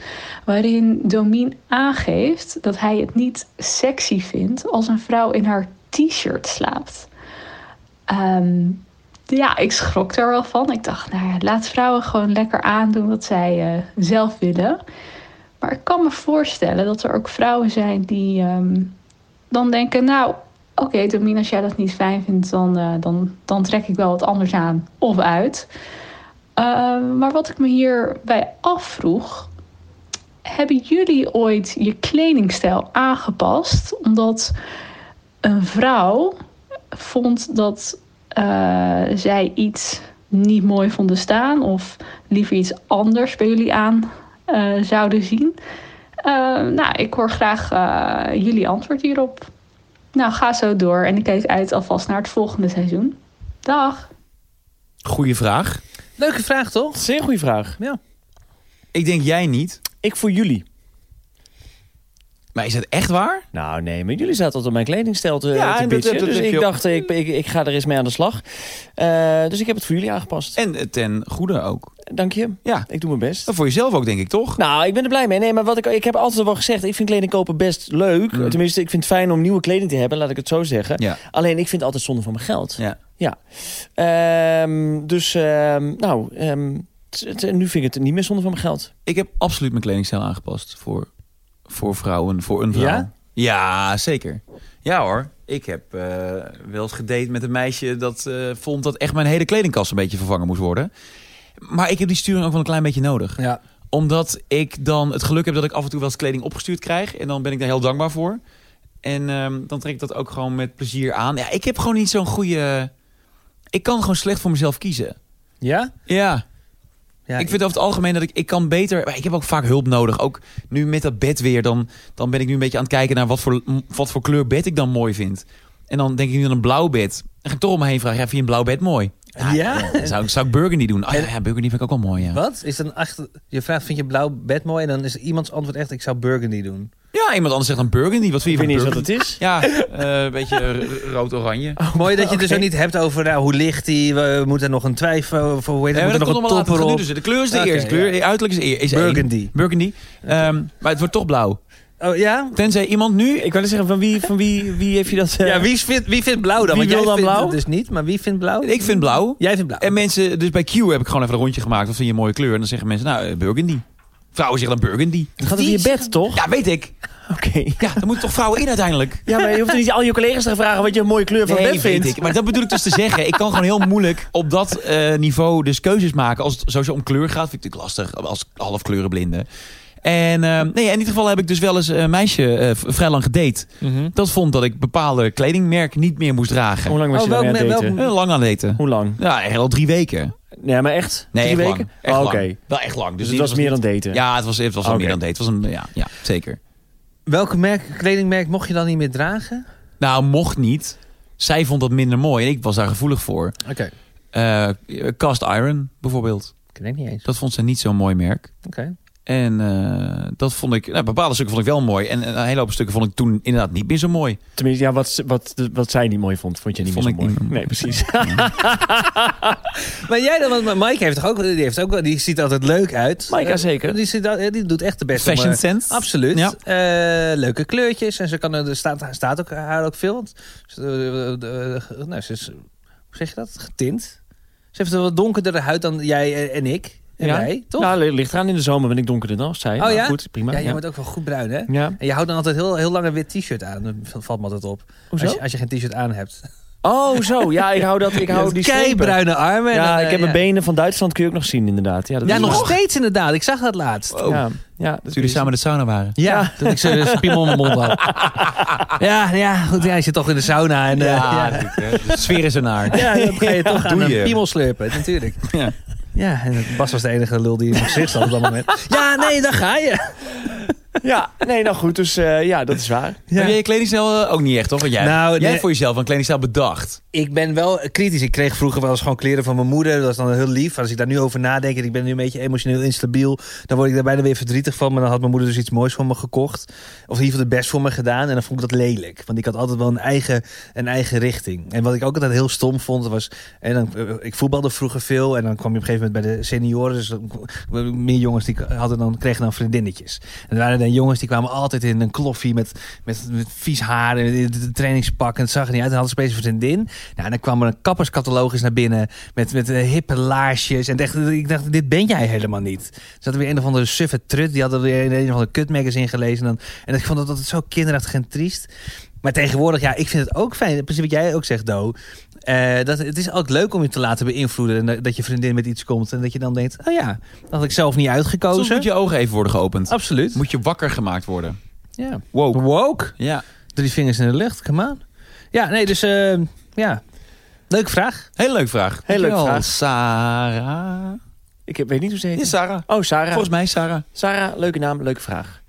Speaker 6: waarin Domien aangeeft dat hij het niet sexy vindt als een vrouw in haar t-shirt slaapt. Ehm ja, ik schrok er wel van. Ik dacht, nou ja, laat vrouwen gewoon lekker aandoen wat zij eh, zelf willen. Maar ik kan me voorstellen dat er ook vrouwen zijn die ehm, dan denken, nou, oké, Domien, als jij dat niet fijn vindt, dan, eh, dan, dan trek ik wel wat anders aan of uit. Ehm, maar wat ik me hierbij afvroeg, hebben jullie ooit je kledingstijl aangepast omdat een vrouw vond dat eh, zij iets niet mooi vonden staan of liever iets anders bij jullie aan eh, zouden zien. Eh, nou, ik hoor graag eh, jullie antwoord hierop. Nou, ga zo door en ik kijk uit alvast naar het volgende seizoen. Dag!
Speaker 1: Goeie vraag.
Speaker 2: Leuke vraag, toch?
Speaker 3: Dat is een zeer goede vraag.
Speaker 1: Ik denk jij niet.
Speaker 3: Ik voor jullie.
Speaker 1: Maar is dat echt waar?
Speaker 3: Nou nee, maar jullie zaten tot op mijn kledingstijl te,
Speaker 1: Ja,
Speaker 3: te
Speaker 1: en dat-
Speaker 3: bitchen.
Speaker 1: dat- dat
Speaker 3: dus
Speaker 1: heb je
Speaker 3: ik
Speaker 1: ook.
Speaker 3: dacht, ik, ik, ik ga er eens mee aan de slag. Eh, dus ik heb het voor jullie aangepast.
Speaker 1: En eh, ten goede ook.
Speaker 3: Dank je.
Speaker 1: Ja,
Speaker 3: Ik doe mijn best.
Speaker 1: dat voor jezelf ook denk ik, toch?
Speaker 3: Nou, ik ben er blij mee. Nee, maar wat ik, ik heb altijd wel gezegd, ik vind kleding kopen best leuk. Tenminste, ik vind het fijn om nieuwe kleding te hebben, laat ik het zo zeggen.
Speaker 1: Mm. Ja.
Speaker 3: Alleen, ik vind het altijd zonde van mijn geld.
Speaker 1: Ja.
Speaker 3: Ja. Ehm, dus, ehm, nou, ehm, t- t- nu vind ik het niet meer zonde van mijn geld.
Speaker 1: Ik heb absoluut mijn kledingstijl aangepast voor, voor vrouwen, voor een vrouw.
Speaker 2: Ja?
Speaker 1: Ja, zeker. Ja hoor. Ik heb eh, wel eens gedate met een meisje dat eh, vond dat echt mijn hele kledingkast een beetje vervangen moest worden. Maar ik heb die sturing ook wel een klein beetje nodig.
Speaker 2: Ja.
Speaker 1: Omdat ik dan het geluk heb dat ik af en toe wel eens kleding opgestuurd krijg. En dan ben ik daar heel dankbaar voor. En ehm, dan trek ik dat ook gewoon met plezier aan. Ja, ik heb gewoon niet zo'n goede... Ik kan gewoon slecht voor mezelf kiezen.
Speaker 2: Ja?
Speaker 1: Ja.
Speaker 2: ja
Speaker 1: ik vind over het algemeen dat ik, ik kan beter... maar Ik heb ook vaak hulp nodig. Ook nu met dat bed weer. Dan, dan ben ik nu een beetje aan het kijken naar wat voor, m, wat voor kleur bed ik dan mooi vind. En dan denk ik nu aan een blauw bed. Dan ga ik toch om me heen vragen. Ja, vind je een blauw bed mooi?
Speaker 2: Ja?
Speaker 1: Dan Zou, ik- zou ik burgundy doen? Ah ja, ja, burgundy vind ik ook wel mooi, ja.
Speaker 2: Wat? Is dan achter, je vraagt, vind je blauw bed mooi? En dan is iemands antwoord echt, ik zou burgundy doen.
Speaker 1: Ja, iemand anders zegt dan burgundy. Wat
Speaker 3: Ik
Speaker 1: vind je
Speaker 3: weet
Speaker 1: van
Speaker 3: niet eens wat
Speaker 1: burgundy?
Speaker 3: het is.
Speaker 1: Ja, eh, een beetje r- rood-oranje.
Speaker 2: mooi dat je het dus ook niet hebt over, nou, hoe ligt die? We moeten nog een twijfel, of hoe heet het,
Speaker 1: Ja,
Speaker 2: we
Speaker 1: maar dat komt
Speaker 2: moeten nog een
Speaker 1: allemaal later. Het
Speaker 2: topper
Speaker 1: gaat nu
Speaker 2: op.
Speaker 1: dus. De kleur is de
Speaker 2: Oké,
Speaker 1: eerste. kleur, Uiterlijk is, e- is één.
Speaker 2: Burgundy.
Speaker 1: Burgundy. Ehm, maar het wordt toch blauw.
Speaker 2: Oh ja?
Speaker 1: Tenzij iemand nu...
Speaker 3: Ik wou zeggen, van wie, van wie, wie heeft je dat... eh,
Speaker 2: Ja, wie vindt, wie vindt blauw dan?
Speaker 3: Wie
Speaker 2: Want
Speaker 3: wil
Speaker 2: jij
Speaker 3: dan
Speaker 2: vindt
Speaker 3: blauw?
Speaker 2: het Dus niet, maar wie vindt blauw?
Speaker 1: Ik vind blauw.
Speaker 2: Jij vindt blauw.
Speaker 1: En mensen, dus bij Q heb ik gewoon even een rondje gemaakt. Wat vind je een mooie kleur? En dan zeggen mensen, nou, eh, burgundy. Vrouwen zeggen dan burgundy.
Speaker 3: Het gaat over je bed,
Speaker 2: Oh.
Speaker 3: toch?
Speaker 1: Ja, weet ik.
Speaker 3: Oké.
Speaker 1: Ja, dan moeten toch vrouwen in uiteindelijk?
Speaker 3: Ja, maar je hoeft niet al je collega's te vragen wat je een mooie kleur van bed
Speaker 1: weet
Speaker 3: vindt.
Speaker 1: ik. Maar dat bedoel ik dus te zeggen. Ik kan gewoon heel moeilijk op dat eh, niveau dus keuzes maken. Als het sowieso om kleur gaat, vind ik het natuurlijk lastig. Als halfkleurenblinde. En eh, nee, in ieder geval heb ik dus wel eens een meisje eh, v- vrij lang gedate. Dat vond dat ik bepaalde kledingmerk niet meer moest dragen.
Speaker 3: Hoe lang was
Speaker 2: Oh,
Speaker 3: je daarmee
Speaker 2: welk-
Speaker 3: aan het
Speaker 2: welk-
Speaker 3: daten?
Speaker 1: Eh, lang aan het daten.
Speaker 3: Hoe lang?
Speaker 1: Ja, heel al drie weken.
Speaker 3: Nee, maar echt?
Speaker 1: Nee,
Speaker 3: Drie
Speaker 1: echt
Speaker 3: weken?
Speaker 1: lang. Echt
Speaker 3: Oh,
Speaker 1: lang.
Speaker 3: Oké.
Speaker 1: Wel echt lang.
Speaker 3: Dus
Speaker 1: die
Speaker 3: het was
Speaker 1: niet-
Speaker 3: meer dan daten?
Speaker 1: Ja, het was, het was wel
Speaker 3: Oké.
Speaker 1: meer dan date. Het was een, ja, ja, zeker.
Speaker 2: Welke merk, kledingmerk mocht je dan niet meer dragen?
Speaker 1: Nou, mocht niet. Zij vond dat minder mooi en ik was daar gevoelig voor.
Speaker 2: Oké.
Speaker 1: Eh, cast iron bijvoorbeeld.
Speaker 2: Ik denk niet eens.
Speaker 1: Dat vond ze niet zo'n mooi merk.
Speaker 2: Oké.
Speaker 1: En eh, dat vond ik, nou, bepaalde stukken vond ik wel mooi. En een hele hoop stukken vond ik toen inderdaad niet meer zo mooi.
Speaker 3: Tenminste, ja, wat, wat, wat zij niet mooi vond, vond je niet
Speaker 1: Vond
Speaker 3: meer
Speaker 1: ik
Speaker 3: zo mooi.
Speaker 1: niet meer mooi.
Speaker 3: Nee, precies.
Speaker 2: Maar jij dan, want Mike heeft toch ook, die, heeft ook, wel- die ziet er altijd leuk uit.
Speaker 3: Maaike,
Speaker 2: Eh,
Speaker 3: zeker.
Speaker 2: Die, ziet, al- eh, die doet echt de beste.
Speaker 1: Fashion
Speaker 2: om, eh,
Speaker 1: sense.
Speaker 2: Absoluut.
Speaker 1: Ja.
Speaker 2: Eh, leuke kleurtjes. En ze kan, er er staat, er staat ook, haar ook veel. want ze, eh, eh, eh, nou, ze is, hoe zeg je dat? Getint. Ze heeft een wat donkerdere huid dan jij eh, en ik. En
Speaker 3: Ja.
Speaker 2: wij, toch?
Speaker 3: Nou, ligt eraan in de zomer ben ik donkerder dan. Zij.
Speaker 2: oh ja?
Speaker 3: Nou, Goed, prima.
Speaker 2: Ja, jij
Speaker 3: ja.
Speaker 2: wordt ook wel goed bruin, hè?
Speaker 3: Ja.
Speaker 2: En je houdt dan altijd heel, heel lang een wit t-shirt aan. Dan valt me altijd op. Als
Speaker 3: Hoezo?
Speaker 2: je, als je geen t-shirt aan hebt.
Speaker 3: Oh, zo. Ja, ik hou dat. Ik hou die strepen.
Speaker 2: bruine armen. en
Speaker 3: Ja,
Speaker 2: dan,
Speaker 3: ik
Speaker 2: eh,
Speaker 3: heb Oh.
Speaker 2: ja.
Speaker 3: mijn benen van Duitsland kun je ook nog zien inderdaad. Ja, dat
Speaker 2: Ja,
Speaker 3: is
Speaker 2: nog Oh.
Speaker 3: wel-
Speaker 2: steeds inderdaad. Ik zag dat laatst.
Speaker 3: Oh. Ja, ja,
Speaker 1: Toen jullie samen in de sauna waren.
Speaker 2: Ja, dat ik zo'n zo'n piemel in mijn mond had. Ja, ja, goed. Ja, je zit toch in de sauna. En, eh, ja.
Speaker 1: natuurlijk, hè. De sfeer is ernaar.
Speaker 2: Ja, dan ga je toch aan
Speaker 1: doe
Speaker 2: een
Speaker 1: je.
Speaker 2: piemel slurpen, natuurlijk.
Speaker 1: Ja.
Speaker 2: Ja, en Bas was de enige lul die in mijn gezicht zat op dat moment. Ja, nee, dan ga je.
Speaker 3: Ja, nee, nou goed. Dus eh, ja, dat is waar.
Speaker 2: Ja.
Speaker 1: Heb jij je kledingstijl eh, ook niet echt, toch? Want jij,
Speaker 2: Nou,
Speaker 1: jij
Speaker 2: nee.
Speaker 1: voor jezelf een kledingstijl bedacht.
Speaker 2: Ik ben wel kritisch. Ik kreeg vroeger wel eens gewoon kleren van mijn moeder. Dat was dan heel lief. Als ik daar nu over nadenk en ik ben nu een beetje emotioneel instabiel... dan word ik daar bijna weer verdrietig van. Maar dan had mijn moeder dus iets moois voor me gekocht. Of in ieder geval het best voor me gedaan. En dan vond ik dat lelijk. Want ik had altijd wel een eigen, een eigen richting. En wat ik ook altijd heel stom vond was... En dan, eh, ik voetbalde vroeger veel. En dan kwam je op een gegeven moment bij de senioren. Dus dan k- meer jongens die k- hadden dan, kregen dan vriendinnetjes. En er waren dan jongens die kwamen altijd in een kloffie... met, met, met vies haar en met een trainingspak. En het zag er niet uit. En hadden ze opeens een vriendin. Nou, en dan kwam er een kapperscatalogus naar binnen met, met eh, hippe laarsjes. En dacht, ik dacht, dit ben jij helemaal niet. Er zat weer een of andere suffe trut, die hadden weer een of andere kutmagazine gelezen. En, dan, en ik vond dat altijd zo kinderachtig en triest. Maar tegenwoordig, ja, ik vind het ook fijn. Precies wat jij ook zegt, Do. Eh, dat, het is ook leuk om je te laten beïnvloeden. En dat- dat je vriendin met iets komt en dat je dan denkt... oh ja, dat had ik zelf niet
Speaker 1: Soms moet
Speaker 2: uitgekozen.
Speaker 1: je ogen even worden geopend.
Speaker 2: Absoluut.
Speaker 1: Moet je wakker gemaakt worden.
Speaker 2: Ja.
Speaker 1: Wow.
Speaker 2: Woke.
Speaker 1: Ja.
Speaker 2: Drie vingers in de lucht, come on. Ja, nee, dus eh, ja. Leuke vraag.
Speaker 1: Hele leuke vraag.
Speaker 3: Hele leuke
Speaker 1: Dankjewel,
Speaker 3: vraag.
Speaker 1: Sarah.
Speaker 3: Ik heb- weet niet hoe ze heet.
Speaker 1: Ja, Sarah.
Speaker 3: Oh, Sarah.
Speaker 1: Volgens mij Sarah.
Speaker 3: Sarah, leuke naam, leuke vraag.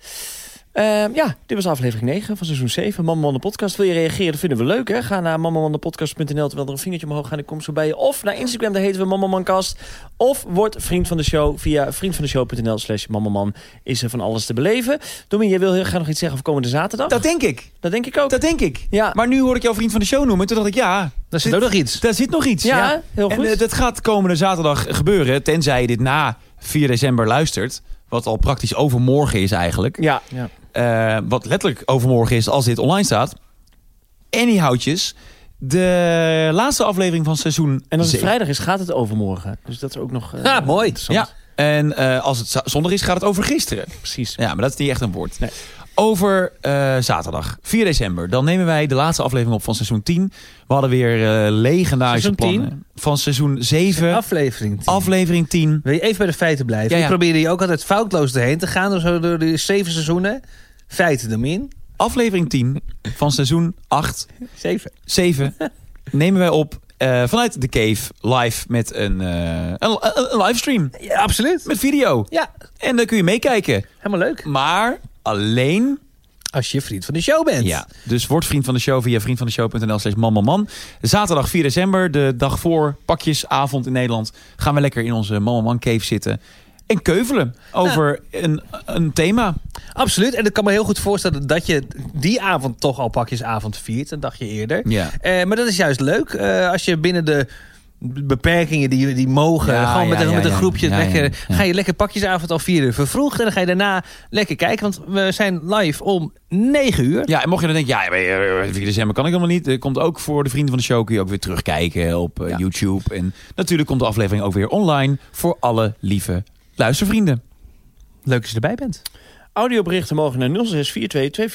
Speaker 3: Ehm, ja, dit was aflevering 9 van seizoen 7. Mama Man de Podcast. Wil je reageren? Dat vinden we leuk, hè? Ga naar mamamandepodcast.nl terwijl er een vingertje omhoog gaat en ik kom zo bij je. Of naar Instagram, daar heten we Mamamancast. Of word vriend van de show via vriendvandeshow.nl slash mamaman. Is er van alles te beleven. Domin, jij wil heel graag nog iets zeggen over komende zaterdag?
Speaker 1: Dat denk ik.
Speaker 3: Dat denk ik ook.
Speaker 1: Dat denk ik.
Speaker 3: Ja.
Speaker 1: Maar nu hoor ik jouw vriend van de show noemen. Toen dacht ik, ja,
Speaker 2: Daar zit
Speaker 1: Dit-
Speaker 2: ook nog iets.
Speaker 1: daar zit nog iets.
Speaker 3: ja, heel
Speaker 1: En
Speaker 3: goed.
Speaker 1: eh, dat gaat komende zaterdag gebeuren. Tenzij je dit na 4 december luistert. Wat al praktisch overmorgen is eigenlijk.
Speaker 3: ja,
Speaker 1: Eh, wat letterlijk overmorgen is als dit online staat. Anyhoutjes. De laatste aflevering van seizoen
Speaker 3: en als het
Speaker 1: zeven.
Speaker 3: vrijdag is, gaat het overmorgen. Dus dat is ook nog... eh,
Speaker 2: Ja, mooi.
Speaker 3: interessant.
Speaker 1: Ah, Ja. En eh, als het za- zondag is, gaat het over gisteren.
Speaker 3: Precies.
Speaker 1: Ja, maar dat is niet echt een woord.
Speaker 3: Nee.
Speaker 1: Over eh, zaterdag, 4 december. Dan nemen wij de laatste aflevering op van seizoen 10. We hadden weer eh, legendarische
Speaker 2: Seizoen 10?
Speaker 1: plannen. Van seizoen 7,
Speaker 2: Aflevering 10.
Speaker 1: aflevering 10.
Speaker 2: Wil je even bij de feiten blijven?
Speaker 1: Ja, ja.
Speaker 2: Ik probeerde je ook altijd foutloos doorheen te gaan. Door, zo door de zeven seizoenen. Feiten, Domin.
Speaker 1: Aflevering 10 van seizoen 8,
Speaker 2: Zeven.
Speaker 1: 7 nemen wij op eh, vanuit de cave live met een, eh, een, een- een livestream.
Speaker 2: Ja, absoluut.
Speaker 1: Met video.
Speaker 2: Ja,
Speaker 1: En dan kun je meekijken.
Speaker 2: helemaal leuk.
Speaker 1: Maar alleen
Speaker 2: Als je vriend van de show bent.
Speaker 1: Ja, dus word vriend van de show via vriendvandeshow.nl slash mammaman. Zaterdag 4 december, de dag voor pakjesavond in Nederland... gaan we lekker in onze mammaman cave zitten en keuvelen over een, een thema.
Speaker 2: Absoluut. En ik kan me heel goed voorstellen dat je die avond toch al pakjesavond viert. Een dagje eerder.
Speaker 1: Ja.
Speaker 2: Eh, maar dat is juist leuk. eh, als je binnen de beperkingen die, die mogen,
Speaker 1: Ja,
Speaker 2: gewoon met,
Speaker 1: ja,
Speaker 2: een,
Speaker 1: ja,
Speaker 2: met een
Speaker 1: ja.
Speaker 2: groepje,
Speaker 1: Ja,
Speaker 2: lekker,
Speaker 1: ja, ja.
Speaker 2: ga je lekker pakjesavond al vier uur vervroegd. En dan ga je daarna lekker kijken, want we zijn live om negen uur.
Speaker 1: Ja, en mocht je dan denken, ja, maar, eh, 4 december kan ik helemaal niet. Er komt ook voor de vrienden van de show, kun je ook weer terugkijken op eh,
Speaker 2: Ja.
Speaker 1: YouTube. En natuurlijk komt de aflevering ook weer online voor alle lieve luistervrienden.
Speaker 2: Leuk als je erbij bent.
Speaker 3: Audioberichten mogen naar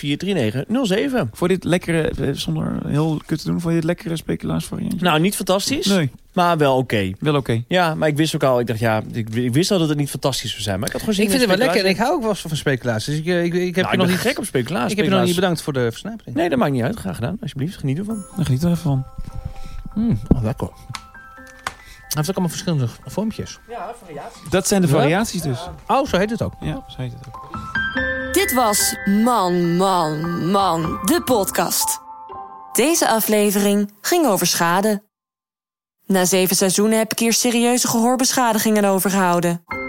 Speaker 3: 0642
Speaker 1: Voor dit lekkere, eh, zonder heel kut te doen, voor dit lekkere speculaarsvariantje?
Speaker 3: Nou, niet fantastisch,
Speaker 1: Nee,
Speaker 3: maar wel oké.
Speaker 1: wel oké.
Speaker 3: Ja, maar ik wist ook al, ik dacht ja, ik, ik wist al dat het niet fantastisch zou zijn. Maar ik had gewoon zin
Speaker 2: Ik vind
Speaker 3: in
Speaker 2: het wel lekker en
Speaker 3: speculatie.
Speaker 2: ik hou ook wel eens van speculatie. Dus ik, eh, ik, ik heb
Speaker 3: Nou,
Speaker 2: je
Speaker 3: ik
Speaker 2: nog
Speaker 3: ben
Speaker 2: niet
Speaker 3: gek op speculaas.
Speaker 2: Ik heb je nog niet
Speaker 3: Speculaas-
Speaker 2: bedankt voor de versnapering.
Speaker 3: Nee, dat maakt niet uit. Graag gedaan, alsjeblieft. Geniet ervan.
Speaker 1: Dan geniet er even van.
Speaker 2: Hmm, oh, lekker. Hij heeft ook allemaal verschillende vormpjes.
Speaker 1: Dat zijn de
Speaker 2: Ja?
Speaker 1: variaties dus.
Speaker 2: Oh, zo heet het ook.
Speaker 1: Ja, zo heet het ook.
Speaker 4: Dit was Man, Man, Man, de podcast. Deze aflevering ging over schade. Na zeven seizoenen heb ik hier serieuze gehoorbeschadigingen overgehouden.